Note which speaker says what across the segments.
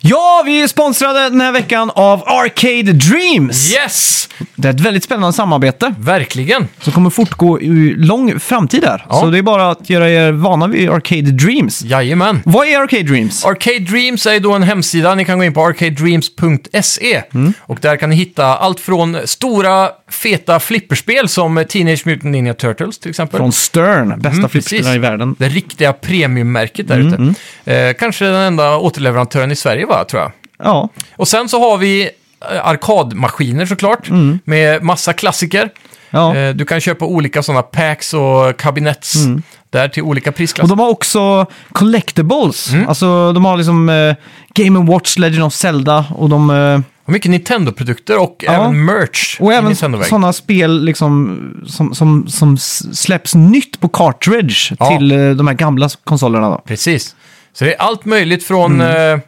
Speaker 1: Ja, vi är sponsrade den här veckan av Arcade Dreams.
Speaker 2: Yes!
Speaker 1: Det är ett väldigt spännande samarbete
Speaker 2: Verkligen.
Speaker 1: som kommer fortgå i lång framtid här.
Speaker 2: Ja.
Speaker 1: Så det är bara att göra er vana vid Arcade Dreams.
Speaker 2: Jajamän.
Speaker 1: Vad är Arcade Dreams?
Speaker 2: Arcade Dreams är ju då en hemsida, ni kan gå in på arcadedreams.se E.
Speaker 1: Mm.
Speaker 2: och där kan ni hitta allt från stora feta flipperspel som Teenage Mutant Ninja Turtles till exempel.
Speaker 1: Från Stern, bästa
Speaker 2: Mm,
Speaker 1: flippspelarna
Speaker 2: precis.
Speaker 1: i världen. Mm,
Speaker 2: Det riktiga premiummärket där ute. Eh, kanske den enda återleverantören i Sverige va, tror jag.
Speaker 1: Ja,
Speaker 2: Och sen så har vi eh, arkadmaskiner såklart, med massa klassiker.
Speaker 1: Mm. ja.
Speaker 2: Eh, Du kan köpa olika sådana packs och kabinetts
Speaker 1: Mm.
Speaker 2: där till olika prisklasser.
Speaker 1: Och de har också collectibles.
Speaker 2: Mm.
Speaker 1: Alltså de har liksom eh, Game Watch, Legend of Zelda och de... Eh,
Speaker 2: Och mycket Nintendo-produkter och
Speaker 1: Ja.
Speaker 2: även merch.
Speaker 1: och
Speaker 2: i
Speaker 1: även
Speaker 2: Nintendo-väg.
Speaker 1: sådana spel liksom som, som, som s- släpps nytt på cartridge
Speaker 2: Ja.
Speaker 1: till eh, de här gamla konsolerna då.
Speaker 2: Precis. Så det är allt möjligt från,
Speaker 1: Mm.
Speaker 2: eh,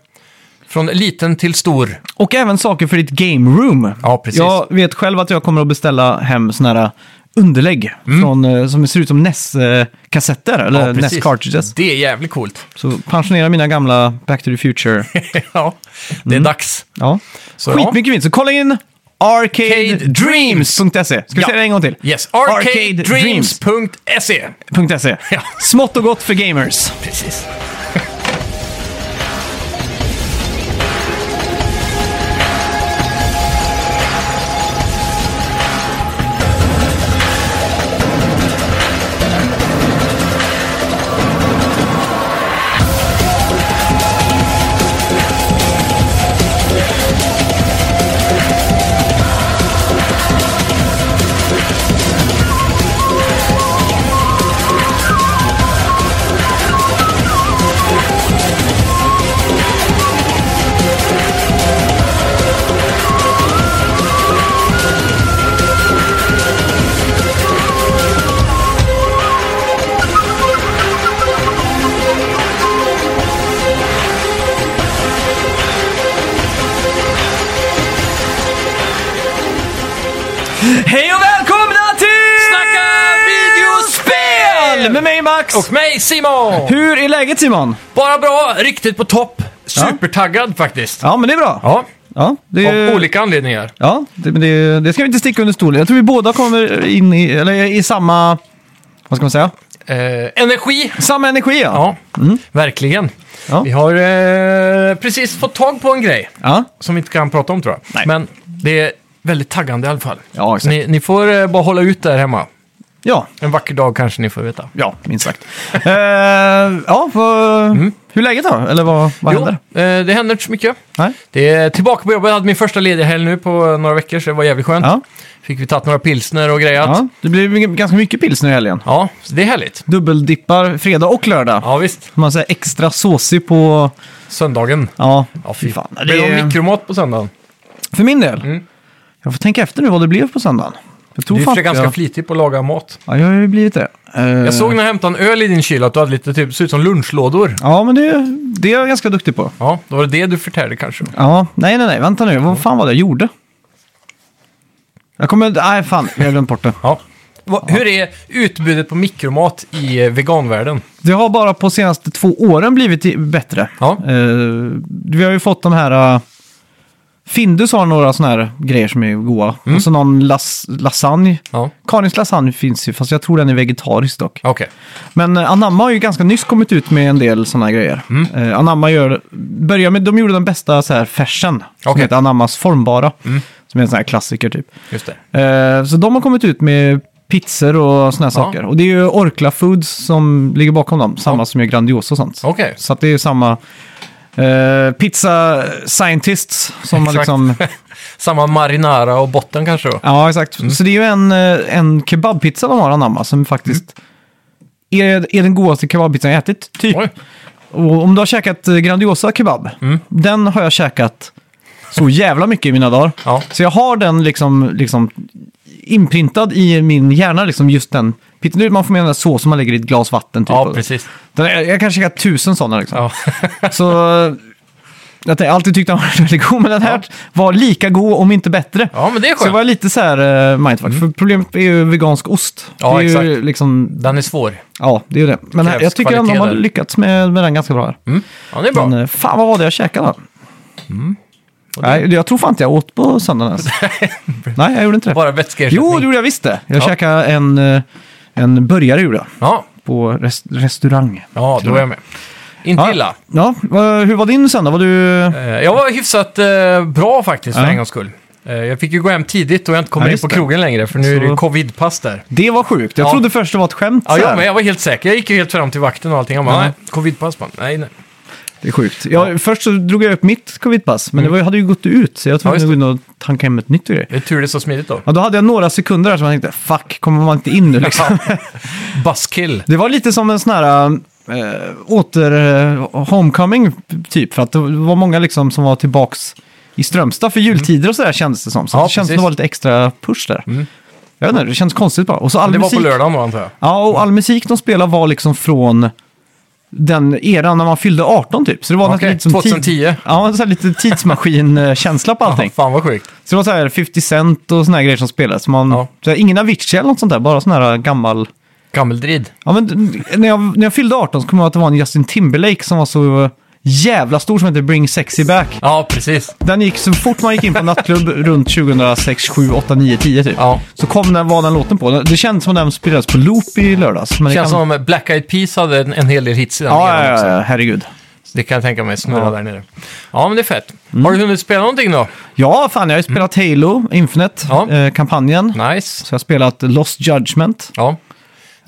Speaker 2: från liten till stor.
Speaker 1: Och även saker för ditt game room.
Speaker 2: Ja, precis.
Speaker 1: Jag vet själv att jag kommer att beställa hem såna här uh, underlägg från, eh, som ser ut som NES-kassetter uh, eller
Speaker 2: Mm. Ja, precis.
Speaker 1: NES-cartridges.
Speaker 2: Det är jävligt coolt.
Speaker 1: Så pensionera mina gamla Back to the Future.
Speaker 2: ja, det är
Speaker 1: Mm.
Speaker 2: dags.
Speaker 1: Ja.
Speaker 2: Så,
Speaker 1: Skitmycket vinst, så kolla in arcadedreams.se. E. Ska vi
Speaker 2: Ja.
Speaker 1: säga det en gång till?
Speaker 2: Ja. Yes,
Speaker 1: Arcadedreams.
Speaker 2: arcadedreams.se.
Speaker 1: .se.
Speaker 2: Ja.
Speaker 1: E. Smått och gott för gamers.
Speaker 2: Precis.
Speaker 1: Hej och välkomna till
Speaker 2: Snacka videospel!
Speaker 1: med mig Max!
Speaker 2: Och mig Simon!
Speaker 1: Hur är läget Simon?
Speaker 2: Bara bra, riktigt på topp. Supertaggad faktiskt.
Speaker 1: Ja, men det är bra.
Speaker 2: Ja,
Speaker 1: Ja, det är...
Speaker 2: av olika anledningar.
Speaker 1: Ja, det, men det, det ska vi inte sticka under stolen. Jag tror vi båda kommer in i, eller i samma, vad ska man säga?
Speaker 2: Eh, energi.
Speaker 1: Samma energi ja.
Speaker 2: Ja, verkligen.
Speaker 1: Mm. Ja.
Speaker 2: Vi har eh, precis fått tag på en grej.
Speaker 1: Ja,
Speaker 2: som vi inte kan prata om tror jag.
Speaker 1: Nej.
Speaker 2: Men det är väldigt taggande i alla fall.
Speaker 1: Ja, exakt.
Speaker 2: ni, ni får eh, bara hålla ut där hemma.
Speaker 1: ja,
Speaker 2: En vacker dag kanske ni får veta.
Speaker 1: ja minst sagt. Eh, ja, vad, hur är läget då? Eller vad, vad händer?
Speaker 2: Mm. Jo, eh, det händer inte så mycket.
Speaker 1: Nej?
Speaker 2: Det är tillbaka på jobbet. Jag hade min första lediga helg nu på eh, några veckor, så det var jävligt skönt.
Speaker 1: Ja.
Speaker 2: Fick vi tagit några pilsner och grejat. Ja,
Speaker 1: Ja, det blir mycket- ganska mycket pilsner i helgen.
Speaker 2: så det är härligt.
Speaker 1: Dubbeldippar fredag och lördag.
Speaker 2: Ja, visst.
Speaker 1: Man säger extra såsig på...
Speaker 2: Söndagen.
Speaker 1: Ja,
Speaker 2: Ja, fy fan. Det
Speaker 1: Det
Speaker 2: blev
Speaker 1: är-
Speaker 2: mikromat på söndagen.
Speaker 1: för min del. Jag får tänka efter nu vad det blev på söndagen. Jag tror
Speaker 2: Du
Speaker 1: fan
Speaker 2: är
Speaker 1: inte
Speaker 2: ganska
Speaker 1: jag...
Speaker 2: flitig på att laga mat.
Speaker 1: Ja, jag har ju blivit det. Eh,
Speaker 2: Jag såg när jag hämtade en öl i din kyl att du hade lite, typ, såg ut som lunchlådor.
Speaker 1: Ja, men det, det är jag ganska duktig på.
Speaker 2: Ja, då var det det du förtärde kanske.
Speaker 1: Ja, nej, nej, nej, vänta nu. Vad fan var det jag gjorde? Jag kommer... Nej, fan, jag har glömt bort det.
Speaker 2: Ja. Va, hur är utbudet på mikromat i eh, veganvärlden?
Speaker 1: Det har bara på senaste två åren blivit i- bättre.
Speaker 2: Ja.
Speaker 1: Eh, vi har ju fått de här... eh, Findus har några såna här grejer som är goda.
Speaker 2: Mm.
Speaker 1: Och så någon las, lasagne.
Speaker 2: Ja,
Speaker 1: Karins lasagne finns ju, fast jag tror den är vegetarisk dock.
Speaker 2: okej.
Speaker 1: Men eh, Anamma har ju ganska nyss kommit ut med en del sådana grejer.
Speaker 2: Mm.
Speaker 1: Eh, Anamma gör, börjar med, de gjorde den bästa så här färsen. Som
Speaker 2: Okej. Mm.
Speaker 1: heter Anammas formbara. Som är en sån här klassiker typ.
Speaker 2: Just det.
Speaker 1: Eh, så de har kommit ut med pizzor och såna här
Speaker 2: Ja.
Speaker 1: saker. Och det är ju Orkla Foods som ligger bakom dem. Samma som gör Grandiosa och sånt.
Speaker 2: Okej.
Speaker 1: Så att det är ju samma eh, pizza scientists som har
Speaker 2: Exakt.
Speaker 1: liksom...
Speaker 2: Samma marinara och botten kanske då?
Speaker 1: Ja, exakt.
Speaker 2: Mm.
Speaker 1: Så det är ju en, eh, en kebabpizza de har anamma som faktiskt är, är den godaste kebabpizzan jag ätit, typ.
Speaker 2: Mm. Oj. Mm.
Speaker 1: Och om du har käkat eh, Grandiosa kebab, den har jag käkat så jävla mycket i mina dagar.
Speaker 2: Ja.
Speaker 1: Så jag har den liksom, liksom inprintad i min hjärna, liksom just den. pizza- du vet, Man får med den där sås som man lägger i ett glas vatten. Typ.
Speaker 2: Ja, precis.
Speaker 1: Den, jag, jag kanske käkat tusen sådana. Liksom.
Speaker 2: Ja.
Speaker 1: Så jag har alltid tyckt att den var väldigt god, men den här var lika god, om inte bättre.
Speaker 2: ja, men
Speaker 1: Så
Speaker 2: det är
Speaker 1: jag
Speaker 2: skönt. Mm.
Speaker 1: var lite så här uh, mindfuck, för problemet är ju vegansk ost.
Speaker 2: Ja,
Speaker 1: det är ju
Speaker 2: exakt.
Speaker 1: liksom,
Speaker 2: Den är svår.
Speaker 1: ja, det är ju det. Men
Speaker 2: krävs
Speaker 1: jag tycker ändå de
Speaker 2: kvalitet
Speaker 1: har
Speaker 2: där.
Speaker 1: lyckats med, med den ganska bra här.
Speaker 2: Ja, det är bra. Mm.
Speaker 1: Men eh, fan vad var det jag käkade? Nej, jag tror fan inte jag åt på söndagen ens. Nej, jag gjorde inte det.
Speaker 2: Bara vätskeersättning.
Speaker 1: Jo, det gjorde jag visst det. Jag
Speaker 2: Ja.
Speaker 1: käkade en, eh, en burgare gjorde jag.
Speaker 2: Ja,
Speaker 1: På rest- restaurang.
Speaker 2: ja då är jag med. Inte illa.
Speaker 1: Ja, eh, hur var din söndag? Var du...
Speaker 2: Eh, Jag var hyfsat eh, bra faktiskt för
Speaker 1: Ja.
Speaker 2: en gångs skull. Eh, Jag fick ju gå hem tidigt och jag har inte kommit
Speaker 1: Ja,
Speaker 2: in
Speaker 1: just
Speaker 2: på
Speaker 1: det.
Speaker 2: krogen längre för nu är det ju
Speaker 1: Så-
Speaker 2: covidpass där.
Speaker 1: Det var sjukt. Jag
Speaker 2: Ja.
Speaker 1: trodde först det var ett skämt.
Speaker 2: Ja,
Speaker 1: så här.
Speaker 2: jag, men jag var helt säker. Jag gick ju helt fram till vakten och allting. Jag bara,
Speaker 1: Ja.
Speaker 2: nej, covidpass man. Nej, nej.
Speaker 1: Det är sjukt. Jag, Först så drog jag upp mitt covidpass, men
Speaker 2: Mm.
Speaker 1: det var, hade ju gått ut. Så jag var
Speaker 2: Ja, just
Speaker 1: tvungen att gå in och tanka hem ett nytt och grejer.
Speaker 2: Det är tur det är så smidigt då.
Speaker 1: Ja, då hade jag några sekunder här som jag tänkte, fuck, kommer man inte in nu liksom?
Speaker 2: Buzzkill.
Speaker 1: Det var lite som en sån här äh, åter eh, homecoming typ, för att det var många liksom som var tillbaks i Strömstad för jultider och sådär kändes det som. Så
Speaker 2: Mm. Ja,
Speaker 1: det känns som
Speaker 2: precis.
Speaker 1: det var lite extra push där.
Speaker 2: Mm.
Speaker 1: Jag vet inte, det kändes konstigt bara. Och så all
Speaker 2: Det var
Speaker 1: musik.
Speaker 2: på lördagen då antar jag.
Speaker 1: Ja, och all musik de spelade var liksom från den eran när man fyllde 18 typ. Så det var nästan
Speaker 2: Okej,
Speaker 1: lite som
Speaker 2: 2010.
Speaker 1: ja, så här lite tidsmaskin-känsla på allting.
Speaker 2: Ja, fan vad sjukt.
Speaker 1: Så det var så här 50 Cent och såna här grejer som spelades. Man,
Speaker 2: Ja.
Speaker 1: så här, ingen Avicii eller något sånt där, bara sån här gammal...
Speaker 2: Gammeldrid.
Speaker 1: Ja, men, d- när, jag, när jag fyllde 18 så kom jag ihåg att det var en Justin Timberlake som var så jävla stor som hette Bring Sexy Back.
Speaker 2: Ja, precis.
Speaker 1: Den gick så fort man gick in på en nattklubb runt 2006, 7, 8, 9, 10 typ.
Speaker 2: Ja.
Speaker 1: Så kom den, var den låten på. Det kändes som den spelades på loop i lördags. Men det
Speaker 2: Känns
Speaker 1: kan-
Speaker 2: som Black Eyed Peas hade en, en hel del hits i den
Speaker 1: Ja,
Speaker 2: eran
Speaker 1: ja,
Speaker 2: också.
Speaker 1: ja, herregud.
Speaker 2: Så Det kan jag tänka mig snurra
Speaker 1: Ja. Mm.
Speaker 2: där nere. Ja, men det är fett. Har du hunnit spela någonting då?
Speaker 1: Ja, fan, jag har ju spelat Halo, Infinite,
Speaker 2: Mm. Ja.
Speaker 1: eh, kampanjen.
Speaker 2: Nice.
Speaker 1: Så jag har spelat Lost Judgment.
Speaker 2: Ja.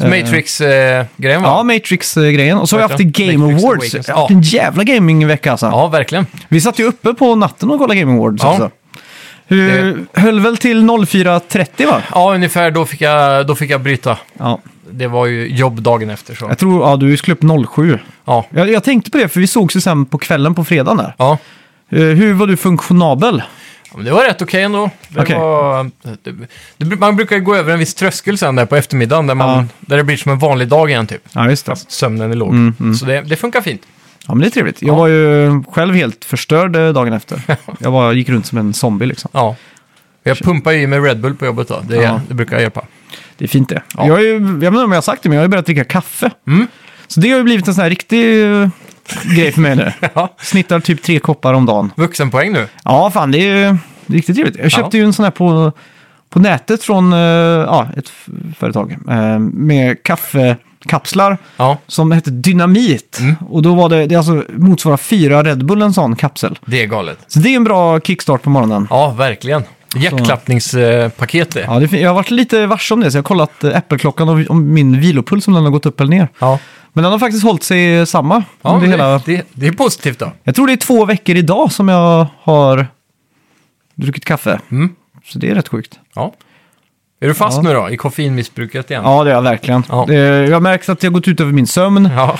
Speaker 2: Så Matrix-grejen va?
Speaker 1: Eh. Ja, Matrix-grejen. Och så har jag haft
Speaker 2: Verkligen.
Speaker 1: Game
Speaker 2: Matrix
Speaker 1: Awards.
Speaker 2: Awakens.
Speaker 1: Jag har haft en jävla gamingvecka alltså.
Speaker 2: Ja, verkligen.
Speaker 1: Vi satt ju uppe på natten och kollade Game Awards
Speaker 2: Ja.
Speaker 1: också. Hur, Höll väl till 04.30 va?
Speaker 2: Ja, ungefär då fick jag, då fick jag bryta.
Speaker 1: Ja.
Speaker 2: Det var ju jobb dagen efter så.
Speaker 1: Jag tror, ja du skulle upp 07.
Speaker 2: Ja.
Speaker 1: Jag, jag tänkte på det för vi sågs ju sen på kvällen på fredagen där.
Speaker 2: Ja.
Speaker 1: Eh, Hur var du funktionabel?
Speaker 2: Ja, Men det var rätt okej ändå. Det
Speaker 1: Okej.
Speaker 2: var, det, det, man brukar gå över en viss tröskel sen där på eftermiddagen där, man,
Speaker 1: Ja.
Speaker 2: där det blir som en vanlig dag igen typ.
Speaker 1: Ja, just det.
Speaker 2: Fast sömnen är låg.
Speaker 1: Mm,
Speaker 2: Så det, det funkar fint.
Speaker 1: Ja, men det är trevligt. Jag
Speaker 2: Ja.
Speaker 1: var ju själv helt förstörd eh, dagen efter. Jag bara gick runt som en zombie liksom.
Speaker 2: Ja. Jag pumpar ju i mig Red Bull på jobbet då. Det,
Speaker 1: Ja.
Speaker 2: det brukar hjälpa.
Speaker 1: Det är fint det.
Speaker 2: Ja.
Speaker 1: Jag, är, ju- jag vet inte om jag har sagt det, men jag har ju börjat dricka kaffe. Så det har ju blivit en sån här riktig eh, grej för mig nu.
Speaker 2: Ja.
Speaker 1: Snittar typ tre koppar om dagen.
Speaker 2: Vuxenpoäng nu.
Speaker 1: Ja, fan det är ju riktigt trevligt. Jag köpte ju en sån här på, på nätet från eh, ja, ett f- företag eh, med kaffekapslar
Speaker 2: Ja,
Speaker 1: som hette Dynamit.
Speaker 2: Mm.
Speaker 1: Och då var det, det alltså motsvarar fyra Red Bull en sån kapsel.
Speaker 2: det är galet.
Speaker 1: Så det är en bra kickstart på morgonen.
Speaker 2: Ja, verkligen. Hjärtklappningspaket det.
Speaker 1: Ja, det, är fint. jag har varit lite varse om det, så jag har kollat eh, Apple-klockan och om min vilopuls, om den har gått upp eller ner.
Speaker 2: Ja.
Speaker 1: Men den har faktiskt hållit sig samma.
Speaker 2: Ja,
Speaker 1: under
Speaker 2: det,
Speaker 1: hela...
Speaker 2: det, det är positivt då.
Speaker 1: Jag tror det är två veckor idag som jag har druckit kaffe.
Speaker 2: Mm.
Speaker 1: Så det är rätt sjukt.
Speaker 2: Ja. Är du fast
Speaker 1: Ja.
Speaker 2: nu då i koffeinmissbruket igen?
Speaker 1: Ja, det är jag verkligen.
Speaker 2: Ja.
Speaker 1: Eh, Jag har märkt att jag har gått ut över min sömn.
Speaker 2: Ja.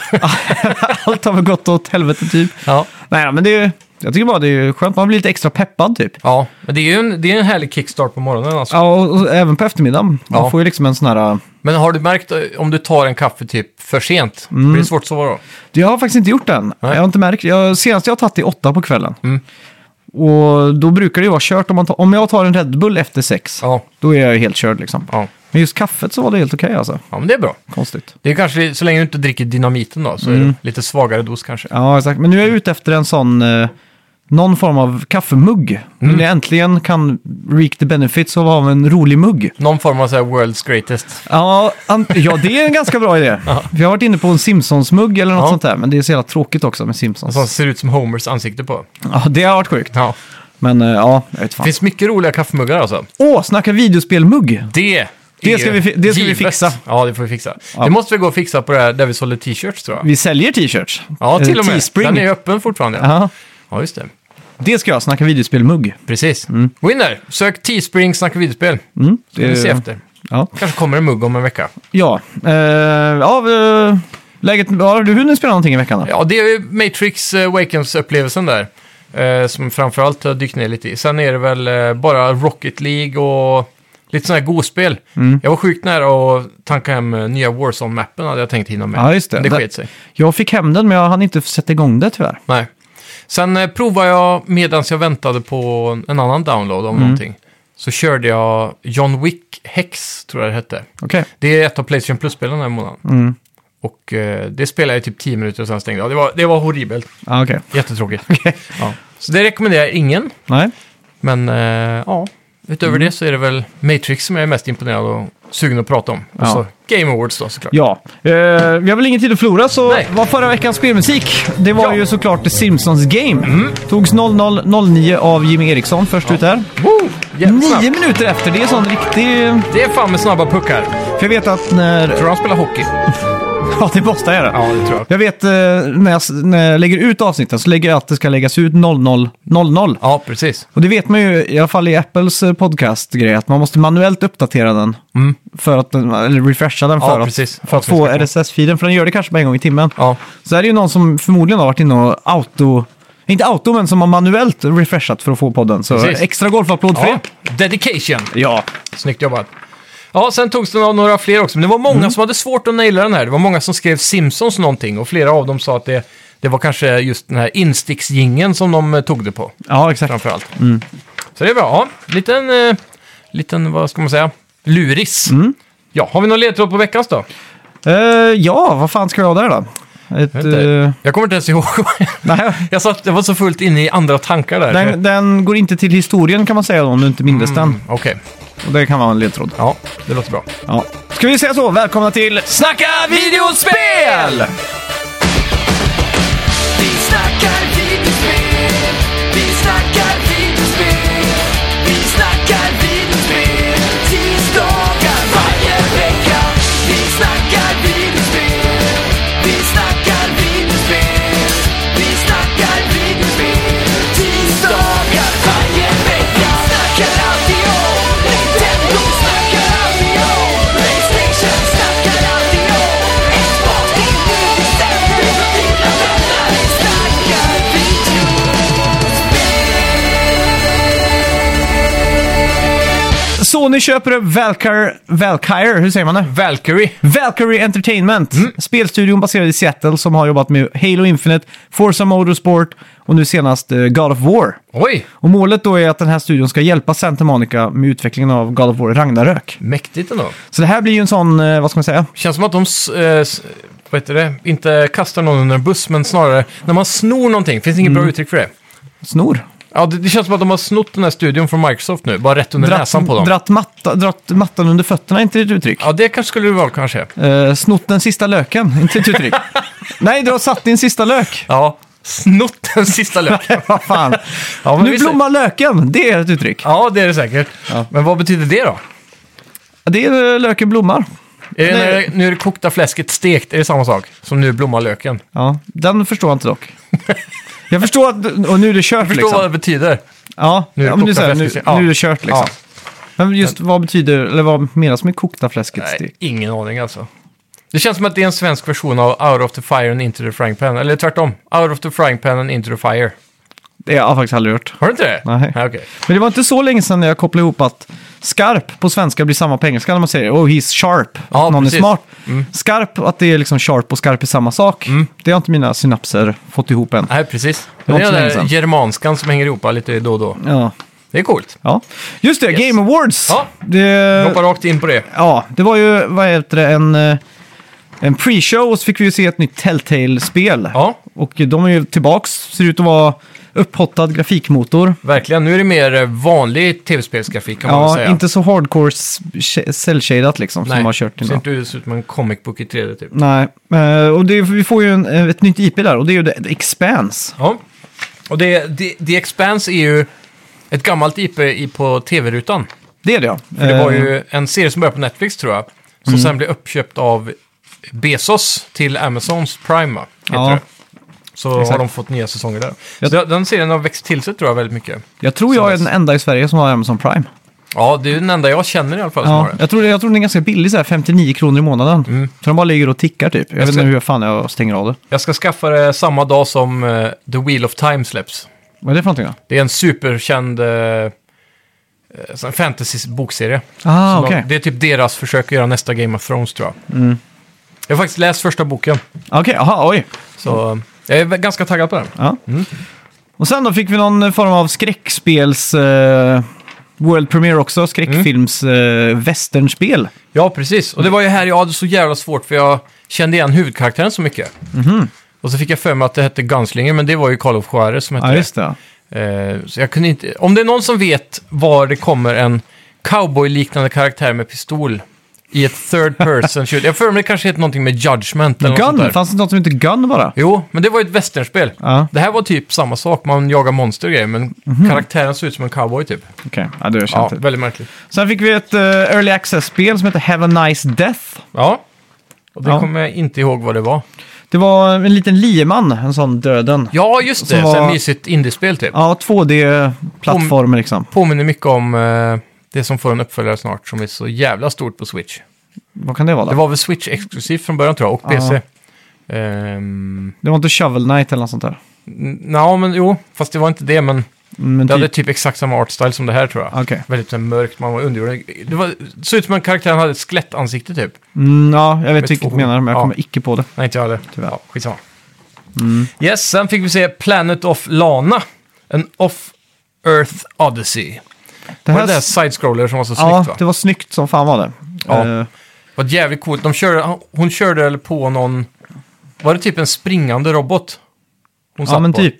Speaker 1: Allt har väl gått åt helvete typ.
Speaker 2: ja.
Speaker 1: Nej, men det är, jag tycker bara det är skönt. Man blir lite extra peppad typ.
Speaker 2: Ja, men det är ju en, det är en härlig kickstart på morgonen alltså.
Speaker 1: Ja, och, och även på eftermiddagen. Man
Speaker 2: Ja.
Speaker 1: får ju liksom en sån här... eh,
Speaker 2: Men har du märkt eh, om du tar en kaffe typ för sent?
Speaker 1: Mm.
Speaker 2: Blir det svårt att sova då?
Speaker 1: Det har jag faktiskt inte gjort än.
Speaker 2: Nej.
Speaker 1: Jag har inte märkt. Jag, senast jag har tagit i åtta på kvällen.
Speaker 2: Mm.
Speaker 1: Och då brukar det ju vara kört. Om, man tar, om jag tar en Red Bull efter sex,
Speaker 2: Ja,
Speaker 1: då är jag ju helt körd liksom.
Speaker 2: ja.
Speaker 1: Men just kaffet så var det helt okej alltså.
Speaker 2: ja men det är bra.
Speaker 1: Konstigt.
Speaker 2: Det är kanske, så länge du inte dricker dynamiten då, så är
Speaker 1: Mm.
Speaker 2: det lite svagare dos kanske.
Speaker 1: Ja, exakt. Men nu är jag ute efter en sån, eh, någon form av kaffemugg. Nu
Speaker 2: Mm.
Speaker 1: när jag äntligen kan reap the benefits av att ha en rolig mugg.
Speaker 2: Någon form av så här world's greatest.
Speaker 1: Ja, an- ja, det är en ganska bra idé. Vi har varit inne på en Simpsons-mugg eller något
Speaker 2: Ja.
Speaker 1: sånt där, men det är så jävla tråkigt också med Simpsons.
Speaker 2: Som ser ut som Homers ansikte på.
Speaker 1: Ja, det har varit sjukt.
Speaker 2: Ja.
Speaker 1: Men eh, ja, jag vet
Speaker 2: Det
Speaker 1: fan.
Speaker 2: finns mycket roliga kaffemuggar alltså.
Speaker 1: Åh, snacka videospelmugg!
Speaker 2: Det är
Speaker 1: Det ska vi fi- det ska vi
Speaker 2: givet.
Speaker 1: fixa.
Speaker 2: Ja, det får vi fixa. Det måste vi gå och fixa på det här där vi sålde t-shirts tror jag.
Speaker 1: Vi säljer t-shirts.
Speaker 2: Ja,
Speaker 1: Eh,
Speaker 2: till och med.
Speaker 1: Teespring.
Speaker 2: Den är ju öppen fortfarande. Ja,
Speaker 1: Ja,
Speaker 2: ja just det.
Speaker 1: det ska jag, snacka videospelmugg.
Speaker 2: Precis. Gå in där, sök Teespring Snacka videospel.
Speaker 1: Mm,
Speaker 2: Ska vi se efter.
Speaker 1: Ja,
Speaker 2: Kanske kommer en mugg om en vecka.
Speaker 1: ja. Eh, ja eh, läget, ja, har du hunnit spela någonting i veckan då?
Speaker 2: Ja, det är ju Matrix eh, Awakens-upplevelsen där. Eh, som framförallt har dykt ner lite i. Sen är det väl eh, bara Rocket League och lite sådana här godspel.
Speaker 1: Mm.
Speaker 2: Jag var sjukt nära att tanka hem eh, nya Warzone-mappen hade jag tänkt hinna med.
Speaker 1: Ja, just det.
Speaker 2: Men det
Speaker 1: Där-
Speaker 2: sket sig.
Speaker 1: Jag fick hem den, men jag hann inte sätta igång det tyvärr.
Speaker 2: Nej. Sen eh, provade jag, medan jag väntade på en annan download av
Speaker 1: Mm.
Speaker 2: någonting, så körde jag John Wick Hex, tror jag det hette.
Speaker 1: Okej.
Speaker 2: Det är ett av Playstation Plus-spelen den här månaden.
Speaker 1: Mm.
Speaker 2: Och eh, det spelade jag i typ 10 minuter och sen stängde jag. Det var, det var horribelt.
Speaker 1: Ja, Ah, okej.
Speaker 2: Jättetråkigt. Ja. Så det rekommenderar jag ingen.
Speaker 1: Nej.
Speaker 2: Men eh, ja, utöver
Speaker 1: Mm.
Speaker 2: det så är det väl Matrix som jag är mest imponerad och sugen att prata om. Och
Speaker 1: Ja.
Speaker 2: så Game Awards då såklart.
Speaker 1: Ja, eh, vi har väl ingen tid att förlora så
Speaker 2: Nej.
Speaker 1: vad förra veckans spelmusik? Det var
Speaker 2: Ja. Mm.
Speaker 1: ju såklart The Simpsons Game. Togs 00.09 av Jimmy Eriksson först ut här.
Speaker 2: Woo! Jävligt
Speaker 1: Nio
Speaker 2: snabbt.
Speaker 1: minuter efter, det är sån riktig...
Speaker 2: Det är fan med snabba puckar.
Speaker 1: För jag vet att när...
Speaker 2: Tror han spelar hockey?
Speaker 1: Ja, det måste jag göra.
Speaker 2: Ja, det tror jag.
Speaker 1: Jag vet eh, när jag, s- när jag lägger ut avsnitten så lägger jag att det ska läggas ut 00.00.
Speaker 2: Ja, precis.
Speaker 1: Och det vet man ju, i alla fall i Apples eh, podcast-grej, att man måste manuellt uppdatera den. För att, den- eller refresha den
Speaker 2: Mm. Ja,
Speaker 1: för
Speaker 2: precis.
Speaker 1: att, för att få RSS-feeden. För den gör det kanske bara en gång i timmen.
Speaker 2: Ja,
Speaker 1: Så här är det ju någon som förmodligen har varit inne och auto... Inte auto, men som har manuellt refreshat för att få podden. Så
Speaker 2: Precis.
Speaker 1: extra golfapplåd för
Speaker 2: ja.
Speaker 1: det.
Speaker 2: Dedication.
Speaker 1: Ja.
Speaker 2: Snyggt jobbat. Ja, sen togs det av några fler också, men det var
Speaker 1: Mm.
Speaker 2: många som hade svårt att naila den här. Det var många som skrev Simpsons någonting och flera av dem sa att det, det var kanske just den här insticksjingeln som de eh, tog det på.
Speaker 1: Ja, exakt.
Speaker 2: framförallt. Så det är bra. Ja, liten, eh, liten, vad ska man säga, luris. Ja, har vi någon ledtråd på veckans då?
Speaker 1: Eh, ja, vad fan ska jag ha där då? Ett,
Speaker 2: Jag vet inte.
Speaker 1: eh,
Speaker 2: Jag kommer inte ens ihåg.
Speaker 1: nej,
Speaker 2: jag, satt, jag var så fullt inne i andra tankar där. Mm,
Speaker 1: den, den går inte till historien kan man säga då, om du inte mindes den.
Speaker 2: Okej,
Speaker 1: Och det kan vara en ledtråd.
Speaker 2: ja, det låter bra.
Speaker 1: Ja. Ska vi säga så? Välkomna till
Speaker 2: Snacka videospel!
Speaker 3: Vi snackar videospel, vi snackar videospel, vi snackar videospel tisdagar varje vecka. Vi snackar videospel, vi snackar videospel, vi snackar videospel tisdagar varje vecka. Snackar alltid om Nintendo, snackar alltid om Playstation, snackar alltid om Xbox, det är nu vi sänder för dina vänner. Vi snackar videospel.
Speaker 1: Sony köper upp Valkyr, Valkyr, hur säger man det?
Speaker 2: Valkyrie.
Speaker 1: Valkyrie Entertainment,
Speaker 2: Mm.
Speaker 1: spelstudion baserad i Seattle som har jobbat med Halo Infinite, Forza Motorsport och nu senast eh, God of War.
Speaker 2: Oj,
Speaker 1: Och målet då är att den här studion ska hjälpa Santa Monica med utvecklingen av God of War Ragnarök.
Speaker 2: mäktigt ändå.
Speaker 1: Så det här blir ju en sån, eh, vad ska man säga?
Speaker 2: Känns som att de, s- eh, s- vad heter det, inte kastar någon under en buss, men snarare när man snor någonting. Finns det inget bra uttryck för det?
Speaker 1: Snor.
Speaker 2: Ja, det, det känns som att de har snott den här studion från Microsoft nu, bara rätt under näsan på dem.
Speaker 1: dratt, matta, dratt mattan under fötterna, inte ett uttryck.
Speaker 2: Ja, det kanske skulle det vara kanske.
Speaker 1: Eh, snott den sista löken, inte ett uttryck. Nej, du har satt din sista lök.
Speaker 2: Ja, snott den sista löken.
Speaker 1: vad fan.
Speaker 2: Ja, men
Speaker 1: nu
Speaker 2: vi ser-
Speaker 1: blommar löken, det är ett uttryck.
Speaker 2: Ja, det är det säkert.
Speaker 1: Ja.
Speaker 2: Men vad betyder det då?
Speaker 1: Det är eh, löken blommar.
Speaker 2: Är det
Speaker 1: Nej.
Speaker 2: när, nu är det kokta fläsket stekt, är det samma sak som nu blommar löken?
Speaker 1: Ja, den förstår jag inte dock. Jag förstår att, och nu är det kört
Speaker 2: Förstå
Speaker 1: liksom.
Speaker 2: vad det betyder.
Speaker 1: Ja,
Speaker 2: Nu är det
Speaker 1: ja men du
Speaker 2: kokta
Speaker 1: säger, nu,
Speaker 2: fläsket. Ja.
Speaker 1: nu är det kört liksom. Men just vad betyder, eller vad menas med kokta fläsket
Speaker 2: Nej,
Speaker 1: stek?
Speaker 2: ingen aning alltså. Det känns som att det är en svensk version av Out of the Fire and Into the Frying Pan. Eller tvärtom, Out of the Frying Pan and Into the Fire.
Speaker 1: Det har jag faktiskt aldrig hört.
Speaker 2: Har du inte det?
Speaker 1: Nej.
Speaker 2: Okej.
Speaker 1: Men det var inte så länge sedan jag kopplade ihop att skarp på svenska blir samma på engelska när man säger oh he's sharp,
Speaker 2: Ja,
Speaker 1: att någon
Speaker 2: precis. Mm.
Speaker 1: är smart. Skarp, att det är liksom sharp och skarp är samma sak. Det har inte mina synapser fått ihop än.
Speaker 2: Nej, precis.
Speaker 1: Det
Speaker 2: Det
Speaker 1: var
Speaker 2: är den
Speaker 1: inte så
Speaker 2: där
Speaker 1: länge sedan.
Speaker 2: germanskan som hänger ihop lite då och då.
Speaker 1: Ja.
Speaker 2: Det är coolt.
Speaker 1: ja. Just det,
Speaker 2: Yes.
Speaker 1: Game Awards.
Speaker 2: Ja.
Speaker 1: Det,
Speaker 2: Hoppa rakt in på det.
Speaker 1: ja, det var ju, vad heter det, en, eh, en pre-show och så fick vi ju se ett nytt Telltale-spel.
Speaker 2: Ja,
Speaker 1: Och de är ju tillbaks, ser ut att vara upphottad grafikmotor.
Speaker 2: verkligen. Nu är det mer eh, vanlig tv-spelsgrafik kan man väl
Speaker 1: Ja,
Speaker 2: säga.
Speaker 1: inte så hardcore s- cell-shaded liksom
Speaker 2: Nej,
Speaker 1: som har kört
Speaker 2: ser
Speaker 1: innan.
Speaker 2: inte ut som en comic book i 3D typ.
Speaker 1: Nej, eh, och det, vi får ju en, eh, ett nytt IP där och det är ju The Expanse.
Speaker 2: Ja. Och det, The, The Expanse är ju ett gammalt IP i- på tv-rutan.
Speaker 1: Det är det ja.
Speaker 2: För det var
Speaker 1: Eh, Mm.
Speaker 2: ju en serie som började på Netflix tror jag. Som sen blev uppköpt av Bezos till Amazons Prime va? heter
Speaker 1: Ja.
Speaker 2: det. Så
Speaker 1: Exakt.
Speaker 2: har de fått nya säsonger där.
Speaker 1: Jag-
Speaker 2: Så den serien har växt till sig tror jag väldigt mycket.
Speaker 1: Jag tror jag är
Speaker 2: Precis.
Speaker 1: den enda i Sverige som har Amazon Prime.
Speaker 2: Ja, det är ju den enda jag känner i alla fall som
Speaker 1: Ja,
Speaker 2: har det.
Speaker 1: jag, tror, det- jag tror den är ganska billig, så här 59 kronor i månaden.
Speaker 2: Mm.
Speaker 1: För de bara ligger och tickar typ. Jag, vet
Speaker 2: ska-
Speaker 1: inte hur fan jag stänger av det.
Speaker 2: Jag ska skaffa det samma dag som eh, The Wheel of Time släpps.
Speaker 1: Vad är det för någonting då?
Speaker 2: Det är en superkänd eh, eh, sån fantasy-bokserie.
Speaker 1: Ah,
Speaker 2: Så de-
Speaker 1: okej.
Speaker 2: Det är typ deras försök att göra nästa Game of Thrones tror jag. Jag har faktiskt läst första boken,
Speaker 1: Okej, aha, oj.
Speaker 2: så eh, jag är ganska taggad på den.
Speaker 1: Ja.
Speaker 2: Mm.
Speaker 1: Och sen då fick vi någon form av skräckspels... eh, World Premiere också, skräckfilms eh, westernspel.
Speaker 2: Mm. Ja, precis. Och det var ju här jag hade så jävla svårt för jag kände igen Mhm. huvudkaraktären så mycket. Och så fick jag för mig att det hette Gunslinger, men det var ju Call of Juarez som hette
Speaker 1: Ja, just det.
Speaker 2: Eh, så jag kunde inte... Om det är någon som vet var det kommer en cowboy-liknande karaktär med pistol i ett third person shoot. Jag för mig det kanske heter någonting med judgment eller något sånt
Speaker 1: Gun?
Speaker 2: där.
Speaker 1: Fanns det något som hette Gun bara?
Speaker 2: Jo, men det var ju ett västernspel.
Speaker 1: Ja,
Speaker 2: Det här var typ samma sak, man jagar monster och grejer, men karaktären såg ut som en cowboy typ.
Speaker 1: okej. Ja, du har
Speaker 2: Ja,
Speaker 1: känt det.
Speaker 2: väldigt märkligt.
Speaker 1: Sen fick vi ett eh, Early Access-spel som heter Have a Nice Death.
Speaker 2: Ja, och det
Speaker 1: Ja.
Speaker 2: kommer jag inte ihåg vad det var.
Speaker 1: Det var en liten lieman, en sån döden.
Speaker 2: Ja, just det,
Speaker 1: Som var-
Speaker 2: ett mysigt indiespel typ.
Speaker 1: Ja, 2D-plattform liksom.
Speaker 2: Påminner mycket om eh, det som får en uppföljare snart, som är så jävla stort på Switch.
Speaker 1: Vad kan det vara? Då?
Speaker 2: Det var väl Switch-exklusivt från början tror jag, och
Speaker 1: Ja.
Speaker 2: PC. Ehm,
Speaker 1: Det var inte Shovel Knight eller något sånt där?
Speaker 2: n- Nja, men jo, fast det var inte det, men
Speaker 1: Men
Speaker 2: det
Speaker 1: typ...
Speaker 2: hade typ exakt samma artstyle som det här tror jag.
Speaker 1: Okej.
Speaker 2: Väldigt så här, mörkt, man var underjord. Det var, det såg ut som en karaktär hade ett skelettansikte typ.
Speaker 1: Mm, ja, jag vet
Speaker 2: Med
Speaker 1: vilket
Speaker 2: två
Speaker 1: du menar, men jag
Speaker 2: ja.
Speaker 1: kommer icke på det.
Speaker 2: Nej, inte jag heller.
Speaker 1: Tyvärr.
Speaker 2: Ja, skitsamma.
Speaker 1: Mm.
Speaker 2: Yes, sen fick vi se Planet of Lana. En Off-Earth Odyssey.
Speaker 1: Det
Speaker 2: var det där side-scroller som var så
Speaker 1: ja,
Speaker 2: snyggt va?
Speaker 1: det var snyggt som fan var det.
Speaker 2: Ja.
Speaker 1: Eh,
Speaker 2: Det var jävligt coolt. De körde, hon körde eller på någon... Var det typ en springande robot? Hon
Speaker 1: ja men
Speaker 2: på,
Speaker 1: typ.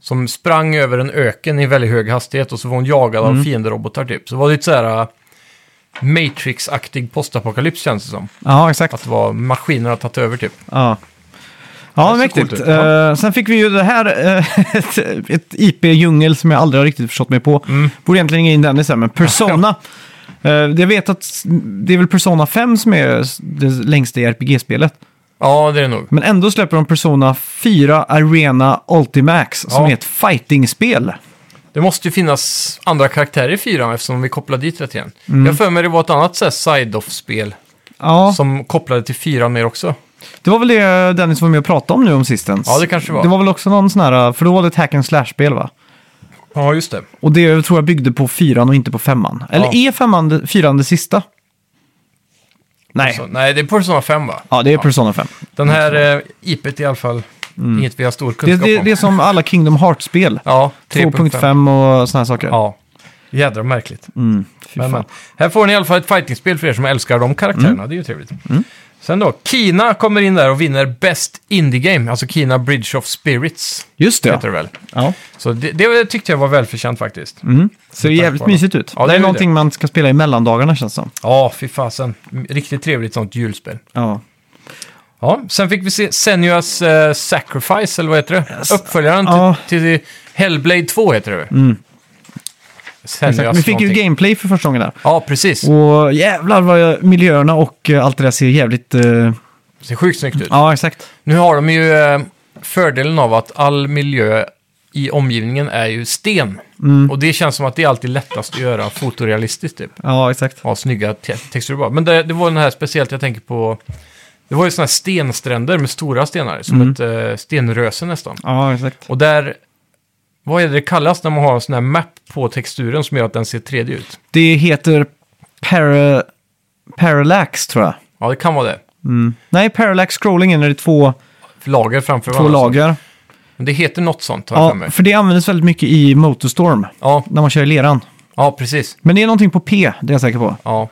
Speaker 2: Som sprang över en öken i väldigt hög hastighet och så var hon jagad
Speaker 1: Mm.
Speaker 2: av fienderobotar typ. Så det var lite så här... äh, Matrix-aktig postapokalyps känns det som.
Speaker 1: Ja, exakt.
Speaker 2: Att det var maskiner har tagit över typ.
Speaker 1: Ja. Ja,
Speaker 2: ser
Speaker 1: mäktigt.
Speaker 2: coolt ut, ja.
Speaker 1: Eh, sen fick vi ju det här, eh, ett, ett IP-djungel som jag aldrig har riktigt förstått mig på.
Speaker 2: Mm.
Speaker 1: Borde egentligen ringa in den sen, men Persona. Eh, jag vet att s- det är väl Persona 5 som är s- det längsta i RPG-spelet.
Speaker 2: Ja, det är det nog.
Speaker 1: Men ändå släpper de Persona 4 Arena Ultimax som
Speaker 2: Ja.
Speaker 1: är ett fighting-spel.
Speaker 2: Det måste ju finnas andra karaktärer i fyran eftersom vi kopplar dit rätt igen. Jag har för mig det var ett annat så här side-off-spel
Speaker 1: Mm. Ja,
Speaker 2: som kopplade till fyran mer också.
Speaker 1: det var väl det Dennis var med och pratade om nu om sistens.
Speaker 2: Ja, det kanske var.
Speaker 1: Det var väl också någon sån här, för då var det ett hack and slash-spel va?
Speaker 2: Ja, just det.
Speaker 1: Och det tror jag byggde på fyran och inte på femman. Eller
Speaker 2: Ja.
Speaker 1: är femman det, fyran det sista? Nej.
Speaker 2: Så, nej, det är Persona 5 va?
Speaker 1: Ja, det är Persona 5.
Speaker 2: Den här eh, IPet i alla fall, inget vi har stor
Speaker 1: Mm. Det,
Speaker 2: kunskap
Speaker 1: det,
Speaker 2: om.
Speaker 1: det är som alla Kingdom Hearts-spel.
Speaker 2: ja, 3.5.
Speaker 1: 2.5 och sådana här saker.
Speaker 2: Ja, jädra märkligt.
Speaker 1: Mm, fy
Speaker 2: Men, men.
Speaker 1: fan. Mm.
Speaker 2: Här får ni i alla fall ett fightingspel för er som älskar de karaktärerna, det är ju trevligt. Sen då, Kina kommer in där och vinner Best Indie Game, alltså Kina Bridge of Spirits.
Speaker 1: Just det.
Speaker 2: Heter
Speaker 1: Ja.
Speaker 2: det väl.
Speaker 1: Ja.
Speaker 2: Så det, det tyckte jag var välförtjänt faktiskt.
Speaker 1: Ser ju jävligt mysigt ut.
Speaker 2: Ja, det
Speaker 1: det,
Speaker 2: gör
Speaker 1: är
Speaker 2: det.
Speaker 1: någonting man ska spela i mellandagarna känns det som.
Speaker 2: Ja, fy fasen. Riktigt trevligt sånt julspel.
Speaker 1: Ja.
Speaker 2: Ja, sen fick vi se Senuas eh, Sacrifice, eller vad heter det? Uppföljaren
Speaker 1: Ja.
Speaker 2: till, till Hellblade 2 heter det mm. Senuas
Speaker 1: Exakt. Vi fick ju Oh.
Speaker 2: någonting.
Speaker 1: gameplay för första gången där.
Speaker 2: Ja, precis.
Speaker 1: Och jävlar vad jag, miljöerna och eh, allt det där ser jävligt... eh,
Speaker 2: Det ser sjukt snyggt ut.
Speaker 1: ja, exakt.
Speaker 2: Nu har de ju eh, fördelen av att all miljö i omgivningen är ju sten.
Speaker 1: Mm.
Speaker 2: Och det känns som att det är alltid lättast att göra fotorealistiskt typ.
Speaker 1: Ja, exakt.
Speaker 2: Ja, snygga te- texturer bara. Men det, det var den här speciellt jag tänker på. Det var ju sådana här stenstränder med stora stenar, som
Speaker 1: Mm.
Speaker 2: ett eh, stenröse nästan.
Speaker 1: Ja, exakt.
Speaker 2: Och där, vad är det det kallas när man har en sån här map på texturen som gör att den ser 3D ut?
Speaker 1: Det heter para, Parallax tror jag.
Speaker 2: Ja, det kan vara det.
Speaker 1: Mm. Nej, Parallax scrolling är när det är två,
Speaker 2: Lager framför
Speaker 1: två
Speaker 2: varandra.
Speaker 1: lager.
Speaker 2: Men det heter något sånt, har jag för
Speaker 1: Ja,
Speaker 2: mig.
Speaker 1: för det användes väldigt mycket i Motorstorm,
Speaker 2: Ja,
Speaker 1: när man kör i leran.
Speaker 2: ja, precis.
Speaker 1: Men det är någonting på P, det är jag säker på.
Speaker 2: Ja.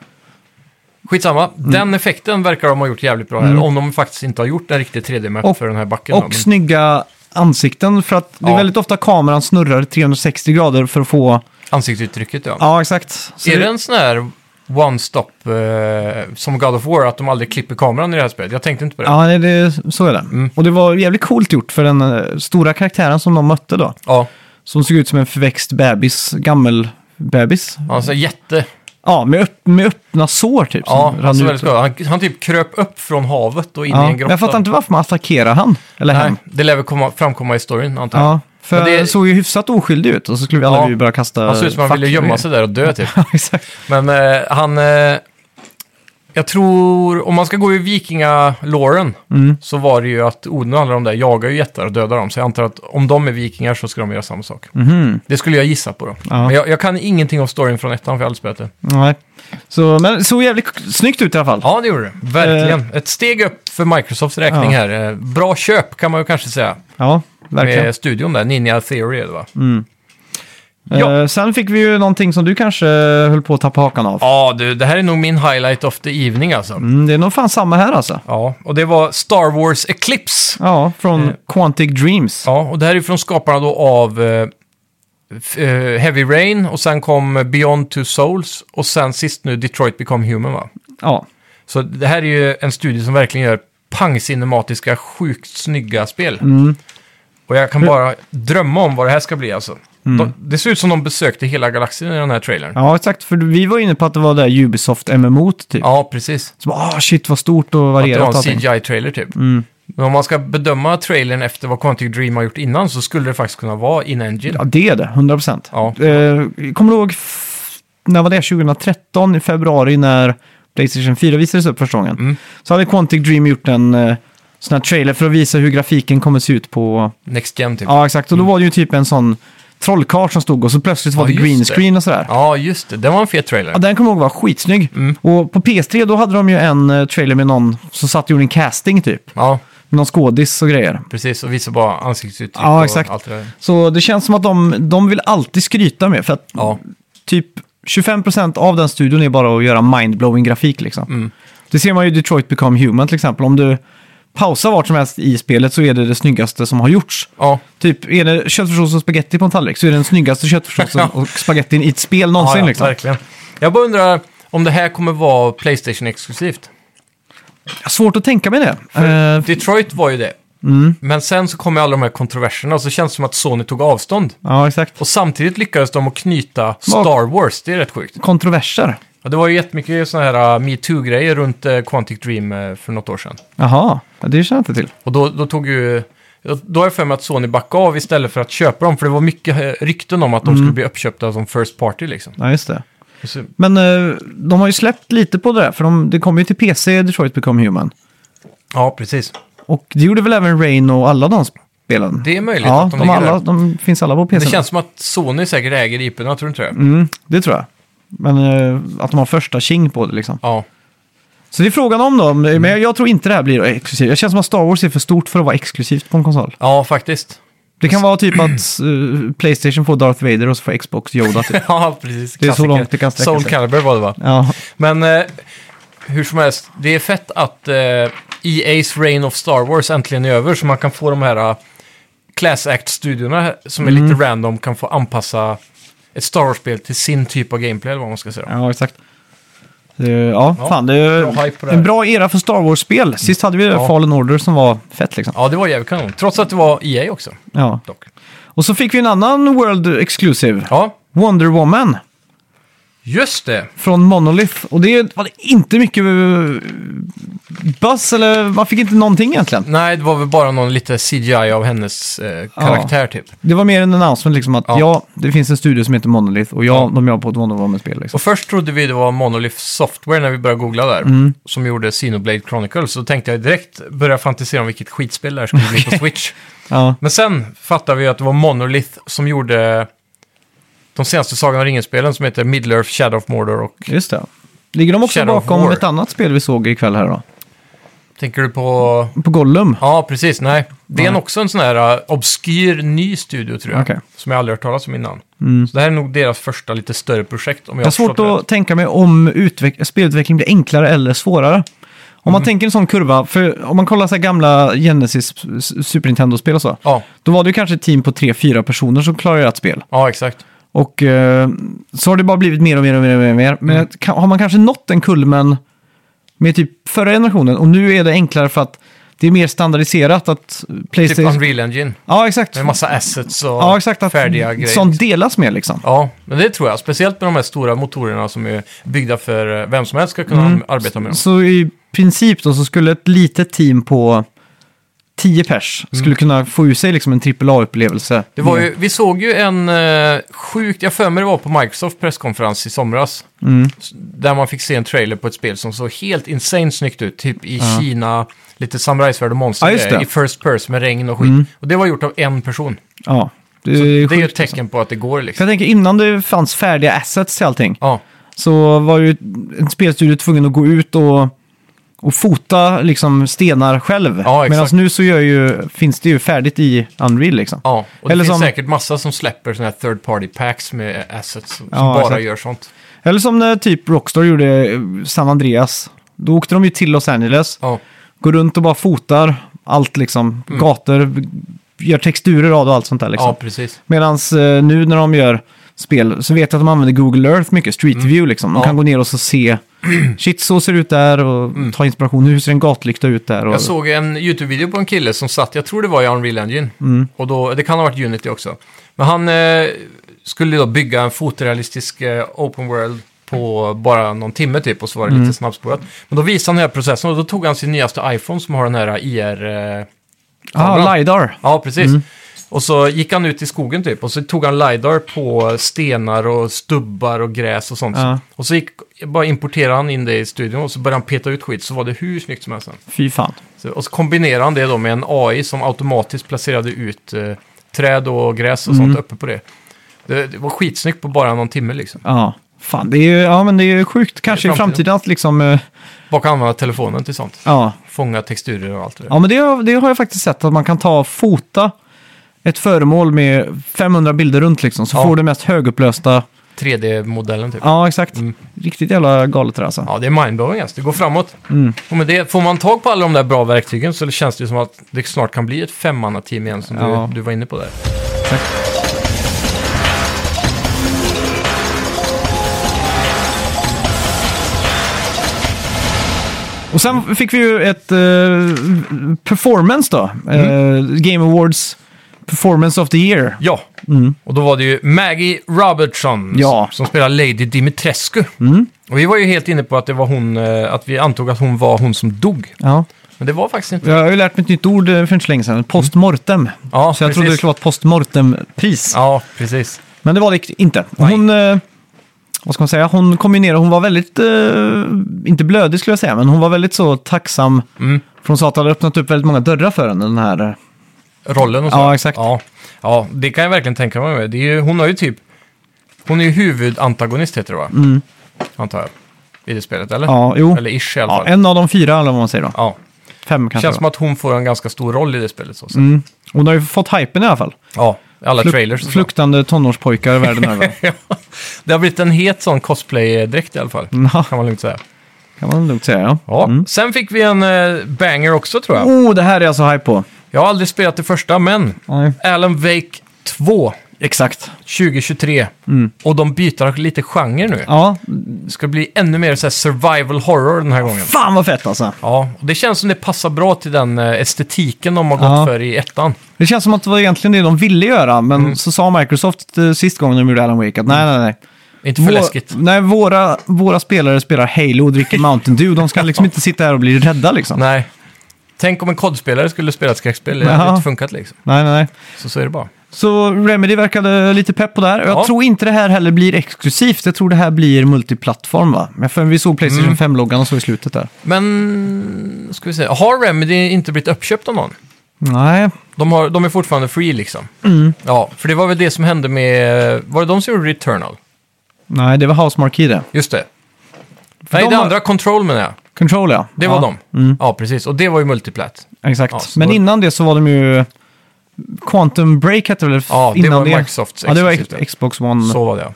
Speaker 2: Skitsamma,
Speaker 1: Mm.
Speaker 2: den effekten verkar de ha gjort jävligt bra här. Om de faktiskt inte har gjort en riktig 3D-map
Speaker 1: Och-
Speaker 2: för den här backen.
Speaker 1: Och
Speaker 2: då, men,
Speaker 1: snygga ansikten, för att det är
Speaker 2: Ja.
Speaker 1: väldigt ofta kameran snurrar 360 grader för att få...
Speaker 2: ansiktsuttrycket ja.
Speaker 1: Ja, exakt. Så
Speaker 2: är det en sån här one-stop eh, som God of War, att de aldrig klipper kameran i det här spelet? Jag tänkte inte på det.
Speaker 1: Ja, nej, det, så är det.
Speaker 2: Mm.
Speaker 1: Och det var jävligt coolt gjort för den eh, stora karaktären som de mötte då.
Speaker 2: Ja,
Speaker 1: Som såg ut som en förväxt bebis, gammel bebis.
Speaker 2: han ser jätte...
Speaker 1: Ja, med, öpp, med öppna sår typ. som
Speaker 2: Ja,
Speaker 1: rann
Speaker 2: han ser
Speaker 1: ut.
Speaker 2: väldigt bra. Han, han typ kröp upp från havet och in i
Speaker 1: Ja,
Speaker 2: en
Speaker 1: men
Speaker 2: grotta.
Speaker 1: jag fattar inte varför man attackerar han. Eller
Speaker 2: Nej,
Speaker 1: hen.
Speaker 2: det lär väl komma, framkomma i storyn, antar jag.
Speaker 1: Ja, för
Speaker 2: Men det-
Speaker 1: det såg ju hyfsat oskyldig ut och så skulle vi alla
Speaker 2: Ja,
Speaker 1: vi börja kasta...
Speaker 2: Han såg ut som han ville
Speaker 1: facklor.
Speaker 2: gömma sig där och dö, typ.
Speaker 1: Ja, exakt.
Speaker 2: Men eh, han... Eh, jag tror, om man ska gå i vikingalåren,
Speaker 1: Mm.
Speaker 2: så var det ju att Odin och alla de där jagar ju jättar och dödar dem. Så jag antar att om de är vikingar så ska de göra samma sak.
Speaker 1: Mhm.
Speaker 2: Det skulle jag gissa på då.
Speaker 1: Ja.
Speaker 2: Men jag, jag kan ingenting om storyn från ettan, för jag har aldrig spelat det.
Speaker 1: Nej. Så, men det såg jävligt snyggt ut i alla fall.
Speaker 2: Ja, det gjorde det. Verkligen. Ett steg upp för Microsofts räkning
Speaker 1: Eh. Ja.
Speaker 2: här. Eh, Bra köp, kan man ju kanske säga.
Speaker 1: Ja, verkligen. Mm.
Speaker 2: Med studion där, Ninja Theory, är det va? ja.
Speaker 1: ja. Eh, sen fick vi ju någonting som du kanske höll på att tappa hakan av.
Speaker 2: Ja, du, det här är nog min highlight of the evening alltså.
Speaker 1: Mm, det är nog fan samma här alltså.
Speaker 2: Ja, och det var Star Wars Eclipse.
Speaker 1: Ja, från Quantic Dreams.
Speaker 2: Ja, och det här är från skaparna då av eh, f- eh, Heavy Rain och sen kom Beyond Two Souls och sen sist nu Detroit Become Human va?
Speaker 1: Ja,
Speaker 2: Så det här är ju en studie som verkligen gör pangcinematiska, sjukt snygga spel.
Speaker 1: Mm.
Speaker 2: Och jag kan bara drömma om vad det här ska bli alltså. De, det ser ut som de besökte hela galaxen i den här trailern. Ja,
Speaker 1: Mm. ja exakt. För vi var inne på att det var det där Ubisoft MMO typ.
Speaker 2: precis.
Speaker 1: Så bara, ah shit vad stort och
Speaker 2: Att det
Speaker 1: varierat
Speaker 2: var en
Speaker 1: allting.
Speaker 2: CGI-trailer typ.
Speaker 1: Mm.
Speaker 2: Men om man ska bedöma trailern efter vad Quantic Dream har gjort innan så skulle det faktiskt kunna vara in-engine.
Speaker 1: Ja, det är det. 100 procent.
Speaker 2: Ja.
Speaker 1: Eh, kommer du ihåg, f- när var det? 2013 i februari när Playstation 4 visades upp första gången.
Speaker 2: Mm.
Speaker 1: Så hade Quantic Dream gjort en eh, sån här trailer för att visa hur grafiken kommer se ut på...
Speaker 2: Next Gen typ. Ja.
Speaker 1: Ja, exakt. Och då var det ju typ en sån trollkarl som stod och så plötsligt var
Speaker 2: Ja,
Speaker 1: det
Speaker 2: just
Speaker 1: green
Speaker 2: det.
Speaker 1: screen och sådär.
Speaker 2: just det. Det var en fet trailer.
Speaker 1: Ja, den kommer jag ihåg var skitsnygg.
Speaker 2: Mm.
Speaker 1: Och på PS3 då hade de ju en eh, trailer med någon som satt och gjorde en casting typ.
Speaker 2: Ja,
Speaker 1: Med någon skådis och grejer.
Speaker 2: precis. Och visar bara ansiktsuttryck
Speaker 1: Ja,
Speaker 2: och
Speaker 1: exakt.
Speaker 2: allt det där.
Speaker 1: Så det känns som att de, de vill alltid skryta med. För att
Speaker 2: Ja,
Speaker 1: typ 25% av den studion är bara att göra mindblowing grafik liksom.
Speaker 2: Mm.
Speaker 1: Det ser man ju i Detroit Become Human till exempel. Om du pausar vart som helst i spelet så är det det snyggaste som har gjorts.
Speaker 2: ja.
Speaker 1: Typ, är det köttfärssås och spagetti på en tallrik så är det den snyggaste köttfärssåsen och spagettin i ett spel någonsin.
Speaker 2: ja, ja
Speaker 1: liksom.
Speaker 2: verkligen. Jag bara undrar om det här kommer vara Playstation-exklusivt.
Speaker 1: Svårt att tänka mig det. Eh,
Speaker 2: Detroit var ju det.
Speaker 1: Mm.
Speaker 2: Men sen så kom ju alla de här kontroverserna och så känns det som att Sony tog avstånd.
Speaker 1: ja, exakt.
Speaker 2: Och samtidigt lyckades de att knyta Star Wars, det är rätt sjukt.
Speaker 1: Kontroverser.
Speaker 2: Ja, det var ju jättemycket sådana här uh, metoo-grejer runt uh, Quantic Dream uh, för något år sedan.
Speaker 1: Jaha, ja, det känner jag inte till.
Speaker 2: Och då, då tog ju... Då har jag för mig att Sony backade av istället för att köpa dem, för det var mycket eh, rykten om att
Speaker 1: Mm.
Speaker 2: de skulle bli uppköpta som first party liksom.
Speaker 1: Ja, just det.
Speaker 2: Och Så,
Speaker 1: Men eh, de har ju släppt lite på det där, för de, det kom ju till PC, Detroit Become Human.
Speaker 2: ja, precis.
Speaker 1: Och det gjorde väl även Rain och alla de spelen?
Speaker 2: Det är möjligt
Speaker 1: Ja,
Speaker 2: att de
Speaker 1: de,
Speaker 2: ligger
Speaker 1: alla,
Speaker 2: där.
Speaker 1: de finns alla på PC.
Speaker 2: Det känns som att Sony säkert äger IP-erna, tror du inte det?
Speaker 1: mm, det tror jag. Men eh, att de har första king på det liksom.
Speaker 2: Ja.
Speaker 1: Så det är frågan om då, men jag- jag tror inte det här blir exklusivt. Jag känns som att Star Wars är för stort för att vara exklusivt på en konsol.
Speaker 2: ja, faktiskt.
Speaker 1: Det kan vara typ att eh, Playstation får Darth Vader och så får Xbox Yoda typ.
Speaker 2: ja, precis.
Speaker 1: Det är så
Speaker 2: Klassiker.
Speaker 1: långt det kan sträcka
Speaker 2: Soul
Speaker 1: sig.
Speaker 2: Calibur var det va?
Speaker 1: Ja,
Speaker 2: Men eh, hur som helst, det är fett att eh, EA's Reign of Star Wars äntligen är över så man kan få de här eh, Class Act-studiorna som är lite random kan få anpassa ett Star Wars-spel till sin typ av gameplay eller vad man ska säga.
Speaker 1: ja exakt. Eh, Ja,
Speaker 2: Ja,
Speaker 1: fan det är
Speaker 2: bra hype på det här.
Speaker 1: en bra era för Star Wars-spel. Sist hade vi
Speaker 2: Ja.
Speaker 1: Fallen Order som var fett liksom.
Speaker 2: Ja, det var jävligt kanon. Trots att det var EA också.
Speaker 1: Ja.
Speaker 2: Dock.
Speaker 1: Och så fick vi en annan World Exclusive.
Speaker 2: Ja,
Speaker 1: Wonder Woman.
Speaker 2: just det.
Speaker 1: från Monolith. Och det var det inte mycket eh, buzz, eller man fick inte någonting egentligen.
Speaker 2: Nej, det var väl bara någon lite CGI av hennes eh, karaktär typ.
Speaker 1: Det var mer en announcement liksom att
Speaker 2: Ja.
Speaker 1: ja, det finns en studio som heter Monolith och ja, de gör på ett Wonder Woman-spel. Liksom.
Speaker 2: Och först trodde vi det var Monolith Software när vi började googla där,
Speaker 1: Mm.
Speaker 2: som gjorde Xenoblade Chronicles. Så tänkte jag direkt börja fantisera om vilket skitspel det här skulle bli på Switch.
Speaker 1: Ja,
Speaker 2: Men sen fattade vi att det var Monolith som gjorde de senaste Sagan om ringen-spelen som heter Middle-earth, Shadow of Mordor och...
Speaker 1: just det. Ligger de också
Speaker 2: Shadow of
Speaker 1: bakom
Speaker 2: War.
Speaker 1: ett annat spel vi såg ikväll här då?
Speaker 2: Tänker du på...
Speaker 1: På Gollum?
Speaker 2: Ja, precis. Nej. Det är
Speaker 1: Nej.
Speaker 2: också en sån här uh, obskyr ny studio, tror jag.
Speaker 1: Okej.
Speaker 2: Som jag aldrig hört talas om innan. Så det här är nog deras första lite större projekt, om jag
Speaker 1: Jag har
Speaker 2: har förstått
Speaker 1: svårt
Speaker 2: det rätt.
Speaker 1: att tänka mig om utveck- spelutveckling blir enklare eller svårare.
Speaker 2: Mhm.
Speaker 1: Om man tänker en sån kurva, för om man kollar så här gamla Genesis s- Super Nintendo-spel och så,
Speaker 2: Ja.
Speaker 1: då var det ju kanske ett team på tre, fyra personer som klarade ett spel.
Speaker 2: ja, exakt.
Speaker 1: Och eh, så har det bara blivit mer och mer och mer. Och mer, och mer.
Speaker 2: Mm.
Speaker 1: Men ka- har man kanske nått den kulmen med typ förra generationen och nu är det enklare för att det är mer standardiserat att
Speaker 2: Typ
Speaker 1: Playstation...
Speaker 2: Unreal Engine,
Speaker 1: ja, exakt.
Speaker 2: med massa assets och
Speaker 1: Ja, exakt. Att
Speaker 2: färdiga grejer.
Speaker 1: sånt delas med liksom.
Speaker 2: Ja, men det tror jag. Speciellt med de här stora motorerna som är byggda för eh, vem som helst ska kunna
Speaker 1: Mm.
Speaker 2: an- arbeta med dem.
Speaker 1: Så i princip då så skulle ett litet team på 10 pers skulle kunna få ur sig liksom en AAA-upplevelse.
Speaker 2: Mm. Det var ju, vi såg ju en eh, sjukt, jag för mig det var på Microsoft presskonferens i somras,
Speaker 1: Mm.
Speaker 2: s- där man fick se en trailer på ett spel som såg helt insane snyggt ut, typ i Kina, lite samurajsvärd och
Speaker 1: Ja, just
Speaker 2: monster
Speaker 1: det.
Speaker 2: i first person med regn och skit. Och det var gjort av en person.
Speaker 1: Ja, det
Speaker 2: Det
Speaker 1: är
Speaker 2: är ju
Speaker 1: sjukt. alltså.
Speaker 2: ett tecken på att det går
Speaker 1: För
Speaker 2: liksom.
Speaker 1: jag tänker innan det fanns färdiga assets till allting.
Speaker 2: Ja,
Speaker 1: så var ju en spelstudio tvungen att gå ut och, och fota liksom stenar själv.
Speaker 2: Ja, exakt.
Speaker 1: Medan nu så gör ju, finns det ju färdigt i Unreal liksom.
Speaker 2: ja. och det
Speaker 1: Eller
Speaker 2: finns
Speaker 1: som-
Speaker 2: säkert massa som släpper sådana här third party packs med assets som
Speaker 1: Ja,
Speaker 2: bara
Speaker 1: exakt.
Speaker 2: gör sånt.
Speaker 1: Eller som när typ Rockstar gjorde eh, San Andreas. Då åkte de ju till Los Angeles,
Speaker 2: Ja,
Speaker 1: går runt och bara fotar allt liksom. Gator, gör texturer av det och allt sånt där. Liksom.
Speaker 2: Mm. Ja, precis.
Speaker 1: Medan eh, nu när de gör spel så vet jag att de använder Google Earth mycket, Street View liksom. De
Speaker 2: Mm. Ja.
Speaker 1: kan gå ner och så se, shit så ser det ut där och ta inspiration, hur ser en gatlykta ut där? Och,
Speaker 2: Mm. Jag såg en YouTube-video på en kille som satt, jag tror det var i Unreal Engine,
Speaker 1: Mm.
Speaker 2: och då, det kan ha varit Unity också. Men han eh, skulle då bygga en fotorealistisk eh, open world på bara någon timme typ, och så var det
Speaker 1: Mm.
Speaker 2: lite snabbspårat. Men då visade han den här processen och då tog han sin nyaste iPhone som har den här IR... Eh,
Speaker 1: ah,
Speaker 2: kameran.
Speaker 1: LiDAR.
Speaker 2: Ja, precis.
Speaker 1: Mm.
Speaker 2: Och så gick han ut i skogen typ och så tog han LiDAR på stenar och stubbar och gräs och sånt.
Speaker 1: Ja.
Speaker 2: Och så gick, bara importerade han in det i studion och så började han peta ut skit så var det hur snyggt som helst. sen.
Speaker 1: Fy fan.
Speaker 2: Så, och så kombinerade han det då med en AI som automatiskt placerade ut eh, träd och gräs och
Speaker 1: Mm.
Speaker 2: sånt uppe på det. det. Det var skitsnyggt på bara någon timme liksom.
Speaker 1: Ja, fan det är ju, ja men det är ju sjukt kanske i
Speaker 2: framtiden.
Speaker 1: framtiden att liksom, eh,
Speaker 2: Bara kan använda telefonen till sånt.
Speaker 1: ja.
Speaker 2: Fånga texturer och allt det där.
Speaker 1: Ja men det, har- det har jag faktiskt sett att man kan ta och fota ett föremål med 500 bilder runt liksom, så
Speaker 2: Ja.
Speaker 1: får du mest högupplösta,
Speaker 2: 3D-modellen typ. Ja.
Speaker 1: ja exakt. Riktigt jävla galet det där, alltså.
Speaker 2: det är mindblowing alltså. Det går framåt.
Speaker 1: Mm.
Speaker 2: Och med det, får man tag på alla de där bra verktygen så känns det ju som att det snart kan bli ett femmannateam igen som
Speaker 1: Ja.
Speaker 2: du, du var inne på där.
Speaker 1: Och sen fick vi ju ett eh, performance då.
Speaker 2: Mm.
Speaker 1: Eh, Game Awards Performance of the Year.
Speaker 2: Ja, Mm. och då var det ju Maggie Robertson
Speaker 1: Mm. Ja. Mm.
Speaker 2: som spelar Lady Dimitrescu. Och vi var ju helt inne på att det var hon, eh, att vi antog att hon var hon som dog.
Speaker 1: Ja.
Speaker 2: Men det var faktiskt inte.
Speaker 1: Jag har ju lärt mig ett nytt ord eh, för inte så länge sedan. Postmortem.
Speaker 2: Ja,
Speaker 1: så jag
Speaker 2: precis.
Speaker 1: trodde det skulle vara ett postmortem-pris.
Speaker 2: Ja, precis.
Speaker 1: Men det var det inte. Hon, eh, vad ska man säga, hon kom ju ner och hon var väldigt, eh, inte blödig skulle jag säga, men hon var väldigt så tacksam.
Speaker 2: Mm.
Speaker 1: För hon sa att det hade öppnat upp väldigt många dörrar för henne, den här. eh,
Speaker 2: Rollen och så.
Speaker 1: Ja, exakt.
Speaker 2: Ja, ja det kan jag verkligen tänka mig. med. Det är ju, hon har ju typ, hon är ju huvudantagonist heter det va? Antar jag. I det spelet, eller?
Speaker 1: Mm. Ja, jo.
Speaker 2: Eller ish i alla
Speaker 1: Mm. Ja,
Speaker 2: fall. Ja,
Speaker 1: en av de fyra, eller vad man säger då. Fem kanske.
Speaker 2: Känns
Speaker 1: det
Speaker 2: som
Speaker 1: var.
Speaker 2: att hon får en ganska stor roll i det spelet. Så. att säga.
Speaker 1: Mm. Hon har ju fått hypen i alla fall.
Speaker 2: Ja, alla
Speaker 1: Flukt-
Speaker 2: trailers och så.
Speaker 1: Fluktande tonårspojkar världen över.
Speaker 2: Ja, det har blivit en het sån cosplay-dräkt i alla fall.
Speaker 1: Ja.
Speaker 2: Kan man lugnt säga.
Speaker 1: kan man lugnt säga, ja.
Speaker 2: Ja. Sen fick vi en eh, banger också tror jag.
Speaker 1: Oh, det här är jag så hype på.
Speaker 2: Jag har aldrig spelat det första, men
Speaker 1: Nej.
Speaker 2: Alan Wake 2
Speaker 1: Exakt.
Speaker 2: 2023. Och de byter lite genre nu.
Speaker 1: Mm. Ja,
Speaker 2: Det ska bli ännu mer så här survival horror den här gången.
Speaker 1: fan vad fett alltså.
Speaker 2: Ja, och det känns som det passar bra till den eh, estetiken de har gått
Speaker 1: Ja.
Speaker 2: för i ettan.
Speaker 1: Det känns som att det var egentligen det de ville göra, men
Speaker 2: Mm.
Speaker 1: så sa Microsoft eh, sist gången de gjorde Alan Wake att nej, nej, nej.
Speaker 2: Inte för
Speaker 1: Vå-
Speaker 2: läskigt.
Speaker 1: Nej, våra, våra spelare spelar Halo och dricker Mountain Dew. De ska liksom inte sitta här och bli rädda liksom. Nej,
Speaker 2: Nej. Tänk om en kodspelare skulle spela ett skräckspel. Det hade
Speaker 1: Ja.
Speaker 2: inte funkat liksom.
Speaker 1: nej, nej.
Speaker 2: Så, så är det bara.
Speaker 1: Så Remedy verkade lite pepp på det här. Jag
Speaker 2: Ja.
Speaker 1: tror inte det här heller blir exklusivt. Jag tror det här blir multiplattform va? Men för vi såg
Speaker 2: Mm.
Speaker 1: Playstation 5-loggan och så i slutet där.
Speaker 2: Men, ska vi se. Har Remedy inte blivit uppköpt av någon?
Speaker 1: Nej,
Speaker 2: De, har, de är fortfarande free liksom.
Speaker 1: Mm.
Speaker 2: Ja, för det var väl det som hände med... Var det de som gjorde Returnal?
Speaker 1: nej det var House Marquee det.
Speaker 2: Just det. Nej,
Speaker 1: de
Speaker 2: det
Speaker 1: har-
Speaker 2: andra, Control menar jag.
Speaker 1: Control ja.
Speaker 2: Det
Speaker 1: ja. Mm.
Speaker 2: var de. Ja, precis. Och det var ju multiplat.
Speaker 1: Exakt.
Speaker 2: Ja, så
Speaker 1: men
Speaker 2: då-
Speaker 1: innan det så var de ju... Quantum Break hette det väl?
Speaker 2: Ja, det
Speaker 1: innan
Speaker 2: var Microsofts
Speaker 1: Ja, det var
Speaker 2: exklusivt, ja.
Speaker 1: Xbox One.
Speaker 2: Så var det ja.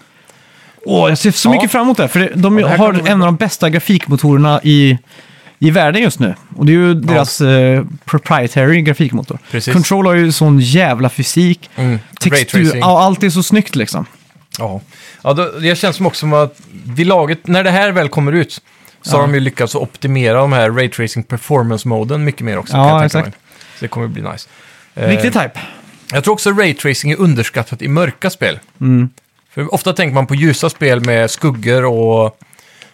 Speaker 1: Åh, jag ser så
Speaker 2: Ja.
Speaker 1: mycket fram emot det. här, För det- de
Speaker 2: det här
Speaker 1: har
Speaker 2: kan bli
Speaker 1: en
Speaker 2: bra.
Speaker 1: av de bästa grafikmotorerna i, i världen just nu. Och det är ju deras eh, proprietary grafikmotor.
Speaker 2: Precis.
Speaker 1: Control har ju sån jävla fysik.
Speaker 2: Mm. Ray
Speaker 1: Textur,
Speaker 2: tracing.
Speaker 1: ja, allt är så snyggt liksom.
Speaker 2: Ja, ja då, det känns som också som att vid laget, när det här väl kommer ut, så har de ju lyckats att optimera de här Ray Tracing Performance-moden mycket mer också.
Speaker 1: Ja,
Speaker 2: kan jag tänka
Speaker 1: exakt.
Speaker 2: mig. Så det kommer bli nice. Eh,
Speaker 1: Riktigt hype.
Speaker 2: Jag tror också Ray Tracing är underskattat i mörka spel.
Speaker 1: Mm.
Speaker 2: För ofta tänker man på ljusa spel med skuggor och,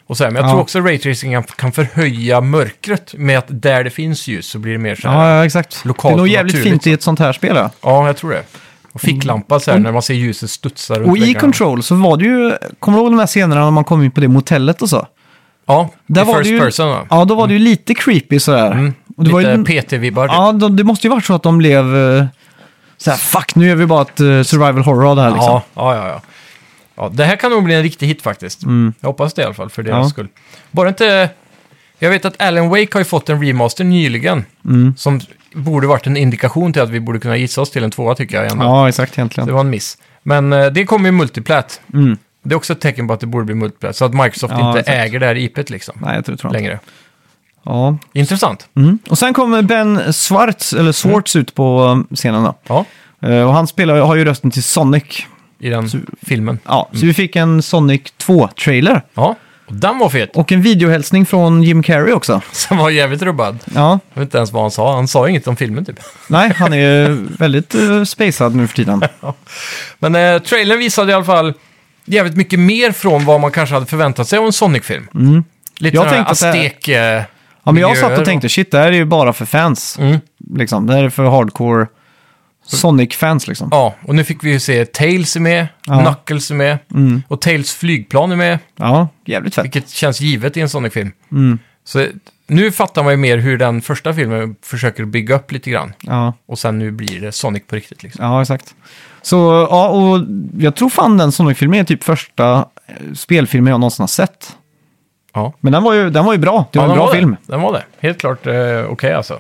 Speaker 2: och så här, men jag
Speaker 1: Ja.
Speaker 2: tror också Ray Tracing kan- kan förhöja mörkret med att där det finns ljus så blir det mer så här.
Speaker 1: Ja, ja, exakt.
Speaker 2: lokalt
Speaker 1: det är nog
Speaker 2: och
Speaker 1: jävligt
Speaker 2: naturligt,
Speaker 1: fint i ett sånt här spel. Ja.
Speaker 2: Ja, jag tror det. Och ficklampa så här när man ser ljuset studsa runt
Speaker 1: Mm. Och i
Speaker 2: väggarna.
Speaker 1: Control så var det ju, kommer du ihåg de här scenerna när man kom in på det motellet och så?
Speaker 2: Ja,
Speaker 1: Där
Speaker 2: i
Speaker 1: var
Speaker 2: first
Speaker 1: det ju,
Speaker 2: person va? Mm.
Speaker 1: Ja, då var det ju lite creepy sådär. Och det var
Speaker 2: Lite
Speaker 1: ju,
Speaker 2: PT-vibbar. typ.
Speaker 1: ja, de, det måste ju varit så att de blev eh, såhär, fuck nu gör vi bara ett eh, survival horror av det här liksom.
Speaker 2: Ja, ja, ja, ja. ja. Det här kan nog bli en riktig hit faktiskt. Jag hoppas det i alla fall, för deras
Speaker 1: Mm. Ja.
Speaker 2: skull. Bara inte... Jag vet att Alan Wake har ju fått en remaster nyligen.
Speaker 1: Mm.
Speaker 2: Som borde varit en indikation till att vi borde kunna gissa oss till en tvåa tycker jag. Ändå.
Speaker 1: Ja, exakt egentligen.
Speaker 2: Det var en miss. Men eh, det kommer ju multiplat.
Speaker 1: Mm.
Speaker 2: Det är också ett tecken på att det borde bli multiplat. Så att Microsoft
Speaker 1: Ja,
Speaker 2: inte
Speaker 1: exakt.
Speaker 2: äger det här IPet liksom.
Speaker 1: Nej, jag tror inte det.
Speaker 2: Längre.
Speaker 1: Ja.
Speaker 2: Intressant.
Speaker 1: Mm. Och sen kommer Ben Schwartz,
Speaker 2: Mm.
Speaker 1: eller Swartz ut på um, scenen då.
Speaker 2: Ja,
Speaker 1: Eh, och han spelar, har ju rösten till Sonic.
Speaker 2: i den filmen.
Speaker 1: Ja, Så vi fick en Sonic 2-trailer.
Speaker 2: Ja, och den var fet.
Speaker 1: Och en videohälsning från Jim Carrey också.
Speaker 2: Som var jävligt rubbad.
Speaker 1: Ja,
Speaker 2: Jag vet inte ens vad han sa. Han sa ju inget om filmen typ.
Speaker 1: nej, han är ju väldigt uh, spacad nu för tiden.
Speaker 2: Men eh, trailern visade i alla fall jävligt mycket mer från vad man kanske hade förväntat sig av en Sonic-film. Lite
Speaker 1: Mm. Jag
Speaker 2: jag tänkte
Speaker 1: tänkte så här-
Speaker 2: aztek... eh,
Speaker 1: Ja, men jag
Speaker 2: miljöer
Speaker 1: satt och tänkte, shit, det här är ju bara för fans.
Speaker 2: Mm.
Speaker 1: Liksom. Det här är för hardcore Sonic-fans liksom.
Speaker 2: Ja, och nu fick vi ju se Tails är med,
Speaker 1: Ja. Mm.
Speaker 2: Knuckles är med och Tails flygplan är med,
Speaker 1: Ja, jävligt fett.
Speaker 2: vilket känns givet i en Sonic-film.
Speaker 1: Mm.
Speaker 2: Så eh, nu fattar man ju mer hur den första filmen försöker bygga upp lite grann.
Speaker 1: Ja,
Speaker 2: Och sen nu blir det Sonic på riktigt liksom.
Speaker 1: ja exakt. Så, ja, och jag tror fan den Sonic-filmen är typ första eh, spelfilmen jag någonsin har sett.
Speaker 2: Ja.
Speaker 1: Men den var ju, den var ju bra. Det var
Speaker 2: den
Speaker 1: en bra
Speaker 2: var
Speaker 1: film. Mm.
Speaker 2: Det. Den var det. Helt klart eh, okej alltså.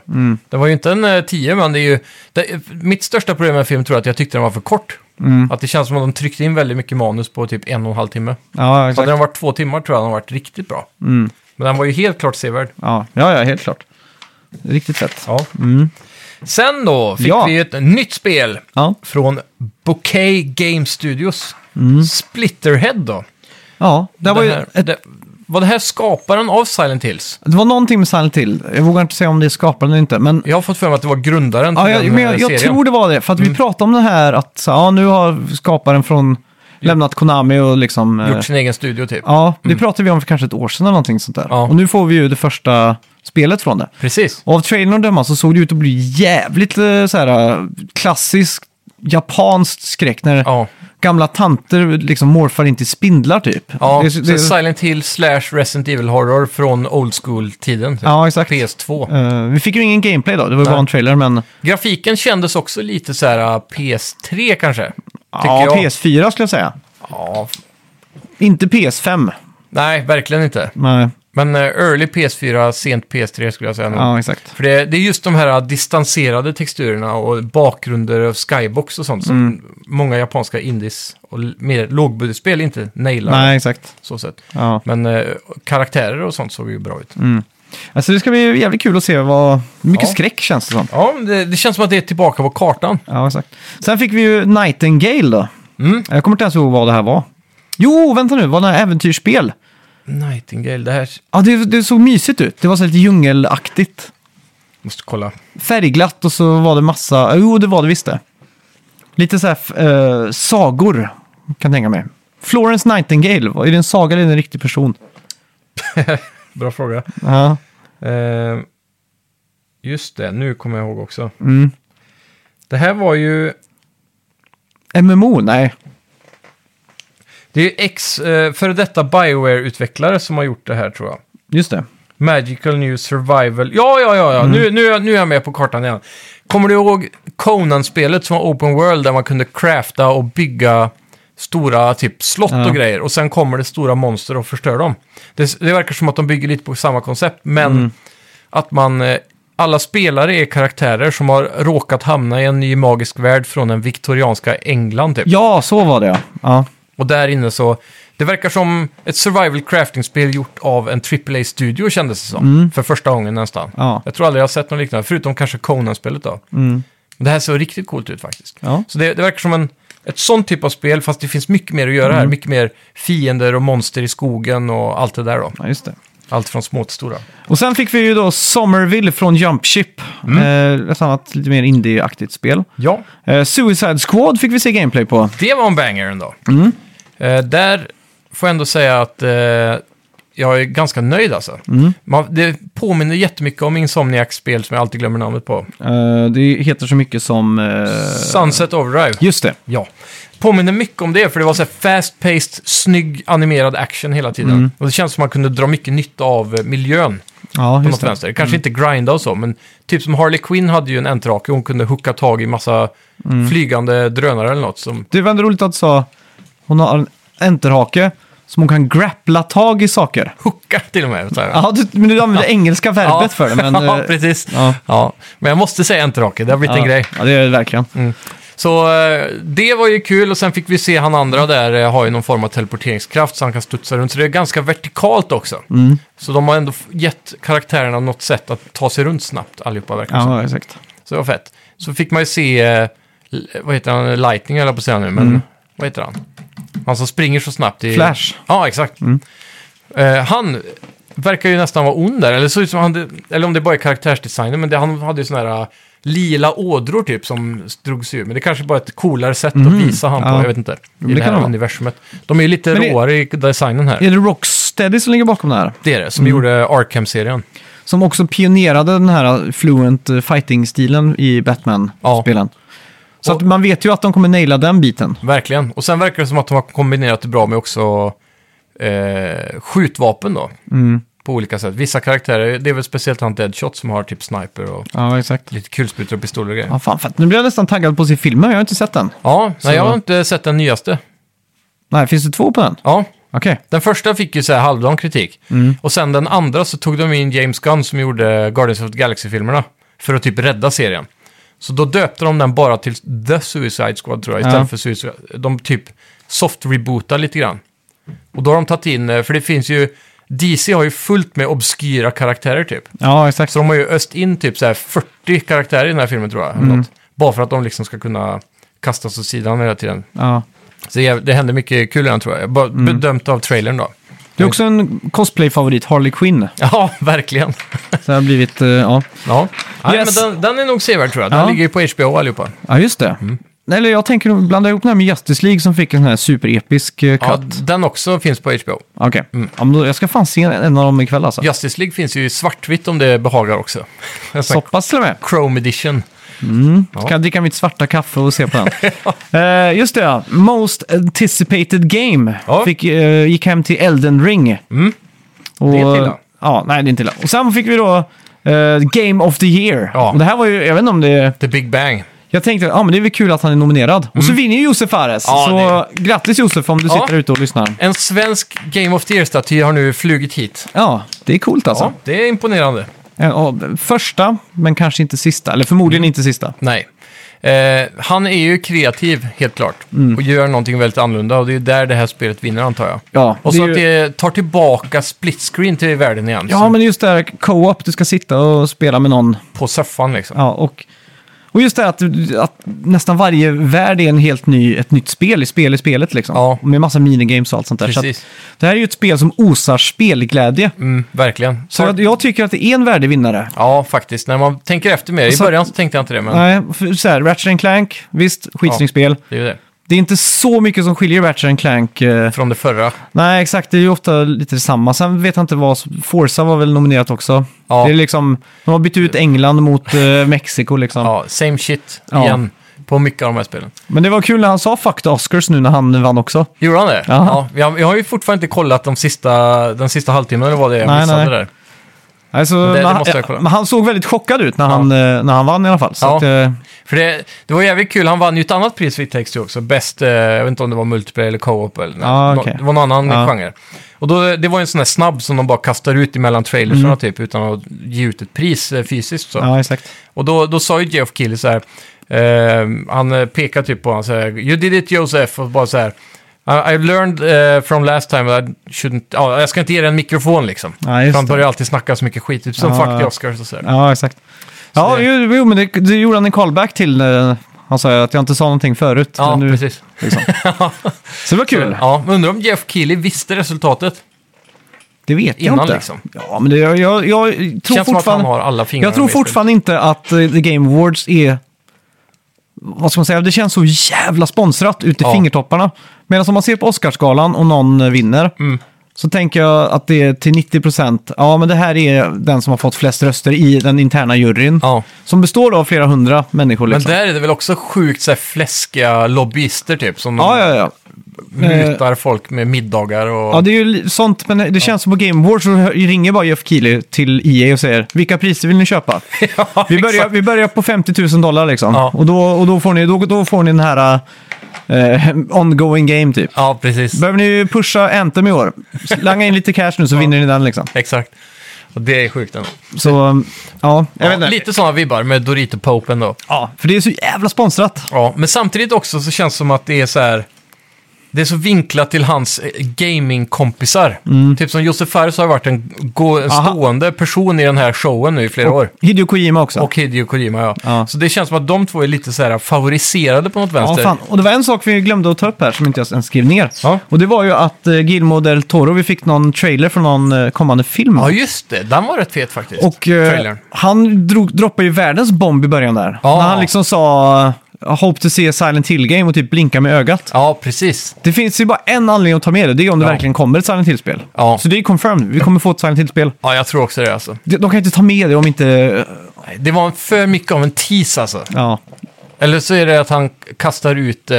Speaker 2: Det var ju inte en eh, 10, men det är ju... Det, mitt största problem med filmen tror jag att jag tyckte den var för kort.
Speaker 1: Mm.
Speaker 2: Att det känns som att de tryckte in väldigt mycket manus på typ en och en halv timme.
Speaker 1: Ja,
Speaker 2: Hade
Speaker 1: exakt. Mm.
Speaker 2: den varit två timmar tror jag den hade varit riktigt bra. Men den var ju helt klart sevärd.
Speaker 1: Ja, ja, ja helt klart. Riktigt fett.
Speaker 2: Ja. Sen då fick
Speaker 1: Mm. Ja.
Speaker 2: vi ju ett nytt spel
Speaker 1: Ja,
Speaker 2: från Bouquet Game Studios. Splitterhead då.
Speaker 1: ja Mm. det, var ju,
Speaker 2: här, det, var det här skaparen av Silent Hills?
Speaker 1: det var någonting med Silent Hill. Jag vågar inte säga om det är skaparen eller inte, men
Speaker 2: Jag har fått för mig att det var grundaren till
Speaker 1: Ja, jag,
Speaker 2: den
Speaker 1: men
Speaker 2: eh,
Speaker 1: jag, jag
Speaker 2: serien. Mm.
Speaker 1: tror det var det. För att vi pratade om det här att så, ja, nu har skaparen från lämnat Konami och liksom... eh,
Speaker 2: Gjort sin egen studio typ.
Speaker 1: Ja, det pratade vi om för kanske ett år sedan eller någonting sånt där.
Speaker 2: Ja.
Speaker 1: Och nu får vi ju det första spelet från det.
Speaker 2: Precis.
Speaker 1: Och av trailern att döma så såg det ut att bli jävligt eh, så här, eh, klassisk japanskt skräck när
Speaker 2: Ja.
Speaker 1: gamla tanter liksom morfar in till spindlar typ.
Speaker 2: ja.
Speaker 1: Det- det-
Speaker 2: så Silent Hill slash Resident Evil Horror från old school-tiden. typ.
Speaker 1: Ja, exakt.
Speaker 2: PS2.
Speaker 1: Eh, vi fick ju ingen gameplay då, det var ju
Speaker 2: Nej.
Speaker 1: bara en trailer men...
Speaker 2: Grafiken kändes också lite så här eh, PS3 kanske. Tycker
Speaker 1: Ja,
Speaker 2: jag.
Speaker 1: PS4 skulle jag säga.
Speaker 2: Ja, f-
Speaker 1: Inte PS5.
Speaker 2: nej, verkligen inte.
Speaker 1: Nej,
Speaker 2: Men eh, early PS4, sent PS3 skulle jag säga. nog.
Speaker 1: ja exakt.
Speaker 2: För det, det är just de här eh, distanserade texturerna och bakgrunder av skybox och sånt som
Speaker 1: Mm.
Speaker 2: många japanska indies och l- mer lågbudgetspel inte nailar.
Speaker 1: Nej, exakt.
Speaker 2: Så sätt.
Speaker 1: Ja.
Speaker 2: Men eh, karaktärer och sånt såg ju bra ut.
Speaker 1: Alltså det ska bli jävligt kul att se vad... Mycket
Speaker 2: Ja.
Speaker 1: skräck känns det som.
Speaker 2: Ja, men det, det känns som att det är tillbaka på kartan.
Speaker 1: Ja, exakt. Sen fick vi ju Nightingale då.
Speaker 2: Mm.
Speaker 1: Jag kommer inte ens ihåg vad det här var. Jo, vänta nu, var det här äventyrsspel?
Speaker 2: Nightingale, det här...
Speaker 1: Ja, det, det såg mysigt ut. Det var så lite djungelaktigt.
Speaker 2: Måste kolla.
Speaker 1: Färgglatt och så var det massa... Jo, det var det visst det. Lite så här f- eh, sagor, kan jag tänka mig. Florence Nightingale, vad- är det en saga eller är det en riktig person?
Speaker 2: Bra fråga.
Speaker 1: Ja,
Speaker 2: Eh, just det, nu kommer jag ihåg också.
Speaker 1: mm.
Speaker 2: Det här var ju...
Speaker 1: MMO? Nej.
Speaker 2: Det är ju ex... Eh, före detta Bioware-utvecklare som har gjort det här tror jag.
Speaker 1: Just det.
Speaker 2: Magical New Survival. Ja, ja, ja, ja. Nu, nu, är jag- nu är jag med på kartan igen. Kommer du ihåg Conan-spelet som var Open World där man kunde crafta och bygga stora typ slott
Speaker 1: Ja.
Speaker 2: och grejer och sen kommer det stora monster och förstör dem. Det, det verkar som att de bygger lite på samma koncept, men att man... eh, Alla spelare är karaktärer som har råkat hamna i en ny magisk värld från den viktorianska England typ.
Speaker 1: Ja, så var det ja. ja.
Speaker 2: Och där inne så... Det verkar som ett survival crafting-spel gjort av en AAA-studio kändes det som. För första gången nästan.
Speaker 1: Mm. Ja.
Speaker 2: Jag tror aldrig jag har sett något liknande, förutom kanske Conan-spelet då.
Speaker 1: Mm.
Speaker 2: Men det här ser riktigt coolt ut faktiskt.
Speaker 1: Ja.
Speaker 2: Så det, det verkar som en, ett sånt typ av spel, fast det finns mycket mer att göra
Speaker 1: Mm.
Speaker 2: här. Mycket mer fiender och monster i skogen och allt det där då.
Speaker 1: ja, just det.
Speaker 2: Allt från små till stora.
Speaker 1: Och sen fick vi ju då Somerville från Jump Ship. Eh, ett annat lite mer indie-aktigt spel.
Speaker 2: Ja.
Speaker 1: Eh, Suicide Squad fick vi se gameplay på.
Speaker 2: Det var en banger ändå.
Speaker 1: Mm.
Speaker 2: Eh, där får jag ändå säga att eh, jag är ganska nöjd alltså.
Speaker 1: Mm.
Speaker 2: Man, det påminner jättemycket om Insomniacs spel som jag alltid glömmer namnet på.
Speaker 1: Eh, det heter så mycket som... eh,
Speaker 2: Sunset Overdrive.
Speaker 1: just det.
Speaker 2: Ja. Påminner mycket om det, för det var så här fast-paced, snygg animerad action hela tiden.
Speaker 1: Mm.
Speaker 2: Och det känns som att man kunde dra mycket nytta av eh, miljön
Speaker 1: Ja,
Speaker 2: på
Speaker 1: just
Speaker 2: något
Speaker 1: det. Mm.
Speaker 2: vänster. Kanske inte grinda och så, men typ som Harley Quinn hade ju en entrake och E, hon kunde hooka tag i massa
Speaker 1: Mm.
Speaker 2: flygande drönare eller något. Som,
Speaker 1: Det var ändå roligt att du sa... Hon har en enterhake som hon kan grappla tag i saker.
Speaker 2: hooka till och med. Så här.
Speaker 1: Ja, du, men du använde engelska verbet
Speaker 2: Ja.
Speaker 1: för det. Men, eh,
Speaker 2: ja, precis.
Speaker 1: ja.
Speaker 2: Ja. Men jag måste säga entrake, det har blivit
Speaker 1: ja,
Speaker 2: en grej.
Speaker 1: Ja, det är det verkligen.
Speaker 2: Så eh, det var ju kul och sen fick vi se han andra där eh, har ju någon form av teleporteringskraft så han kan studsa runt. Så det är ganska vertikalt också.
Speaker 1: Mm.
Speaker 2: Så de har ändå f- gett karaktärerna något sätt att ta sig runt snabbt allihopa verkar det som.
Speaker 1: Ja, exakt.
Speaker 2: Så det var fett. Så fick man ju se, eh, l- vad heter han, Lightning höll jag på att säga nu, men vad heter han? Han som springer så snabbt i...
Speaker 1: Mm. Flash. Mm.
Speaker 2: Ja, exakt. Eh, han verkar ju nästan vara ond där, eller, så ut som han, eller om det bara är karaktärsdesignen, men det, han hade ju sådana här eh, lila ådror typ som drog sig ur. Men det kanske bara är ett coolare sätt att visa han på,
Speaker 1: Mm. Ja.
Speaker 2: jag vet inte. I
Speaker 1: det
Speaker 2: det,
Speaker 1: kan det
Speaker 2: här
Speaker 1: vara.
Speaker 2: universumet. De är ju lite
Speaker 1: Men det-
Speaker 2: råare i designen här.
Speaker 1: Är det Rocksteady som ligger bakom det här?
Speaker 2: Det är det,
Speaker 1: Mm.
Speaker 2: som gjorde Arkham-serien.
Speaker 1: Som också pionerade den här fluent eh, fighting-stilen i Batman-spelen. Så
Speaker 2: Och-
Speaker 1: att man vet ju att de kommer naila den biten.
Speaker 2: Verkligen. Och sen verkar det som att de har kombinerat det bra med också eh, skjutvapen då.
Speaker 1: Mm.
Speaker 2: På olika sätt. Vissa karaktärer, det är väl speciellt han Deadshot som har typ sniper och
Speaker 1: Ja, exakt.
Speaker 2: lite kulsprutor och pistoler och grejer.
Speaker 1: Ja, fan, fan. Nu blir jag nästan taggad på att se filmen, jag har inte sett den.
Speaker 2: Ja,
Speaker 1: Så-
Speaker 2: nej, jag har inte sett den nyaste.
Speaker 1: Nej, finns det två på den?
Speaker 2: Ja,
Speaker 1: Okej.
Speaker 2: den första fick ju så här halvdan kritik. Och sen den andra så tog de in James Gunn som gjorde Guardians of the Galaxy-filmerna. För att typ rädda serien. Så då döpte de den bara till The Suicide Squad tror jag, istället
Speaker 1: Ja.
Speaker 2: för Suicide De typ soft-rebootar lite grann. Och då har de tagit in, eh, för det finns ju, DC har ju fullt med obskyra karaktärer typ.
Speaker 1: Ja, exakt.
Speaker 2: Så de har ju öst in typ så här 40 karaktärer i den här filmen tror jag. eller Något. Bara för att de liksom ska kunna kastas åt sidan hela tiden.
Speaker 1: Ja.
Speaker 2: Så det, det hände mycket kul i den tror jag. Bara bedömt av trailern då.
Speaker 1: Det är också en cosplay-favorit, Harley Quinn.
Speaker 2: Ja, verkligen.
Speaker 1: Så det har blivit, eh, ja.
Speaker 2: Ja, Nej,
Speaker 1: Yes.
Speaker 2: men den, den är nog sevärd tror jag. Den
Speaker 1: Ja.
Speaker 2: ligger ju på HBO allihopa.
Speaker 1: ja, just det. Eller jag tänker nog blanda ihop den här med Justice League som fick en sån här superepisk eh,
Speaker 2: Ja,
Speaker 1: cut.
Speaker 2: den också finns på HBO.
Speaker 1: Okej, ja, men då, jag ska fan se en av dem ikväll alltså.
Speaker 2: Justice League finns ju i svartvitt om det behagar också. En sån
Speaker 1: Så
Speaker 2: här
Speaker 1: pass till och med.
Speaker 2: Chrome Edition. Ja.
Speaker 1: Kan jag dricka mitt svarta kaffe och se på den. Eh, just det, ja. Most anticipated game
Speaker 2: Ja. Mm.
Speaker 1: fick, eh, gick hem till Elden Ring. Och,
Speaker 2: Det är ett illa.
Speaker 1: Ja, nej det är inte illa. Och sen fick vi då eh, Game of the Year.
Speaker 2: Ja.
Speaker 1: Och det här var ju, jag vet inte om det...
Speaker 2: The Big Bang.
Speaker 1: Jag tänkte, ja ah, men det är väl kul att han är nominerad. Och så vinner ju Josef Fares.
Speaker 2: Mm. Ja,
Speaker 1: så grattis Josef om du
Speaker 2: Ja.
Speaker 1: sitter där ute och lyssnar.
Speaker 2: En svensk Game of the Year-staty har nu flugit hit.
Speaker 1: Ja, det är coolt alltså.
Speaker 2: Ja, det är imponerande.
Speaker 1: Eh, och första, men kanske inte sista. Eller förmodligen
Speaker 2: Mm.
Speaker 1: inte sista.
Speaker 2: Nej. Eh, han är ju kreativ, helt klart.
Speaker 1: Mm.
Speaker 2: Och gör någonting väldigt annorlunda. Och det är där det här spelet vinner, antar jag.
Speaker 1: Ja,
Speaker 2: och
Speaker 1: det
Speaker 2: så
Speaker 1: är ju-
Speaker 2: att det tar tillbaka split screen till världen igen.
Speaker 1: Ja,
Speaker 2: så
Speaker 1: men just det här co-op, du ska sitta och spela med någon.
Speaker 2: På soffan liksom.
Speaker 1: Ja, och, och just det här att, att nästan varje värld är en helt ny, ett nytt spel i spel i spelet liksom.
Speaker 2: Ja.
Speaker 1: Med massa minigames och allt sånt där. Så
Speaker 2: Precis.
Speaker 1: att, det här är ju ett spel som osar spelglädje.
Speaker 2: Mm, verkligen.
Speaker 1: Så jag, jag tycker att det är en värdig vinnare.
Speaker 2: Ja, faktiskt. När man tänker efter mer. I
Speaker 1: Så-
Speaker 2: början så tänkte jag inte det, men
Speaker 1: Nej, för så här, Ratchet and Clank, visst, skitsnyggt spel.
Speaker 2: det är ju det.
Speaker 1: Det är inte så mycket som skiljer Ratchet and Clank. eh,
Speaker 2: Från det förra.
Speaker 1: Nej, exakt. Det är ju ofta lite detsamma. Sen vet jag inte vad... som- Forza var väl nominerat också.
Speaker 2: Ja.
Speaker 1: Det är liksom... De har bytt ut England mot eh, Mexiko liksom.
Speaker 2: Ja, same shit
Speaker 1: Ja.
Speaker 2: igen på mycket av de här spelen.
Speaker 1: Men det var kul när han sa fuck the Oscars nu när han vann också.
Speaker 2: Gjorde han det?
Speaker 1: Ja.
Speaker 2: Ja, jag, jag har ju fortfarande inte kollat de sista, den sista halvtimmen eller vad det är jag
Speaker 1: Nej,
Speaker 2: missade
Speaker 1: nej.
Speaker 2: där.
Speaker 1: Alltså,
Speaker 2: det
Speaker 1: men
Speaker 2: måste jag
Speaker 1: han,
Speaker 2: kolla.
Speaker 1: men han såg väldigt chockad ut när, han, eh, när han vann i alla fall. Så
Speaker 2: Ja.
Speaker 1: att, eh,
Speaker 2: För det, det var jävligt kul, han vann ju ett annat pris för It Takes Two också. Bäst, eh, jag vet inte om det var multiplayer eller co-op eller
Speaker 1: Ja,
Speaker 2: nå-
Speaker 1: okej.
Speaker 2: Det var någon annan
Speaker 1: Ja.
Speaker 2: genre. Och då, det var ju en sån här snabb som de bara kastar ut emellan trailersarna
Speaker 1: Mm.
Speaker 2: typ, utan att ge ut ett pris eh, fysiskt. Så.
Speaker 1: ja, exakt.
Speaker 2: Och då, då sa ju Jeff Keely så här, eh, han eh, pekar typ på honom så här, you did it Josef, och bara så här, I, I learned eh, from last time that I shouldn't, ja, jag ska inte ge dig en mikrofon liksom.
Speaker 1: Ja,
Speaker 2: För
Speaker 1: just
Speaker 2: han
Speaker 1: det.
Speaker 2: börjar alltid snacka så mycket skit, typ som
Speaker 1: Ja,
Speaker 2: fuck the
Speaker 1: ja.
Speaker 2: Oscars och så här.
Speaker 1: Ja, exakt. Ja,
Speaker 2: det-
Speaker 1: jo, jo, men det, det gjorde han en callback till. eh, Han sa ju att jag inte sa någonting förut.
Speaker 2: Ja,
Speaker 1: men nu,
Speaker 2: precis.
Speaker 1: liksom. Så det var kul.
Speaker 2: Ja, men undrar om Jeff Keely visste resultatet.
Speaker 1: Det vet jag
Speaker 2: Innan,
Speaker 1: inte.
Speaker 2: liksom.
Speaker 1: Ja, men det, jag, jag, jag tror
Speaker 2: Känns som att han
Speaker 1: fortfarande...
Speaker 2: har alla fingrar
Speaker 1: Jag tror fortfarande inte att eh, The Game Awards är... Vad ska man säga? Det känns så jävla sponsrat ut i
Speaker 2: Ja.
Speaker 1: fingertopparna. Medan om man ser på Oscarsgalan och någon eh, vinner
Speaker 2: Mm.
Speaker 1: så tänker jag att det är till 90 procent. Ja, men det här är den som har fått flest röster i den interna juryn.
Speaker 2: Ja.
Speaker 1: Som består då av flera hundra människor.
Speaker 2: Men
Speaker 1: Liksom.
Speaker 2: där är det väl också sjukt så här fläskiga lobbyister typ, som
Speaker 1: Ja, ja, ja.
Speaker 2: mutar folk med middagar och...
Speaker 1: Ja, det är ju li- sånt, men det känns som på Game Awards så hö- ringer bara Jeff Keely till EA och säger vilka priser vill ni köpa?
Speaker 2: Ja,
Speaker 1: Vi börjar,
Speaker 2: exakt.
Speaker 1: vi börjar på 50 000 dollar liksom.
Speaker 2: Ja.
Speaker 1: Och, då, och då, får ni, då, då får ni den här eh, ongoing game typ.
Speaker 2: Ja, precis.
Speaker 1: Behöver ni pusha Anthem i år? Slanga in lite cash nu så vinner ni den liksom.
Speaker 2: Exakt. Och det är sjukt ändå.
Speaker 1: Så mm, ja, jag vet
Speaker 2: Ja,
Speaker 1: inte.
Speaker 2: lite sådana vibbar med Dorito Pope ändå.
Speaker 1: Ja, för det är så jävla sponsrat.
Speaker 2: Ja, men samtidigt också så känns det som att det är så här... Det är så vinklat till hans eh, gamingkompisar. Typ som Josef Fares har varit en, gå, en
Speaker 1: Mm. Aha.
Speaker 2: stående person i den här showen nu i flera år.
Speaker 1: Hideo Kojima också.
Speaker 2: Och Hideo Kojima, ja.
Speaker 1: Ja.
Speaker 2: Så det känns som att de två är lite så här favoriserade på något
Speaker 1: Ja,
Speaker 2: vänster.
Speaker 1: fan. Och det var en sak vi glömde att ta upp här som inte jag ens skrev ner.
Speaker 2: Ja.
Speaker 1: Och det var ju att eh, Guillermo del Toro, vi fick någon trailer från någon eh, kommande film.
Speaker 2: Ja, just det. Den var rätt fet faktiskt.
Speaker 1: och eh,
Speaker 2: trailern.
Speaker 1: han drog, droppade ju världens bomb i början där.
Speaker 2: Ja.
Speaker 1: När han liksom sa "I “Hope to see a Silent Hill-game” och typ blinka med ögat.
Speaker 2: Ja, precis.
Speaker 1: Det finns ju bara en anledning att ta med det, det är om det
Speaker 2: Ja.
Speaker 1: verkligen kommer ett Silent Hill-spel.
Speaker 2: Ja.
Speaker 1: Så det är confirmed, vi kommer få ett Silent Hill-spel.
Speaker 2: Ja, jag tror också det alltså.
Speaker 1: De, de kan inte ta med det om inte...
Speaker 2: Nej, Det var för mycket av en tease alltså.
Speaker 1: Ja,
Speaker 2: Eller så är det att han kastar ut eh,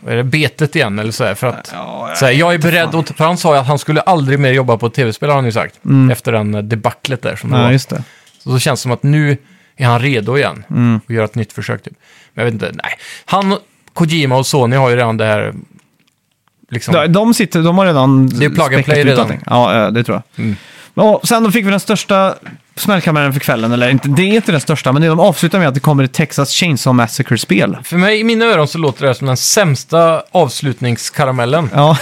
Speaker 2: vad är det, betet igen eller så här, för att
Speaker 1: Ja, jag
Speaker 2: så här, jag är beredd att, för han sa ju att han skulle aldrig mer jobba på ett tv-spel har han ju sagt. Efter den eh, debaclet där som det
Speaker 1: Mm. ja
Speaker 2: var.
Speaker 1: just det.
Speaker 2: Så det känns som att nu är han redo igen
Speaker 1: Mm.
Speaker 2: och gör ett nytt försök typ. Men jag vet inte, nej. Han, Kojima och Sony har ju redan det här liksom.
Speaker 1: De, de, sitter, de har redan...
Speaker 2: Det är plug and play
Speaker 1: späckat ut
Speaker 2: redan.
Speaker 1: allting. Ja, eh, det tror jag.
Speaker 2: Mm.
Speaker 1: Och sen då fick vi den största smällkammaren för kvällen, eller inte, det är inte den största, men det de avslutar med att det kommer ett Texas Chainsaw Massacre-spel.
Speaker 2: För mig, i mina öron så låter det här som den sämsta avslutningskaramellen.
Speaker 1: Ja,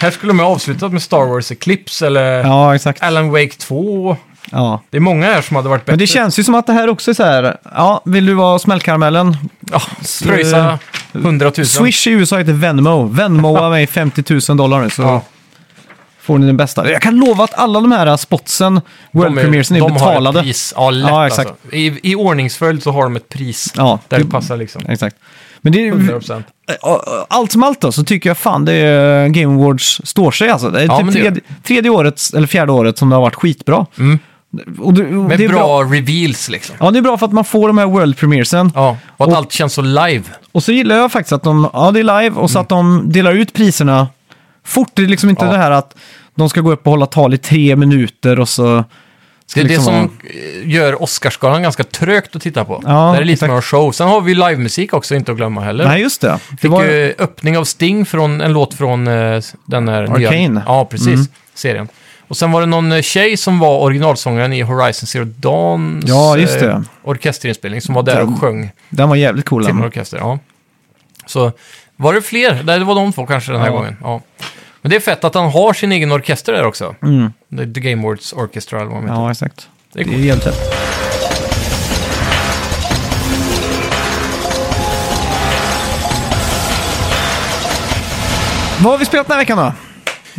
Speaker 2: Här skulle de ha avslutat med Star Wars Eclipse eller
Speaker 1: ja exakt.
Speaker 2: Alan Wake 2.
Speaker 1: Ja.
Speaker 2: Det är många här som hade varit bättre.
Speaker 1: Men det känns ju som att det här också är så här, ja, vill du vara smällkaramellen?
Speaker 2: Ja, pröjsa 100 000.
Speaker 1: eh, Swish i USA heter Venmo. Venmoa mig 50 000 dollar nu så
Speaker 2: Ja.
Speaker 1: får ni den bästa. Jag kan lova att alla de här spotsen, world
Speaker 2: De är-
Speaker 1: premiersen, är
Speaker 2: de Har
Speaker 1: betalade.
Speaker 2: ett pris. Ja, lätt
Speaker 1: Ja, exakt.
Speaker 2: Alltså. I, I ordningsföljd så har de ett pris
Speaker 1: Ja,
Speaker 2: där
Speaker 1: det-
Speaker 2: det, passar liksom.
Speaker 1: Exakt. Men det är, eh,
Speaker 2: 100%.
Speaker 1: allt som allt då så tycker jag fan det är eh, Game Awards står sig alltså. Det är
Speaker 2: Ja,
Speaker 1: typ
Speaker 2: men det gör
Speaker 1: tredje, tredje året, eller fjärde året som det har varit skitbra. Och det, och
Speaker 2: Med
Speaker 1: det är
Speaker 2: bra, reveals liksom.
Speaker 1: Ja, det är bra för att man får de här world premiersen.
Speaker 2: Ja, och att
Speaker 1: Och-
Speaker 2: allt känns så live.
Speaker 1: Och så gillar jag faktiskt att de, ja det är live och så att de delar ut priserna fort. Det är liksom inte
Speaker 2: Ja.
Speaker 1: det här att de ska gå upp och hålla tal i tre minuter och så...
Speaker 2: Det
Speaker 1: ska
Speaker 2: är det
Speaker 1: liksom
Speaker 2: som
Speaker 1: vara-
Speaker 2: eh, gör Oscarsgalan ganska trögt att titta på.
Speaker 1: Ja,
Speaker 2: där är det lite
Speaker 1: exakt.
Speaker 2: mer show. Sen har vi livemusik också, inte att glömma heller.
Speaker 1: Nej, just det. Det
Speaker 2: Fick
Speaker 1: var
Speaker 2: ju öppning av Sting från en låt från eh, den här
Speaker 1: Arcane. Mm.
Speaker 2: nya... Ja, precis. Serien. Och sen var det någon eh, tjej som var originalsångaren i Horizon Zero Dawns
Speaker 1: Ja, just
Speaker 2: eh,
Speaker 1: det.
Speaker 2: orkesterinspelning som var där
Speaker 1: Den-
Speaker 2: och sjöng
Speaker 1: den var jävligt cool.
Speaker 2: till
Speaker 1: den.
Speaker 2: en orkester. Ja. Så var det fler? Nej, det var de två kanske den här
Speaker 1: Ja.
Speaker 2: gången. Ja. Men det är fett att han har sin egen orkester där också.
Speaker 1: Mm.
Speaker 2: The The Game Awards Orchestra eller vad de heter.
Speaker 1: Ja, exakt.
Speaker 2: Det är
Speaker 1: Det är jävligt fett. Vad har vi spelat den här veckan då?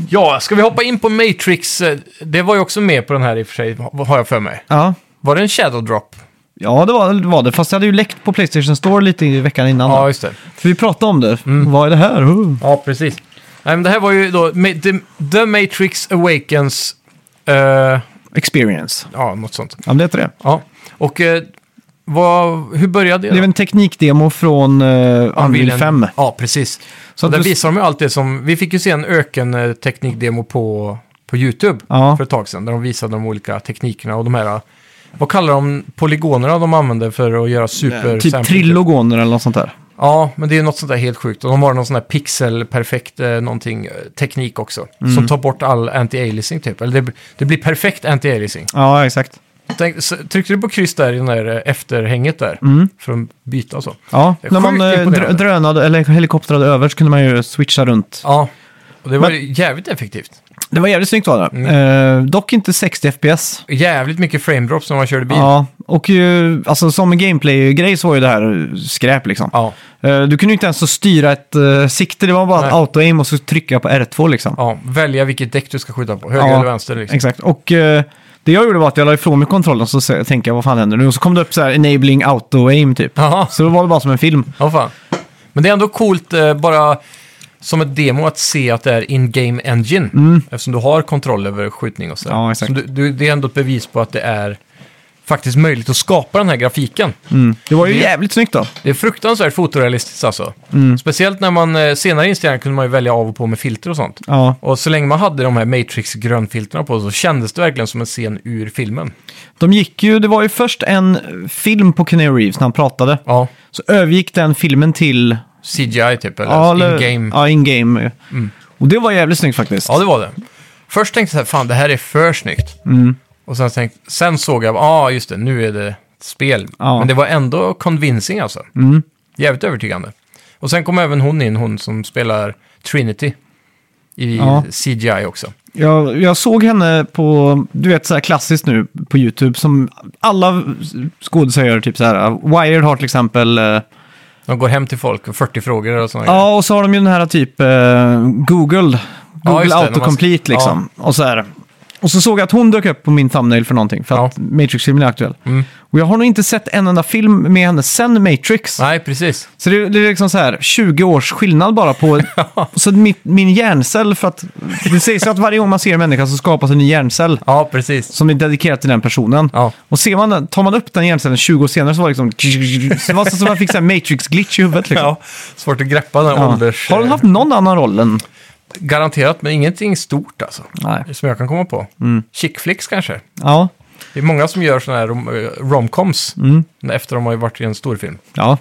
Speaker 2: Ja, ska vi hoppa in på Matrix? Eh, Det var ju också med på den här i och för sig, ha- har jag för mig.
Speaker 1: Ja,
Speaker 2: Var det en Shadow Drop?
Speaker 1: ja det, var, det var det. Fast jag hade ju läckt på Playstation Store lite i veckan innan.
Speaker 2: Ja, Mm.
Speaker 1: då.
Speaker 2: just det.
Speaker 1: För vi pratade om det. Vad är det här? Uh.
Speaker 2: Ja, precis. Nej, men det här var ju då Ma- The, The Matrix Awakens, eh,
Speaker 1: Experience.
Speaker 2: ja, något sånt.
Speaker 1: Ja, men det heter det.
Speaker 2: Ja. Och eh, vad, hur började det?
Speaker 1: Det är
Speaker 2: då?
Speaker 1: en teknikdemo från uh, Unreal
Speaker 2: Unreal
Speaker 1: 5.
Speaker 2: Ja, precis.
Speaker 1: Så
Speaker 2: Så
Speaker 1: att
Speaker 2: där
Speaker 1: du-
Speaker 2: visar de ju allt det som... Vi fick ju se en ökenteknikdemo på, på YouTube
Speaker 1: Ja.
Speaker 2: för ett tag sedan, där de visade de olika teknikerna och de här... eh, Vad kallar de polygonerna de använder för att göra super...
Speaker 1: Typ trilogoner eller något sånt där.
Speaker 2: Ja, men det är något sånt där helt sjukt. Och de har någon sån där pixelperfekt eh, någonting, eh, teknik också.
Speaker 1: Mm.
Speaker 2: Som tar bort all anti-aliasing typ. Eller det, det blir perfekt anti-aliasing.
Speaker 1: Ja, exakt.
Speaker 2: Tänk, så, tryckte du på kryss där i den där eh, efterhänget där?
Speaker 1: Mm.
Speaker 2: För att byta och så.
Speaker 1: Ja,
Speaker 2: Det är
Speaker 1: när man
Speaker 2: sjukt
Speaker 1: eh,
Speaker 2: imponerande.
Speaker 1: drö- drönade eller helikoptrade över så kunde man ju switcha runt.
Speaker 2: Ja, och det var
Speaker 1: Men-
Speaker 2: ju jävligt effektivt.
Speaker 1: Det var jävligt snyggt var
Speaker 2: Mm.
Speaker 1: det. Eh, dock inte 60 FPS.
Speaker 2: Jävligt mycket frame drops när man körde bil.
Speaker 1: Ja, och ju, alltså, som en gameplay-grej så var ju det här eh, skräp liksom.
Speaker 2: Ja,
Speaker 1: Eh, du kunde ju inte ens så styra ett eh, sikte, det var bara
Speaker 2: Nej.
Speaker 1: att auto-aim och så trycka på R2 liksom.
Speaker 2: ja. välja vilket däck du ska skjuta på. Höger
Speaker 1: Ja,
Speaker 2: eller vänster liksom.
Speaker 1: Exakt, och eh, det jag gjorde var att jag la ifrån mig kontrollen så se- tänkte jag vad fan händer nu? Och så kom det upp så här enabling auto-aim typ.
Speaker 2: Jaha,
Speaker 1: Så då var det bara som en film.
Speaker 2: ja fan. Men det är ändå coolt eh, bara som ett demo att se att det är in-game engine. Eftersom du har kontroll över skjutning och så.
Speaker 1: Mm. Ja, exakt.
Speaker 2: Så du, du, det är ändå ett bevis på att det är faktiskt möjligt att skapa den här grafiken.
Speaker 1: Mm. Det var ju jävligt snyggt då.
Speaker 2: Det är fruktansvärt fotorealistiskt alltså.
Speaker 1: Mm.
Speaker 2: Speciellt när man eh, senare i inställningar kunde man ju välja av och på med filter och sånt.
Speaker 1: Ja.
Speaker 2: Och så länge man hade de här Matrix-grönfilterna på så kändes det verkligen som en scen ur filmen.
Speaker 1: De gick ju, det var ju först en film på Kenny Reeves när han pratade.
Speaker 2: Ja,
Speaker 1: Så övergick den filmen till...
Speaker 2: CGI typ, eller
Speaker 1: Ja, eller- Mm.
Speaker 2: in-game.
Speaker 1: Ja, in-game. Och det var jävligt snyggt faktiskt.
Speaker 2: Ja, det var det. Först tänkte jag så här, fan det här är för snyggt.
Speaker 1: Mm.
Speaker 2: Och sen, tänkte, sen såg jag, ja ah, just det, nu är det ett spel.
Speaker 1: Ja.
Speaker 2: Men det var ändå convincing alltså.
Speaker 1: Mm.
Speaker 2: Jävligt övertygande. Och sen kom även hon in, hon som spelar Trinity i
Speaker 1: Ja.
Speaker 2: CGI också.
Speaker 1: Jag, jag såg henne på, du vet så här klassiskt nu på YouTube som alla skådespelare gör, typ så här. Wired har till exempel, eh,
Speaker 2: De går hem till folk och 40 frågor och sådana grejer.
Speaker 1: ja och så har de ju den här typ eh, Google,
Speaker 2: Ja,
Speaker 1: Google
Speaker 2: just det, när man-
Speaker 1: Autocomplete liksom. Och så här. Och så såg jag att hon dök upp på min thumbnail för någonting, för att
Speaker 2: Ja.
Speaker 1: Matrix-filmen är aktuell.
Speaker 2: Mm.
Speaker 1: Och jag har nog inte sett en enda film med henne sen Matrix.
Speaker 2: Nej, precis.
Speaker 1: Så det, det är liksom så här 20 års skillnad bara på... så mitt, min hjärncell, för att det sägs ju att varje gång man ser en människa så skapas en ny hjärncell
Speaker 2: Ja, precis.
Speaker 1: som är dedikerad till den personen.
Speaker 2: Ja,
Speaker 1: Och ser man, den- tar man upp den hjärncellen 20 år senare så var det liksom... Så det var som att man fick en matrix-glitch i huvudet liksom.
Speaker 2: ja. svårt att greppa den
Speaker 1: Ja.
Speaker 2: ålders... eh,
Speaker 1: Har hon haft någon annan roll än...
Speaker 2: Garanterat, men ingenting stort alltså.
Speaker 1: Nej.
Speaker 2: Som jag kan komma på.
Speaker 1: Mm.
Speaker 2: Chick flicks kanske.
Speaker 1: Ja.
Speaker 2: Det är många som gör sådana här rom- eh, romcoms efter de har ju varit i en storfilm.
Speaker 1: Ja.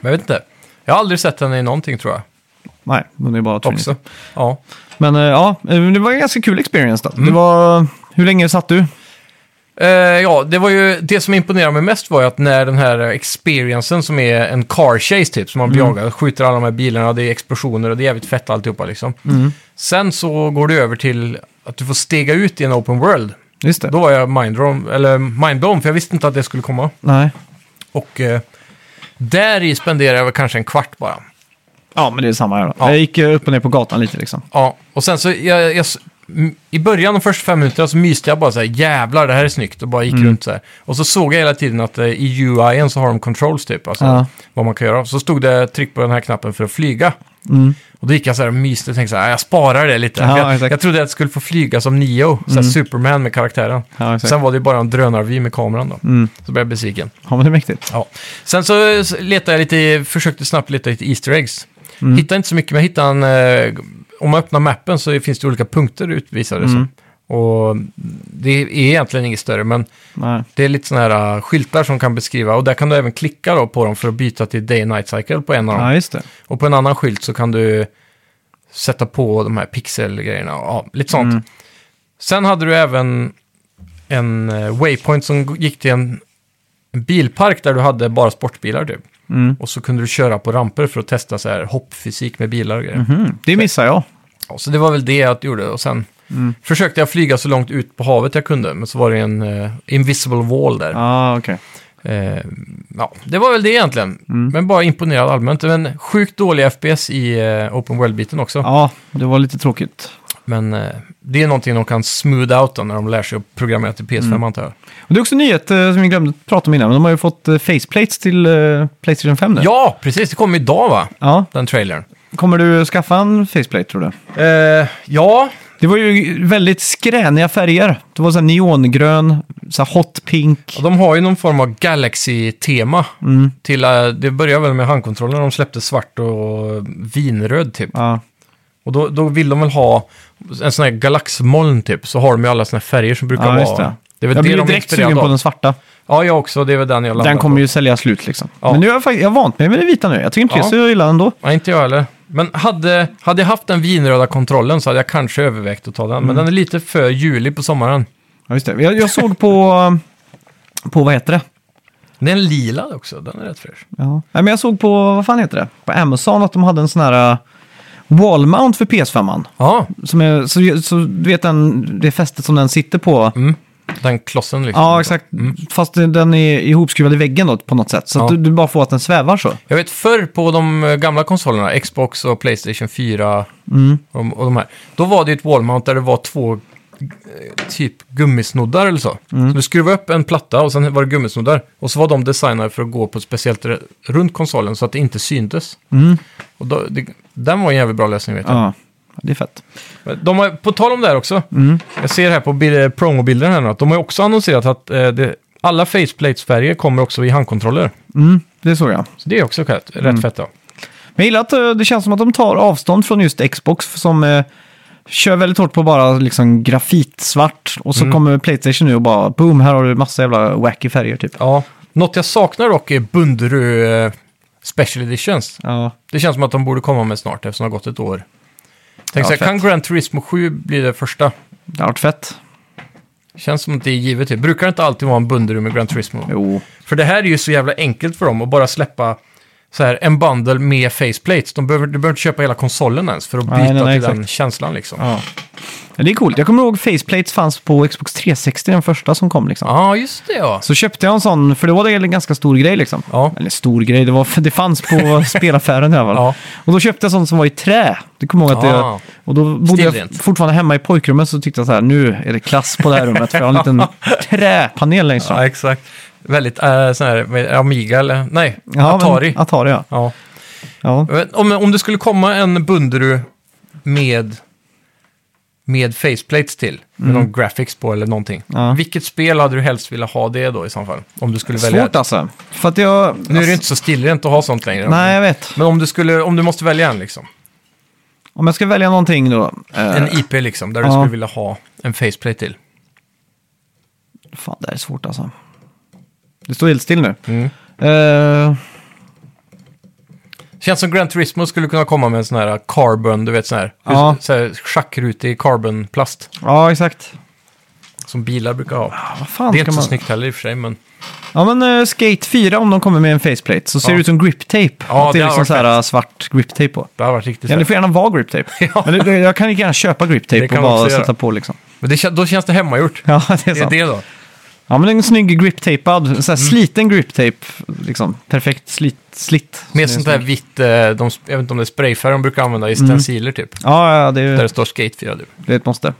Speaker 2: Men jag vet inte. Jag har aldrig sett henne i någonting tror jag.
Speaker 1: Nej, hon är bara Trinity.
Speaker 2: Också. Ja.
Speaker 1: Men eh, ja, eh, det var en ganska kul experience då.
Speaker 2: Mm.
Speaker 1: Det var... eh, Hur länge satt du?
Speaker 2: Eh, ja, det var ju det som imponerade mig mest var ju att när den här experiencen som är en car chase typ, som man blir jagad, skjuter alla de här bilarna, det är explosioner och det är jävligt fett alltihopa liksom. Sen så går det över till att du får stega ut i en open world.
Speaker 1: Just det.
Speaker 2: Då var jag mindblown, eller mindblown, för jag visste inte att det skulle komma.
Speaker 1: Nej.
Speaker 2: Och eh, där i spenderade jag väl kanske en kvart bara.
Speaker 1: Ja, men det är samma här då.
Speaker 2: Ja.
Speaker 1: Jag gick eh, upp och ner på gatan lite liksom.
Speaker 2: Ja, och sen så, jag, jag, m- i början de första fem minuterna så myste jag bara så här, jävlar det här är snyggt och bara
Speaker 1: Mm.
Speaker 2: gick runt så här. Och så såg jag hela tiden att eh, i UIen så har de controls typ, alltså
Speaker 1: Ja.
Speaker 2: vad man kan göra. Så stod det tryck på den här knappen för att flyga.
Speaker 1: Mm.
Speaker 2: Och då gick jag så här och myste och tänkte så här, "Ah, jag sparar det lite.
Speaker 1: Ja,
Speaker 2: För jag,
Speaker 1: exakt. Mm.
Speaker 2: jag trodde att jag skulle få flyga som Neo, så här Superman med karaktären.
Speaker 1: Ja, exakt. Mm.
Speaker 2: sen var det ju bara en drönarvy med kameran då. Så blev jag besviken.
Speaker 1: Ja, men det är mäktigt.
Speaker 2: Ja. Sen så eh, s- letade jag lite, i- försökte snabbt leta lite Easter eggs. Hittade inte så mycket, men jag hittade en... Eh, om man öppnar mappen så finns det olika punkter utvisade. Mm. Och det är egentligen inget större, men
Speaker 1: Nej.
Speaker 2: det är lite sådana här eh, skyltar som kan beskriva. Och där kan du även klicka då på dem för att byta till day and night cycle på en av dem.
Speaker 1: Ja, just det.
Speaker 2: Och på en annan skylt så kan du sätta på de här pixelgrejerna. Ja, lite sånt.
Speaker 1: Mm.
Speaker 2: Sen hade du även en eh, waypoint som g- gick till en en bilpark där du hade bara sportbilar typ.
Speaker 1: Mm.
Speaker 2: Och så kunde du köra på ramper för att testa så här hoppfysik med bilar och grejer.
Speaker 1: Mhm, Det missar jag.
Speaker 2: Ja, så det var väl det jag gjorde. Och sen
Speaker 1: Mm.
Speaker 2: försökte jag flyga så långt ut på havet jag kunde. Men så var det en eh, invisible wall där.
Speaker 1: Ja, ah, okej.
Speaker 2: Eh, ja, det var väl det egentligen.
Speaker 1: Mm.
Speaker 2: Men bara imponerad allmänt. Men sjukt dålig FPS i eh, Open World-biten också.
Speaker 1: Ja, det var lite tråkigt.
Speaker 2: Men eh, det är någonting de kan smooth out då, när de lär sig att programmera till PS5
Speaker 1: Mm.
Speaker 2: antar jag.
Speaker 1: Och det är också en nyhet eh, som vi glömde prata om innan, men de har ju fått eh, faceplates till eh, Playstation 5 nu.
Speaker 2: Ja, precis. Det kom idag va?
Speaker 1: Ja.
Speaker 2: Den trailern.
Speaker 1: Kommer du skaffa en faceplate tror du?
Speaker 2: Eh, ja,
Speaker 1: Det var ju väldigt skräniga färger. Det var så här neongrön, så här hot pink.
Speaker 2: och de har ju någon form av Galaxy-tema.
Speaker 1: Mm.
Speaker 2: Till, eh, det började väl med handkontrollen, de släppte svart och vinröd typ.
Speaker 1: Ja,
Speaker 2: Och då, då vill de väl ha en sån här galaxmoln typ, så har de ju alla såna här färger som brukar
Speaker 1: ja
Speaker 2: vara.
Speaker 1: just det.
Speaker 2: Det är väl
Speaker 1: jag
Speaker 2: det
Speaker 1: blev ju
Speaker 2: de är
Speaker 1: direkt
Speaker 2: inspirerade
Speaker 1: sugen på
Speaker 2: av.
Speaker 1: den svarta.
Speaker 2: Ja, jag också. Det är väl den jag landade
Speaker 1: Den kommer
Speaker 2: på.
Speaker 1: ju sälja slut liksom.
Speaker 2: Ja.
Speaker 1: Men nu har jag, fakt- jag har vant mig med det vita nu. Jag tycker inte
Speaker 2: Ja.
Speaker 1: det är så illa ändå.
Speaker 2: Nej, inte jag heller. Men hade, hade jag haft den vinröda kontrollen så hade jag kanske övervägt att ta den. Men den är lite för julig på sommaren.
Speaker 1: Ja, just det. Jag, jag såg på, på, vad heter det?
Speaker 2: Den är lila också, den är rätt fräsch.
Speaker 1: Ja. Nej, men jag såg på, vad fan heter det? På Amazon att de hade en sån här eh, wall mount för PS5.
Speaker 2: Ja,
Speaker 1: Som är, så, så du vet den, det fästet som den sitter på?
Speaker 2: mm. den klossen liksom.
Speaker 1: Ja, exakt. Fast den är ihopskruvad i väggen då, på något sätt. Så att
Speaker 2: Ja.
Speaker 1: du, du bara får att den svävar så.
Speaker 2: Jag vet förr på de eh, gamla konsolerna, Xbox och Playstation 4 och, de- och de här, då var det ju ett wallmount där det var två eh, typ gummisnoddar eller så. Så du skruvade upp en platta och sen var det gummisnoddar. Och så var de designade för att gå på ett speciellt re- runt konsolen så att det inte syntes. Och då, det, den var en jävligt bra lösning vet jag.
Speaker 1: Ja, det är fett.
Speaker 2: De har, på tal om det här också,
Speaker 1: Mm.
Speaker 2: jag ser här på bil- promobilden här nu att de har ju också annonserat att eh, det, alla faceplates-färger kommer också i handkontroller.
Speaker 1: Mm, det såg jag.
Speaker 2: Så det är också rätt,
Speaker 1: Mm.
Speaker 2: rätt fett då.
Speaker 1: Men jag gillar att eh, det känns som att de tar avstånd från just Xbox som eh, kör väldigt hårt på bara liksom grafitsvart. Och så kommer Playstation nu och bara boom, här har du massa jävla wacky färger typ.
Speaker 2: Ja. Något jag saknar dock är Bunderu eh, Special Editions.
Speaker 1: Ja,
Speaker 2: Det känns som att de borde komma med snart eftersom det har gått ett år. Tänk
Speaker 1: Ja,
Speaker 2: så här,
Speaker 1: fett.
Speaker 2: kan Gran Turismo 7 bli det första?
Speaker 1: Det har varit fett.
Speaker 2: Känns som att det är givet. Det brukar det inte alltid vara en bunderum med Gran Turismo.
Speaker 1: Jo.
Speaker 2: För det här är ju så jävla enkelt för dem att bara släppa så här, en bundle med faceplates. De behöver, du behöver inte köpa hela konsolen ens för att byta
Speaker 1: Nej, nej, nej,
Speaker 2: till den
Speaker 1: exakt.
Speaker 2: känslan liksom. Ja,
Speaker 1: Ja. Men Det är coolt. Jag kommer ihåg faceplates fanns på Xbox 360, den första som kom liksom.
Speaker 2: just det ja.
Speaker 1: Så köpte jag en sån, för det var det en ganska stor grej liksom.
Speaker 2: Ja.
Speaker 1: Eller stor grej, det, var, det fanns på spelaffären i alla fall.
Speaker 2: Ja.
Speaker 1: Och då köpte jag sånt som var i trä. Det kommer jag ihåg att
Speaker 2: Ah.
Speaker 1: jag, Och då bodde jag
Speaker 2: Stilrent.
Speaker 1: fortfarande hemma i pojkrummet så tyckte jag så här, nu är det klass på det här rummet. För jag har en liten träpanel längst fram.
Speaker 2: Ja, exakt. Väldigt äh, sån här, med Amiga eller, nej,
Speaker 1: Ja, men-
Speaker 2: Atari.
Speaker 1: Atari, ja.
Speaker 2: Ja.
Speaker 1: ja.
Speaker 2: Men Om, om det skulle komma en Bunderu med, med faceplates till, med någon graphics på eller någonting.
Speaker 1: Mm. Ja.
Speaker 2: Vilket spel hade du helst vilja ha det då i så fall? Om du skulle välja.
Speaker 1: Svårt alltså. För att jag...
Speaker 2: Nu är det inte så stilrent att ha sånt längre.
Speaker 1: Nej, jag vet.
Speaker 2: Men om du, skulle, om du måste välja en liksom.
Speaker 1: Om jag ska välja någonting då. eh,
Speaker 2: En IP liksom, där du
Speaker 1: Ja.
Speaker 2: skulle vilja ha en faceplate till.
Speaker 1: Fan, det här är svårt alltså. Det står helt still nu.
Speaker 2: Mm.
Speaker 1: Eh,
Speaker 2: Känns som Gran Turismo skulle kunna komma med en sån här carbon, du vet sån här,
Speaker 1: Ja.
Speaker 2: så här schackrutig carbonplast
Speaker 1: ja, exakt.
Speaker 2: som bilar brukar ha.
Speaker 1: Ja, Vad fan
Speaker 2: Det är
Speaker 1: ska
Speaker 2: inte så
Speaker 1: man...
Speaker 2: snyggt heller i och för sig, men
Speaker 1: Ja, men eh, Skate 4 om de kommer med en faceplate så ser
Speaker 2: Ja.
Speaker 1: det ut som grip tape.
Speaker 2: Ja,
Speaker 1: att det
Speaker 2: det
Speaker 1: är liksom
Speaker 2: har varit
Speaker 1: så här eh, svart grip tape på.
Speaker 2: det har varit riktigt
Speaker 1: Ja, det
Speaker 2: fett.
Speaker 1: får gärna vara grip tape. Men det, det, jag kan lika gärna köpa grip
Speaker 2: Det
Speaker 1: tape
Speaker 2: kan
Speaker 1: och
Speaker 2: man
Speaker 1: bara
Speaker 2: också göra.
Speaker 1: sätta på liksom.
Speaker 2: Men det, kän- då känns det hemmagjort.
Speaker 1: Ja, det är
Speaker 2: Det Mm. är
Speaker 1: sant.
Speaker 2: det då.
Speaker 1: Ja, men en snygg grip tapead, så här sliten grip tape, liksom perfekt slit. slit.
Speaker 2: Med
Speaker 1: Så
Speaker 2: sånt
Speaker 1: det är
Speaker 2: där
Speaker 1: snyggt.
Speaker 2: vitt, eh, de, jag vet inte om det är sprayfärg de brukar använda i stenciler typ.
Speaker 1: Ja, ja, det är,
Speaker 2: Där Mm. det står Skate 4 du.
Speaker 1: det är ett måste.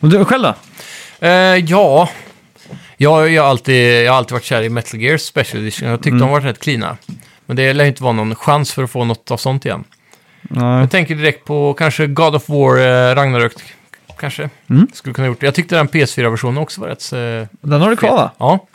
Speaker 1: Men du själv då?
Speaker 2: Eh, ja, jag, jag, har alltid, jag har alltid varit kär i Metal Gear Special Edition. Jag tyckte
Speaker 1: Mm.
Speaker 2: de var rätt cleana. Men det lär ju inte vara någon chans för att få något av sånt igen.
Speaker 1: Nej.
Speaker 2: Jag tänker direkt på kanske God of War eh, Ragnarök. Kanske.
Speaker 1: Mm.
Speaker 2: Skulle kunna gjort det. Jag tyckte den PS4-versionen också var rätt... Eh,
Speaker 1: Den har du kvar va?
Speaker 2: ja.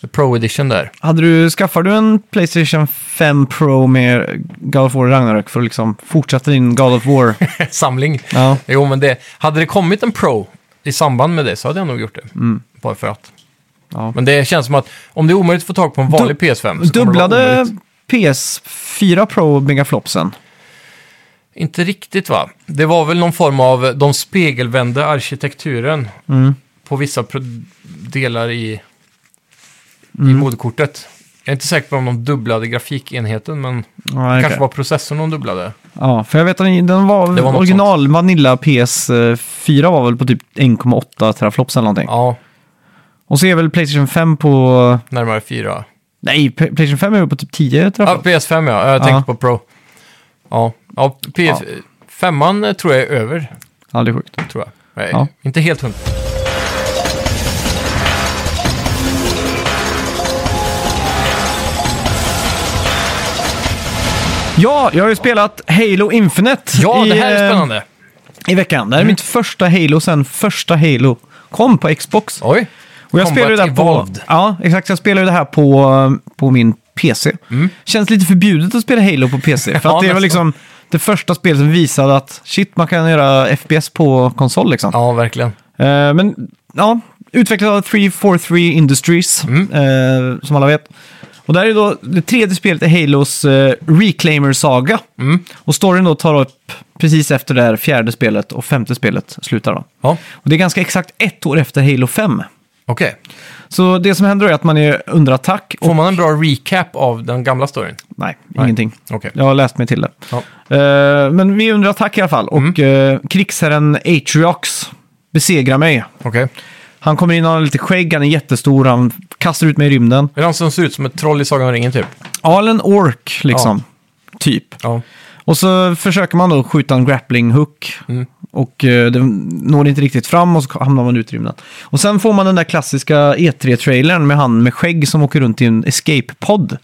Speaker 2: The Pro Edition där.
Speaker 1: Hade du, skaffade du en Playstation 5 Pro med God of War Ragnarök för att liksom fortsätta din God of War?
Speaker 2: Samling.
Speaker 1: ja.
Speaker 2: Jo, men det... Hade det kommit en Pro i samband med det så hade jag nog gjort det. Bara för att.
Speaker 1: Mm. Ja.
Speaker 2: Men det känns som att om det är omöjligt att få tag på en vanlig PS5 så kommer det vara
Speaker 1: Dubblade
Speaker 2: omöjligt.
Speaker 1: PS4 Pro megaflopsen?
Speaker 2: Inte riktigt va? Det var väl någon form av, de spegelvände arkitekturen
Speaker 1: Mm.
Speaker 2: på vissa pro- delar i, i
Speaker 1: Mm.
Speaker 2: moderkortet. Jag är inte säker på om de dubblade grafikenheten, men
Speaker 1: Ja,
Speaker 2: kanske
Speaker 1: okej.
Speaker 2: var processorn de dubblade.
Speaker 1: ja, för jag vet att den den var,
Speaker 2: Det var något
Speaker 1: original Vanilla PS4 var väl på typ 1,8 teraflops eller någonting.
Speaker 2: Ja,
Speaker 1: Och så är väl Playstation 5 på...
Speaker 2: närmare fyra.
Speaker 1: Nej, P- Playstation 5 är väl på typ 10
Speaker 2: Ja,
Speaker 1: teraflops?
Speaker 2: PS5 ja, jag tänkte
Speaker 1: Ja.
Speaker 2: på Pro. Ja, ja
Speaker 1: Ja.
Speaker 2: PS5 eh, tror jag är över,
Speaker 1: Ja, det är sjukt.
Speaker 2: tror jag. Nej,
Speaker 1: Ja.
Speaker 2: Inte helt hundra.
Speaker 1: Ja, jag har ju spelat Halo Infinite
Speaker 2: Ja, det här
Speaker 1: i,
Speaker 2: är
Speaker 1: eh,
Speaker 2: spännande. Mm.
Speaker 1: i veckan. Det här är mitt första Halo sen första Halo kom på Xbox.
Speaker 2: Oj.
Speaker 1: Och jag
Speaker 2: Combat
Speaker 1: spelar ju det här på,
Speaker 2: Evolved.
Speaker 1: ja, exakt. Jag spelar ju det här på, på min PC. Känns lite förbjudet att spela Halo på PC. För
Speaker 2: Mm. Ja,
Speaker 1: att det var
Speaker 2: nästan.
Speaker 1: liksom det första spelet som visade att shit, man kan göra FPS på konsol liksom.
Speaker 2: Ja, verkligen.
Speaker 1: Eh, men ja, utvecklad av 343 Industries,
Speaker 2: Mm.
Speaker 1: eh, som alla vet. Och där är då det tredje spelet i Halos eh, Reclaimer-saga.
Speaker 2: Mm.
Speaker 1: Och storyn då tar upp precis efter det här fjärde spelet och femte spelet slutar då.
Speaker 2: Ja,
Speaker 1: Och det är ganska exakt ett år efter Halo 5.
Speaker 2: okej.
Speaker 1: Så det som händer då är att man är under attack. Och,
Speaker 2: Får man en bra recap av den gamla storyn?
Speaker 1: nej, ingenting.
Speaker 2: Okej.
Speaker 1: Jag har läst mig till det.
Speaker 2: Ja.
Speaker 1: Eh, men vi är under attack i alla fall. Och mm. krigsherren Atriox besegrar mig.
Speaker 2: Okej.
Speaker 1: Han kommer in, han har lite skägg, han är jättestor, han kastar ut mig i rymden.
Speaker 2: Är det han som ser ut som ett troll i Sagan om ringen typ?
Speaker 1: Alen Ork, liksom. Typ.
Speaker 2: Ja.
Speaker 1: Och så försöker man då skjuta en grappling hook. Och eh, den når inte riktigt fram och så hamnar man ut i rymden. Och sen får man den där klassiska E3-trailern med han med skägg som åker runt i en escape-podd.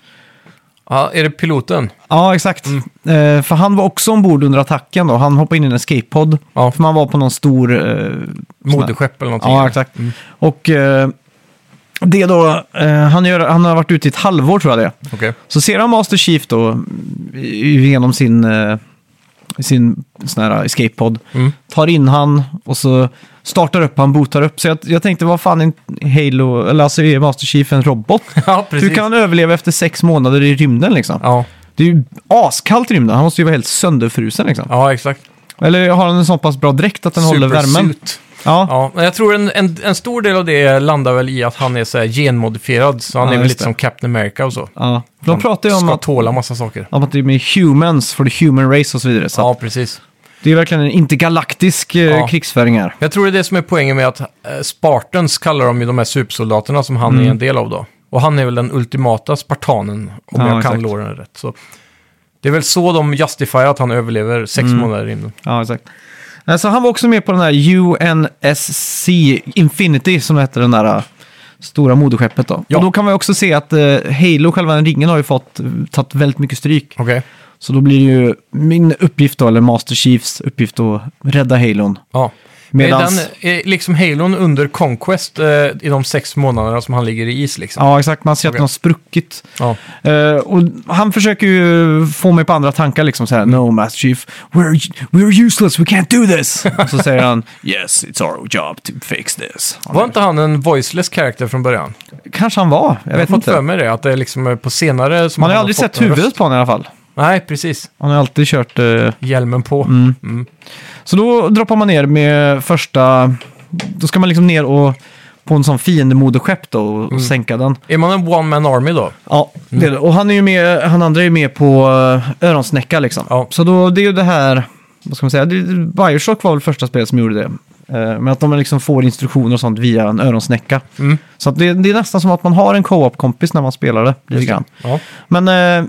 Speaker 2: ja. Är det piloten?
Speaker 1: Ja, exakt.
Speaker 2: Mm.
Speaker 1: Eh, för han var också ombord under attacken då. Han hoppade in i en escape-podd.
Speaker 2: Ja.
Speaker 1: För man var på någon stor... eh, sån här-
Speaker 2: Moderskepp eller någonting?
Speaker 1: Ja, exakt. Och eh, det då... Eh, han, gör, han har varit ute i ett halvår tror jag det är.
Speaker 2: Okej.
Speaker 1: Så ser han Master Chief då mm, genom sin, eh, sin sån här escape-podd.
Speaker 2: Mm.
Speaker 1: Tar in han och så startar upp han, bootar upp. Så jag, jag tänkte, vad fan är en Halo, eller alltså är Master Chief en robot?
Speaker 2: ja, precis.
Speaker 1: Hur kan han överleva efter sex månader i rymden liksom?
Speaker 2: Ja.
Speaker 1: Det är ju askallt i rymden, han måste ju vara helt sönderfrusen liksom.
Speaker 2: ja, exakt.
Speaker 1: Eller har han en så pass bra dräkt att den håller värmen?
Speaker 2: Supersuit.
Speaker 1: Ja,
Speaker 2: Ja, men jag tror en, en, en stor del av det landar väl i att han är så här genmodifierad, så han
Speaker 1: Ja,
Speaker 2: är väl
Speaker 1: just
Speaker 2: lite
Speaker 1: det.
Speaker 2: som Captain America och så.
Speaker 1: ja. För de
Speaker 2: Han
Speaker 1: pratar ju om
Speaker 2: ska
Speaker 1: att,
Speaker 2: tåla massa saker.
Speaker 1: om att det är med humans, för the human race och så vidare. Så
Speaker 2: Ja,
Speaker 1: att
Speaker 2: precis.
Speaker 1: det är verkligen en intergalaktisk eh,
Speaker 2: Ja.
Speaker 1: krigsföring här.
Speaker 2: Jag tror det är det som är poängen med att eh, Spartans kallar de ju de här supersoldaterna som han
Speaker 1: Mm.
Speaker 2: är en del av då. Och han är väl den ultimata spartanen,
Speaker 1: Ja,
Speaker 2: om jag kan
Speaker 1: exakt.
Speaker 2: låren rätt. Så det är väl så de justifierar att han överlever sex
Speaker 1: Mm.
Speaker 2: månader innan.
Speaker 1: Ja, exakt. Alltså, han var också med på den här UNSC Infinity, som heter den där äh, stora moderskeppet. Då.
Speaker 2: Ja.
Speaker 1: Och då kan man också se att eh, Halo, själva den ringen, har ju fått eh, tagit väldigt mycket stryk.
Speaker 2: Okej.
Speaker 1: Så då blir det ju min uppgift då, eller Master Chiefs uppgift att rädda Halon.
Speaker 2: Ja.
Speaker 1: Medans-
Speaker 2: Är den, är liksom Halon under Conquest eh, i de sex månaderna som han ligger i is liksom?
Speaker 1: Ja, exakt. Man ser att
Speaker 2: Okej.
Speaker 1: den har spruckit.
Speaker 2: Ja.
Speaker 1: Eh, och han försöker ju få mig på andra tankar, liksom så här, No, Master Chief, we're, we're useless, we can't do this! och så säger han, Yes, it's our job to fix this.
Speaker 2: Var inte han en voiceless karaktär från början?
Speaker 1: Kanske han var, jag,
Speaker 2: Jag
Speaker 1: vet
Speaker 2: har fått för
Speaker 1: inte.
Speaker 2: mig det, att det är liksom eh, på senare som
Speaker 1: Man har
Speaker 2: han
Speaker 1: aldrig
Speaker 2: fått
Speaker 1: sett
Speaker 2: en
Speaker 1: huvudet
Speaker 2: röst.
Speaker 1: på honom i alla fall.
Speaker 2: Nej, precis.
Speaker 1: Han har alltid kört... eh,
Speaker 2: Hjälmen på. Mm.
Speaker 1: Så då droppar man ner med första... Då ska man liksom ner och på en sån fiendemoderskepp då och,
Speaker 2: Mm.
Speaker 1: och sänka den.
Speaker 2: Är man en one man army då?
Speaker 1: Ja,
Speaker 2: Mm.
Speaker 1: det är det. Och han är ju med, han andra är ju med på eh, öronsnäcka liksom.
Speaker 2: Ja.
Speaker 1: Så då, det är ju det här, vad ska man säga, det, Bioshock var väl första spelet som gjorde det. Eh, Men att de liksom får instruktioner och sånt via en öronsnäcka.
Speaker 2: Mm.
Speaker 1: Så att det, det är nästan som att man har en co-op-kompis när man spelar det. Lite grann.
Speaker 2: Ja.
Speaker 1: Men eh,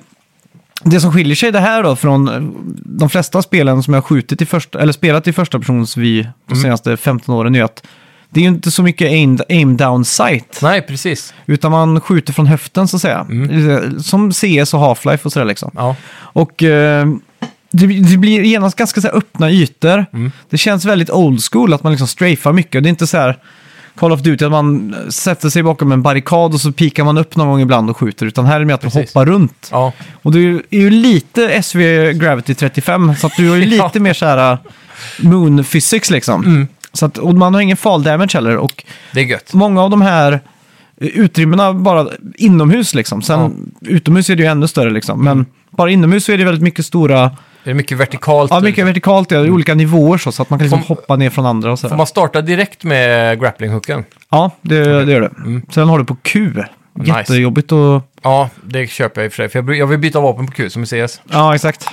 Speaker 1: det som skiljer sig det här då från eh, de flesta spelen som jag har skjutit i första, eller spelat i första persons vy de
Speaker 2: Mm.
Speaker 1: senaste 15 åren är att det är ju inte så mycket aim, aim down sight,
Speaker 2: Nej, precis.
Speaker 1: utan man skjuter från höften så att säga. Eh, Som CS och Half-Life och sådär liksom.
Speaker 2: Mm. Ja.
Speaker 1: Och eh, det, det blir genast ganska så här, öppna ytor.
Speaker 2: Mm.
Speaker 1: Det känns väldigt old school att man liksom strafar mycket. Och Det är inte så här Call of Duty att man eh, sätter sig bakom en barrikad och så pikar man upp någon gång ibland och skjuter. Utan här är det mer att du
Speaker 2: Precis.
Speaker 1: hoppar runt.
Speaker 2: ja.
Speaker 1: Och du är ju lite SV Gravity 35, så att du har ju
Speaker 2: Ja. Mm.
Speaker 1: lite mer så här äh, moon physics liksom. Så att, och man har ingen fall damage heller. Och
Speaker 2: Det är gött.
Speaker 1: många av de här eh, utrymmena bara inomhus liksom. Sen utomhus är det ju ännu större liksom. Men bara inomhus så är det väldigt mycket stora,
Speaker 2: Det är mycket vertikalt.
Speaker 1: ja mycket vertikalt, det är olika nivåer så, så att man kan liksom
Speaker 2: Får-
Speaker 1: hoppa ner från andra och så.
Speaker 2: Får
Speaker 1: Här.
Speaker 2: man starta direkt med grapplinghucken?
Speaker 1: Ja, det, det gör det. Sen har du på Q.
Speaker 2: Nice.
Speaker 1: Jättejobbigt att...
Speaker 2: Ja, det köper jag i och för sig. För jag bry- jag vill byta vapen på Q som i CS.
Speaker 1: Ja, exakt.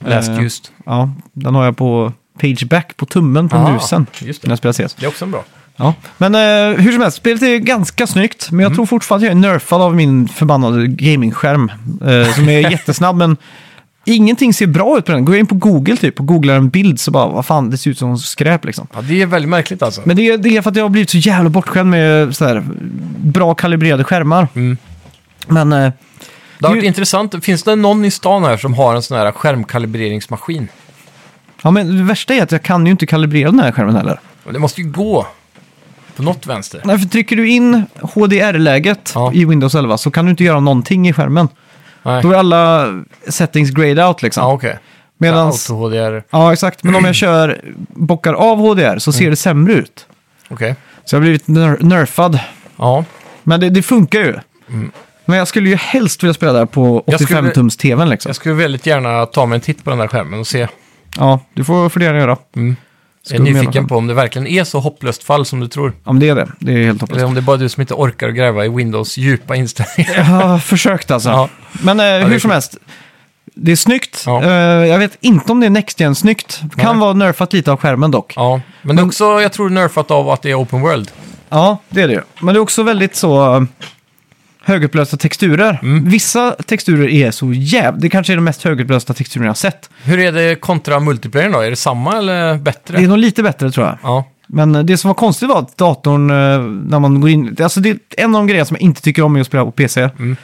Speaker 2: Last
Speaker 1: Eh,
Speaker 2: used.
Speaker 1: Ja, den har jag på page back på tummen på
Speaker 2: Ah,
Speaker 1: musen.
Speaker 2: just det.
Speaker 1: När jag spelar CS.
Speaker 2: Det är också en bra.
Speaker 1: Ja. Men eh, hur som helst, spelet är ganska snyggt. Men jag
Speaker 2: Mm.
Speaker 1: tror fortfarande jag är nerfad av min förbannade gamingskärm. Eh, som är jättesnabb, men ingenting ser bra ut på den. Går jag in på Google typ och googlar en bild så bara, vad fan, det ser ut som skräp liksom.
Speaker 2: Ja, det är väldigt märkligt alltså.
Speaker 1: Men det, är- det är för att jag har blivit så jävla bortskämd med så här, bra kalibrerade skärmar.
Speaker 2: Mm.
Speaker 1: Men eh,
Speaker 2: det har varit
Speaker 1: ju-
Speaker 2: intressant. Finns det någon i stan här som har en sån här skärmkalibreringsmaskin?
Speaker 1: ja, men det värsta är att jag kan ju inte kalibrera den här skärmen heller.
Speaker 2: Och Det måste ju gå på något vänster.
Speaker 1: Nej, för trycker du in HDR-läget
Speaker 2: Ja.
Speaker 1: i Windows 11 så kan du inte göra någonting i skärmen.
Speaker 2: Nej.
Speaker 1: Då är alla settings grayed out liksom.
Speaker 2: Ja, okej.
Speaker 1: Medans, ja,
Speaker 2: Auto-HDR.
Speaker 1: exakt. Men om jag kör, bockar av HDR så
Speaker 2: Mm.
Speaker 1: ser det sämre ut.
Speaker 2: Okej.
Speaker 1: Så jag har blivit ner nerfad.
Speaker 2: Ja.
Speaker 1: Men det, det funkar ju. Men jag skulle ju helst vilja spela där på
Speaker 2: Mm. Jag skulle-
Speaker 1: 85-tums-tvn liksom.
Speaker 2: Jag skulle väldigt gärna ta mig en titt på den där skärmen och se.
Speaker 1: Ja, du får fundera och göra.
Speaker 2: Jag är
Speaker 1: Skum i alla
Speaker 2: nyfiken
Speaker 1: fall.
Speaker 2: på om det verkligen är så hopplöst fall som du tror.
Speaker 1: Ja, men det är det. Det är helt hopplöst.
Speaker 2: Eller om det är bara du som inte orkar gräva i Windows djupa inställningar.
Speaker 1: Jag har försökt alltså.
Speaker 2: Ja.
Speaker 1: Men eh,
Speaker 2: är
Speaker 1: hur som
Speaker 2: sjukt.
Speaker 1: helst. Det är snyggt.
Speaker 2: Ja.
Speaker 1: Eh, jag vet inte om det är Next Gen snyggt. Kan
Speaker 2: Nej.
Speaker 1: vara nerfat lite av skärmen dock.
Speaker 2: Ja, men det är också, jag tror, nerfat av att det är open world.
Speaker 1: Ja, det är det ju. Men det är också väldigt så eh, högupplösta texturer.
Speaker 2: Mm.
Speaker 1: Vissa texturer är så jävla... Det kanske är de mest högupplösta texturerna jag har sett.
Speaker 2: Hur är det kontra multiplayer då? Är det samma eller bättre?
Speaker 1: Det är nog lite bättre tror jag.
Speaker 2: Ja,
Speaker 1: Men eh, det som var konstigt var att datorn, eh, när man går in... Alltså det är en av de grejerna som jag inte tycker om med att spela på PC.
Speaker 2: Mm.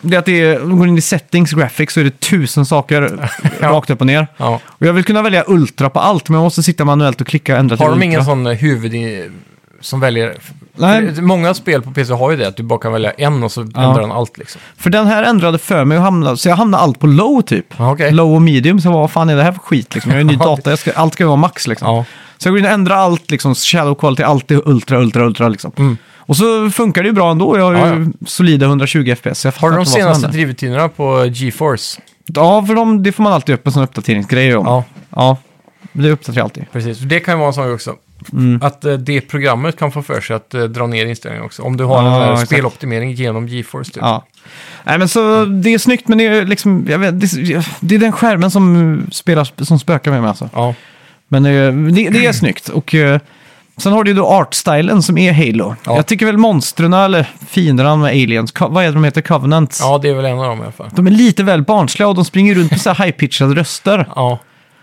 Speaker 1: Det är att det är, om man går in i settings, graphics, så är det tusen saker rakt upp och ner.
Speaker 2: ja.
Speaker 1: Och jag vill kunna välja ultra på allt, men jag måste sitta manuellt och klicka och ändra till
Speaker 2: Har de
Speaker 1: ultra.
Speaker 2: ingen sån eh, huvud i, som väljer?
Speaker 1: Nej.
Speaker 2: För Många spel på PC har ju det, att du bara kan välja en och så ändrar den allt liksom.
Speaker 1: För den här ändrade för mig och hamnade, så jag hamnade allt på low typ.
Speaker 2: Ja, okej.
Speaker 1: Low och medium, så jag bara, vad fan är det här för skit liksom? Jag har ju ny data, jag ska, allt ska vara max liksom.
Speaker 2: Ja.
Speaker 1: Så jag går in och ändrar allt, liksom, shadow quality, allt är ultra, ultra, ultra liksom. Och så funkar det ju bra ändå, jag har ju
Speaker 2: Mm. Ja,
Speaker 1: solida 120 FPS. så Jag
Speaker 2: Har
Speaker 1: fattar
Speaker 2: du
Speaker 1: inte
Speaker 2: de
Speaker 1: vad som
Speaker 2: senaste
Speaker 1: händer.
Speaker 2: drivtiderna på eh, GeForce?
Speaker 1: Ja, för de, det får man alltid upp en sån uppdateringsgrej om.
Speaker 2: Ja.
Speaker 1: ja. Det uppdaterar jag alltid.
Speaker 2: Precis, det kan ju vara en sån grej också.
Speaker 1: Mm.
Speaker 2: Att eh, det programmet kan få för sig att eh, dra ner inställningen också. Om du har
Speaker 1: Ja,
Speaker 2: en sån här
Speaker 1: exakt.
Speaker 2: speloptimering genom GeForce typ.
Speaker 1: Ja. Nej, men så det är snyggt, men det är liksom, jag vet, det, det är den skärmen som, spelar, som spökar med mig alltså.
Speaker 2: Ja.
Speaker 1: Men eh, det, det är snyggt. Och eh, sen har du ju då artstylen som är Halo.
Speaker 2: Ja.
Speaker 1: Jag tycker väl monstren, eller fienderna med aliens, co- vad är det de heter? Covenants?
Speaker 2: ja, det är väl en av dem i alla fall.
Speaker 1: De är lite väl barnsliga och de springer runt på så här high-pitchade röster.
Speaker 2: Ja.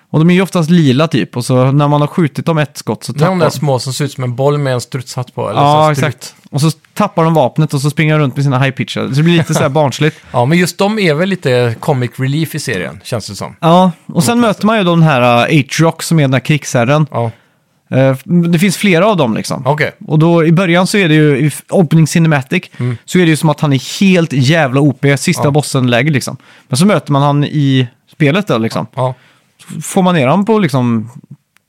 Speaker 1: Och de är ju oftast lila typ. Och så när man har skjutit dem ett skott så
Speaker 2: Det är
Speaker 1: tappar
Speaker 2: de där små som ser ut som en boll med en strutshatt på. Eller så
Speaker 1: Ja,
Speaker 2: här strut.
Speaker 1: exakt. Och så tappar de vapnet och så springer de runt med sina high-pitchade. Så det blir lite så här barnsligt.
Speaker 2: Ja, men just de är väl lite comic relief i serien, känns det som.
Speaker 1: Ja, och sen möter man ju då den här uh, H-Rock som är den här krigsherren.
Speaker 2: Ja,
Speaker 1: Eh, Det finns flera av dem liksom.
Speaker 2: okej.
Speaker 1: Och då i början så är det ju, i f- opening cinematic, så är det ju som att han är helt jävla OP, sista
Speaker 2: Mm. Ja.
Speaker 1: bossen-läge liksom. Men så möter man han i spelet då liksom.
Speaker 2: Ja.
Speaker 1: Får man ner honom på liksom,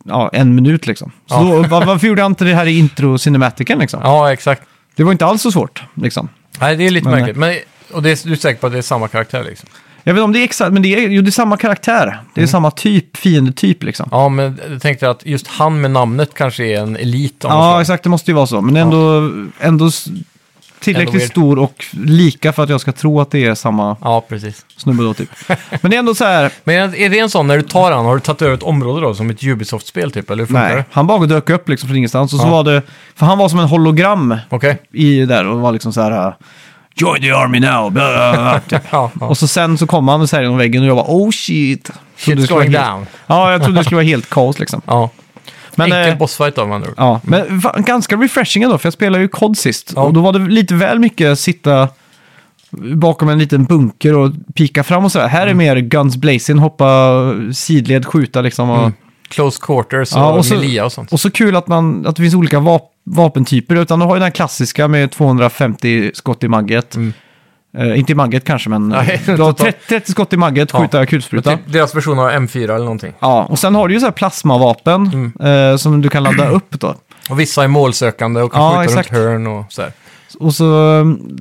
Speaker 1: ja, en minut liksom. Så
Speaker 2: Ja.
Speaker 1: då, va- varför gjorde han inte det här i intro-cinematicen liksom?
Speaker 2: ja, exakt.
Speaker 1: Det var inte alls så svårt liksom.
Speaker 2: Nej, det är lite
Speaker 1: Men-
Speaker 2: märkligt. Men, och det är, du är säker på att det är samma karaktär liksom?
Speaker 1: Jag vet inte om det är exakt, men det är ju det är samma karaktär. Det är samma typ, fiendetyp liksom.
Speaker 2: Mm. Ja, men jag tänkte att just han med namnet kanske är en elit. Om
Speaker 1: Ja,
Speaker 2: man säger.
Speaker 1: exakt. Det måste ju vara så. Men ändå, ändå s- tillräckligt
Speaker 2: Ändå weird.
Speaker 1: stor och lika för att jag ska tro att det är samma
Speaker 2: ja, precis.
Speaker 1: snubbe då, typ. Men det är ändå så här,
Speaker 2: Men är det en sån, när du tar han, har du tagit över ett område då, som ett Ubisoft-spel typ? Eller hur funkar
Speaker 1: nej,
Speaker 2: det?
Speaker 1: han bara dök upp liksom från ingenstans. Och så
Speaker 2: Ja.
Speaker 1: var det, för han var som en hologram
Speaker 2: Okej.
Speaker 1: i där och var liksom så här, join the army now, bla, bla, bla, typ.
Speaker 2: Ja, ja.
Speaker 1: Och så sen så kom han och så här genom väggen och jag bara, oh shit. Trodde det
Speaker 2: Shit's
Speaker 1: skulle vara
Speaker 2: going
Speaker 1: helt-
Speaker 2: down.
Speaker 1: Ja, jag trodde det skulle vara helt kaos liksom.
Speaker 2: Ja.
Speaker 1: Men,
Speaker 2: Enkel
Speaker 1: eh,
Speaker 2: bossfight av med andra ord.
Speaker 1: Ja, men va- ganska refreshing ändå, för jag spelade ju COD sist.
Speaker 2: Ja.
Speaker 1: Och då var det lite väl mycket sitta bakom en liten bunker och pika fram och sådär. Här
Speaker 2: Mm.
Speaker 1: är mer guns blazing, hoppa sidled, skjuta liksom. Och,
Speaker 2: Mm. Close quarters och,
Speaker 1: Ja, och så-
Speaker 2: melia och sånt.
Speaker 1: och så kul att, man, att det finns olika vap- vapentyper, utan du har ju den här klassiska med 250 skott i magget. Eh, inte i magget kanske, men
Speaker 2: Mm. Nej,
Speaker 1: du har
Speaker 2: totalt.
Speaker 1: 30, 30 skott i magget,
Speaker 2: Ja.
Speaker 1: skjuta kulspruta.
Speaker 2: Typ deras version av M4 eller någonting.
Speaker 1: Ja, och sen har du ju så här plasmavapen
Speaker 2: Mm.
Speaker 1: eh, som du kan ladda upp då.
Speaker 2: Och vissa är målsökande och kan
Speaker 1: Ja,
Speaker 2: skjuta
Speaker 1: exakt.
Speaker 2: runt hörn och sådär.
Speaker 1: Och så um,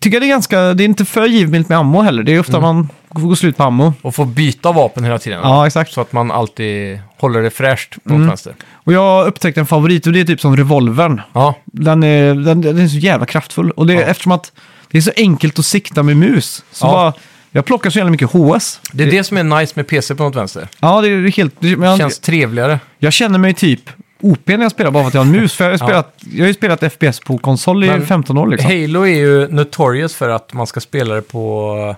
Speaker 1: tycker jag det är ganska, det är inte för givmilt med ammo heller. Det är
Speaker 2: Mm.
Speaker 1: ofta man får gå slut på ammo.
Speaker 2: Och få byta vapen hela tiden.
Speaker 1: Ja, Mm. exakt.
Speaker 2: Så att man alltid håller det fräscht på något vänster.
Speaker 1: Och jag upptäckte en favorit och det är typ som revolvern.
Speaker 2: Ja,
Speaker 1: Den är, den, den är så jävla kraftfull. Och det är
Speaker 2: Ja.
Speaker 1: eftersom att det är så enkelt att sikta med mus. Så
Speaker 2: Ja.
Speaker 1: bara, jag plockar så jävla mycket HS.
Speaker 2: det är det som är nice med PC på något vänster.
Speaker 1: Ja, det är helt... det- Men jag,
Speaker 2: Känns trevligare.
Speaker 1: jag känner mig typ OP när jag spelar bara för att jag har en mus. För jag har ju spelat, jag har ju spelat FPS på konsol i
Speaker 2: Men-
Speaker 1: 15 år liksom.
Speaker 2: Halo är ju notorious för att man ska spela det på eh,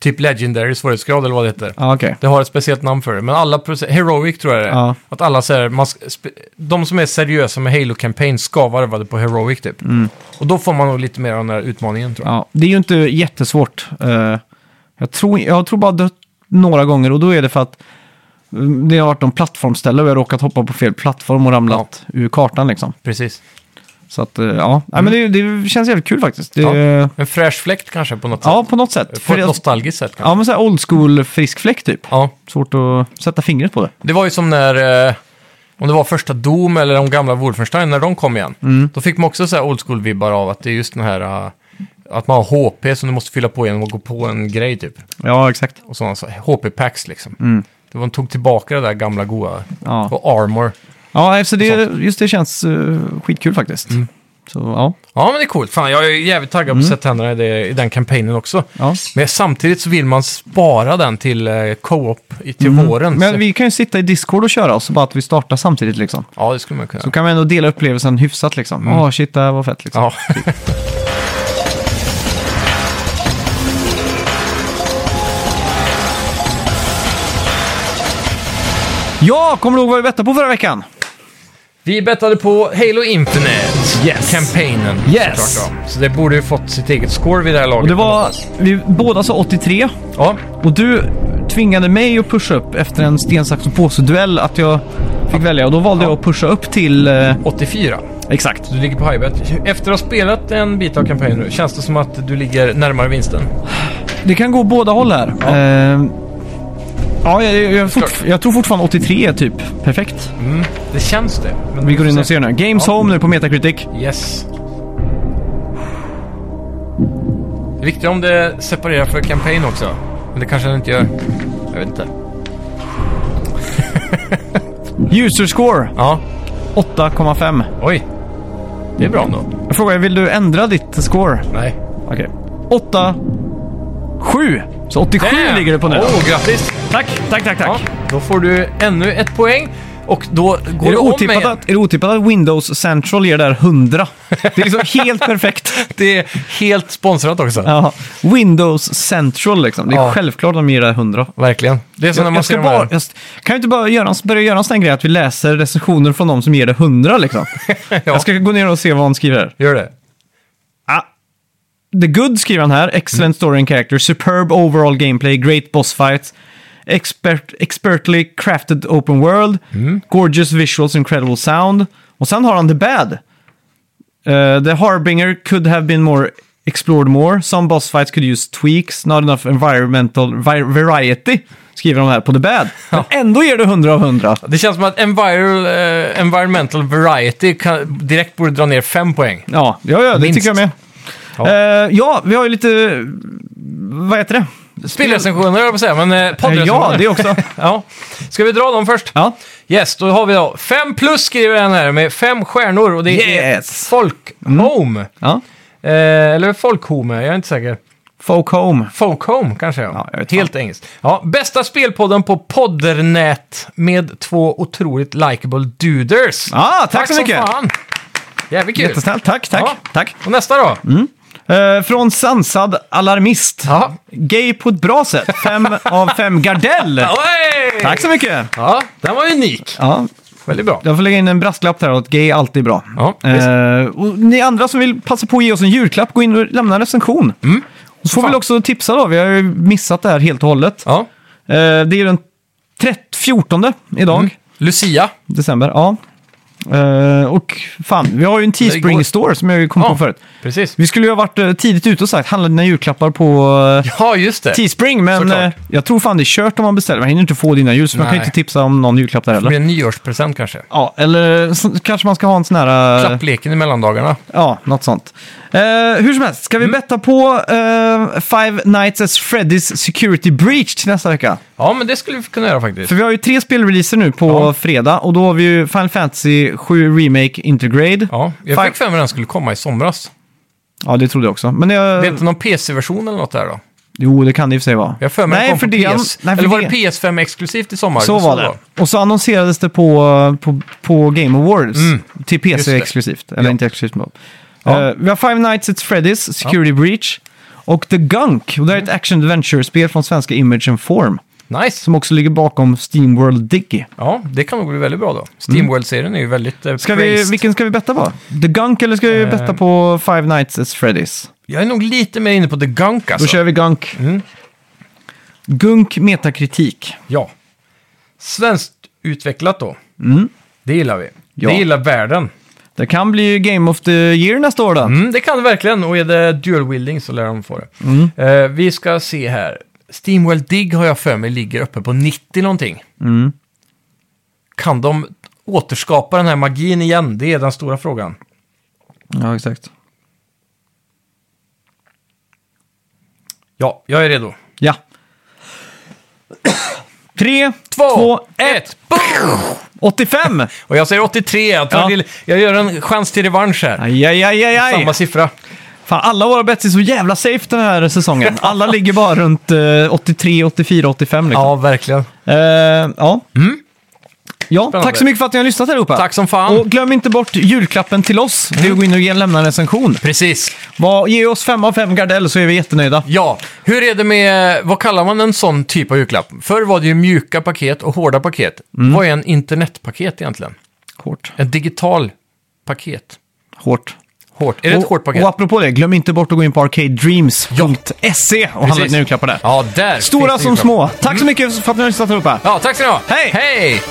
Speaker 2: typ Legendary svårighetsgrad eller vad det heter.
Speaker 1: Ja, okej.
Speaker 2: Det har ett speciellt namn för det, men alla proce- Heroic tror jag det är.
Speaker 1: Ja.
Speaker 2: Att alla säger, man ska spe- de som är seriösa med halo campaign ska varva det på Heroic typ.
Speaker 1: Mm.
Speaker 2: Och då får man nog lite mer av den här utmaningen tror jag.
Speaker 1: Ja, det är ju inte jättesvårt. Eh, jag, tror, jag tror bara dött några gånger och då är det för att eh, det har varit någon plattformställe och jag har råkat hoppa på fel plattform och ramlat ur kartan liksom.
Speaker 2: Precis.
Speaker 1: Så att, eh, ja. Nej, men det, det känns jävligt kul faktiskt. Det, ja.
Speaker 2: Mm. Ja. En fräsch fläkt kanske på något
Speaker 1: på något sätt.
Speaker 2: sätt. På
Speaker 1: För
Speaker 2: ett
Speaker 1: jag,
Speaker 2: nostalgiskt sätt kanske.
Speaker 1: ja, men så här old school frisk fläkt typ.
Speaker 2: Ja.
Speaker 1: Svårt att sätta fingret på det.
Speaker 2: Det var ju som när, eh, om det var första Doom eller de gamla Wolfenstein, när de kom igen.
Speaker 1: Mm.
Speaker 2: Då fick man också så här old school-vibbar av att det är just den här, eh, att man har HP som du måste fylla på genom att gå på en grej typ.
Speaker 1: Ja, exakt.
Speaker 2: Och sådana så, HP-packs liksom. Det var, de tog tillbaka det där gamla goa.
Speaker 1: Mm. Ja,
Speaker 2: Och armor.
Speaker 1: ja så det, just det känns eh, skitkul faktiskt. Så ja.
Speaker 2: Ja, men det är coolt. Fan, jag är jävligt taggad på att sätta händerna i, det, i den kampanjen också.
Speaker 1: Mm. ja.
Speaker 2: Men samtidigt så vill man spara den till eh, co-op i, till våren. så-
Speaker 1: Mm. Men vi kan ju sitta i Discord och köra och så bara att vi startar samtidigt liksom.
Speaker 2: Ja, det skulle man kunna.
Speaker 1: Så kan man ändå dela upplevelsen hyfsat liksom. Åh, shit, det här var fett liksom.
Speaker 2: Ja.
Speaker 1: Ja, kommer du ihåg vad vi bettade på förra veckan?
Speaker 2: Vi bettade på Halo Infinite.
Speaker 1: Yes.
Speaker 2: Kampanjen.
Speaker 1: Yes.
Speaker 2: såklart då. Så det borde ju fått sitt eget score vid det här laget.
Speaker 1: Och det var, vi båda sa 83
Speaker 2: Ja,
Speaker 1: och du tvingade mig att pusha upp efter en sten, sax och påse-duell att jag fick välja och då valde jag att pusha upp till... Eh,
Speaker 2: 84.
Speaker 1: Exakt.
Speaker 2: Du ligger på high bet. Efter att ha spelat en bit av kampanjen nu, känns det som att du ligger närmare vinsten?
Speaker 1: Det kan gå båda håll här. Ja, eh, ja jag, jag, jag, fort, jag tror fortfarande 83 är typ perfekt.
Speaker 2: Det känns det. Men
Speaker 1: Vi
Speaker 2: vi
Speaker 1: går
Speaker 2: får
Speaker 1: in och
Speaker 2: se.
Speaker 1: ser nu. Games
Speaker 2: Ja.
Speaker 1: Home nu på Metacritic.
Speaker 2: Yes. Det är viktigt om det separerar för kampanj också. Men det kanske den inte gör. Jag vet inte.
Speaker 1: User score.
Speaker 2: Ja.
Speaker 1: 8,5.
Speaker 2: Oj. Det är bra ändå.
Speaker 1: Jag frågar, vill du ändra ditt score?
Speaker 2: Nej.
Speaker 1: Okej. 8, 7. Så 87
Speaker 2: Damn!
Speaker 1: ligger du på nu.
Speaker 2: Åh, grattis!
Speaker 1: Tack, tack, tack, tack.
Speaker 2: Ja, då får du ännu ett poäng. Och då går
Speaker 1: Är det,
Speaker 2: du om
Speaker 1: otippat
Speaker 2: igen.
Speaker 1: att, är det otippat att Windows Central ger där 100? Det är liksom helt perfekt.
Speaker 2: Det är helt sponsrat också.
Speaker 1: Ja. Windows Central liksom. Det är
Speaker 2: Ja.
Speaker 1: självklart de ger där 100.
Speaker 2: Verkligen. Det är som när
Speaker 1: Jag,
Speaker 2: man
Speaker 1: jag
Speaker 2: ser
Speaker 1: ska
Speaker 2: de här...
Speaker 1: bara, jag, st- kan jag inte bara göra, en- börja göra en sån här grej att vi läser recensioner från de som ger det 100 liksom? Jag ska gå ner och se vad han skriver här.
Speaker 2: Gör det.
Speaker 1: Ah. The Good skriver han här. Excellent story and character. Superb overall gameplay. Great boss fights. Expert, expertly crafted open world. Gorgeous visuals. Incredible sound. Och sen har han The Bad. Eh, the Harbinger could have been more explored more. Some boss fights could use tweaks. Not enough environmental vi- variety. Skriver de här på The Bad. Men ändå ger du 100 av 100.
Speaker 2: Det känns som att enviral, eh, environmental variety kan, direkt borde dra ner fem poäng.
Speaker 1: Ja, ja, ja det
Speaker 2: Minst.
Speaker 1: tycker jag med.
Speaker 2: Ja.
Speaker 1: Ja. ja, vi har ju lite... Vad heter det?
Speaker 2: Spelrecensioner höll jag på att säga, men eh,
Speaker 1: Eh,
Speaker 2: poddrecensioner.
Speaker 1: Ja, det också.
Speaker 2: ja. Ska vi dra dem först?
Speaker 1: Ja.
Speaker 2: Yes, då har vi då fem plus skriver den här med fem stjärnor och det
Speaker 1: Yes. Mm.
Speaker 2: är Folkhome.
Speaker 1: ja.
Speaker 2: Eh, eller Folkhome, jag är inte säker.
Speaker 1: Folk home.
Speaker 2: Folkhome kanske
Speaker 1: Ja, jag vet
Speaker 2: Helt engelskt. Ja, bästa spelpodden på Poddernät med två otroligt likable duders.
Speaker 1: Ah, tack så
Speaker 2: som
Speaker 1: mycket.
Speaker 2: Fan. Jävligt kul.
Speaker 1: Jättesnällt. Tack, tack.
Speaker 2: Ja.
Speaker 1: tack.
Speaker 2: Och nästa då?
Speaker 1: Eh, från sansad alarmist.
Speaker 2: Ja.
Speaker 1: Gay på ett bra sätt. Fem av fem Gardell.
Speaker 2: Oj!
Speaker 1: Tack så mycket.
Speaker 2: Ja, den var unik.
Speaker 1: Ja,
Speaker 2: Väldigt bra.
Speaker 1: jag får lägga in en brasklapp där att gay är alltid bra.
Speaker 2: Ja, visst.
Speaker 1: Eh, och ni andra som vill passa på att ge oss en julklapp, gå in och lämna en recension. Och så får vi
Speaker 2: Mm. Fan.
Speaker 1: väl också tipsa då, vi har ju missat det här helt och hållet.
Speaker 2: Ja.
Speaker 1: Eh, det är den 30, 14 idag,
Speaker 2: Mm. Lucia.
Speaker 1: december. Ja. Eh, och fan, vi har ju en
Speaker 2: igår.
Speaker 1: Teespring-store som jag ju kom på
Speaker 2: Ja.
Speaker 1: förut.
Speaker 2: Precis.
Speaker 1: Vi skulle ju ha varit eh, tidigt ute och sagt handla dina julklappar på eh,
Speaker 2: Ja, just det.
Speaker 1: Teespring, men
Speaker 2: Såklart.
Speaker 1: eh, jag tror fan det är kört om man beställer. Man hinner inte få dina ljus, så man kan
Speaker 2: Nej.
Speaker 1: inte tipsa om någon julklapp där
Speaker 2: Det blir
Speaker 1: heller.
Speaker 2: en nyårspresent kanske.
Speaker 1: Ja, eller så, kanske man ska ha en sån här... eh,
Speaker 2: Klappleken i mellandagarna.
Speaker 1: Ja, något sånt. Eh, hur som helst, ska vi
Speaker 2: Mm.
Speaker 1: betta på eh, Five Nights at Freddy's Security Breach till nästa vecka?
Speaker 2: Ja, men det skulle vi kunna göra faktiskt.
Speaker 1: För vi har ju tre spelreleaser nu på
Speaker 2: Ja.
Speaker 1: fredag och då har vi ju Final Fantasy 7 Remake Intergrade. Ja,
Speaker 2: Ja, jag
Speaker 1: Fan.
Speaker 2: fick för mig den skulle komma i somras.
Speaker 1: det trodde jag också. Men
Speaker 2: Det är
Speaker 1: jag,
Speaker 2: inte någon PC-version eller något där då?
Speaker 1: jo, det kan det i och för sig vara.
Speaker 2: Jag har för mig den kom
Speaker 1: för
Speaker 2: på
Speaker 1: det-
Speaker 2: PS.
Speaker 1: nej, för
Speaker 2: eller var
Speaker 1: det-
Speaker 2: det PS5 exklusivt i sommar?
Speaker 1: Så var det. Och så annonserades det på, på, på Game Awards
Speaker 2: Mm.
Speaker 1: till
Speaker 2: Just det.
Speaker 1: PC exklusivt. Eller
Speaker 2: Ja.
Speaker 1: inte exklusivt. Men.
Speaker 2: Ja.
Speaker 1: Eh, vi har Five Nights at Freddy's, Security Breach och The Gunk. Och det är
Speaker 2: Mm.
Speaker 1: ett action adventure-spel från svenska Image and Form.
Speaker 2: Nice.
Speaker 1: Som också ligger bakom Steamworld Diggy.
Speaker 2: Ja, det kan nog bli väldigt bra då. Steamworld-serien är ju väldigt eh,
Speaker 1: Mm. Ska vi,
Speaker 2: praised.
Speaker 1: vilken ska vi betta på? The Gunk eller ska vi
Speaker 2: Eh.
Speaker 1: betta på Five Nights at Freddy's?
Speaker 2: Jag är nog lite mer inne på The Gunk
Speaker 1: Då
Speaker 2: alltså.
Speaker 1: kör vi Gunk.
Speaker 2: Mm.
Speaker 1: Gunk metakritik.
Speaker 2: Ja. Svenskt utvecklat då. Det gillar vi.
Speaker 1: Mm. Ja.
Speaker 2: Det gillar världen.
Speaker 1: Det kan bli Game of the Year nästa år då.
Speaker 2: Mm, det kan det verkligen. Och är det dual wielding så lär de få det.
Speaker 1: Mm.
Speaker 2: Eh, vi ska se här. Steamworld Dig har jag för mig ligger uppe på 90 någonting.
Speaker 1: Mm.
Speaker 2: Kan de återskapa den här magin igen? Det är den stora frågan.
Speaker 1: Ja, exakt.
Speaker 2: Ja, jag är redo.
Speaker 1: Ja. Tre,
Speaker 2: Två,
Speaker 1: två,
Speaker 2: ett, boom!
Speaker 1: 85!
Speaker 2: Och jag säger 83. Jag, tar
Speaker 1: Ja.
Speaker 2: till, jag gör en chans till revansch här.
Speaker 1: Aj, aj, aj, aj, aj.
Speaker 2: Samma siffra.
Speaker 1: Fan, alla våra bets är så jävla safe den här säsongen. Alla ligger bara runt eh, 83, 84, 85 liksom.
Speaker 2: Ja, verkligen.
Speaker 1: Ja, ja. ja tack
Speaker 2: Spännande.
Speaker 1: så mycket för att ni har lyssnat allihopa.
Speaker 2: Tack som fan.
Speaker 1: Och glöm inte bort julklappen till oss. Det är att gå in och ge- lämna en recension.
Speaker 2: Precis.
Speaker 1: Vad- Ge oss fem av fem Gardell så är vi jättenöjda.
Speaker 2: Ja, hur är det med, vad kallar man en sån typ av julklapp? Förr var det ju mjuka paket och hårda paket.
Speaker 1: Mm.
Speaker 2: Vad är en internetpaket egentligen?
Speaker 1: Hårt.
Speaker 2: En digital paket.
Speaker 1: Hårt.
Speaker 2: Hårt. Är det ett
Speaker 1: och,
Speaker 2: hårt paket?
Speaker 1: Och apropå det, glöm inte bort att gå in på arcadedreams.se och handla dina julklappar där.
Speaker 2: Ja, där
Speaker 1: Stora
Speaker 2: finns det
Speaker 1: som
Speaker 2: julklapp.
Speaker 1: små. Tack så mycket för att ni har lyssnat allihopa.
Speaker 2: Ja, tack ska ni ha.
Speaker 1: Hej!
Speaker 2: Hej!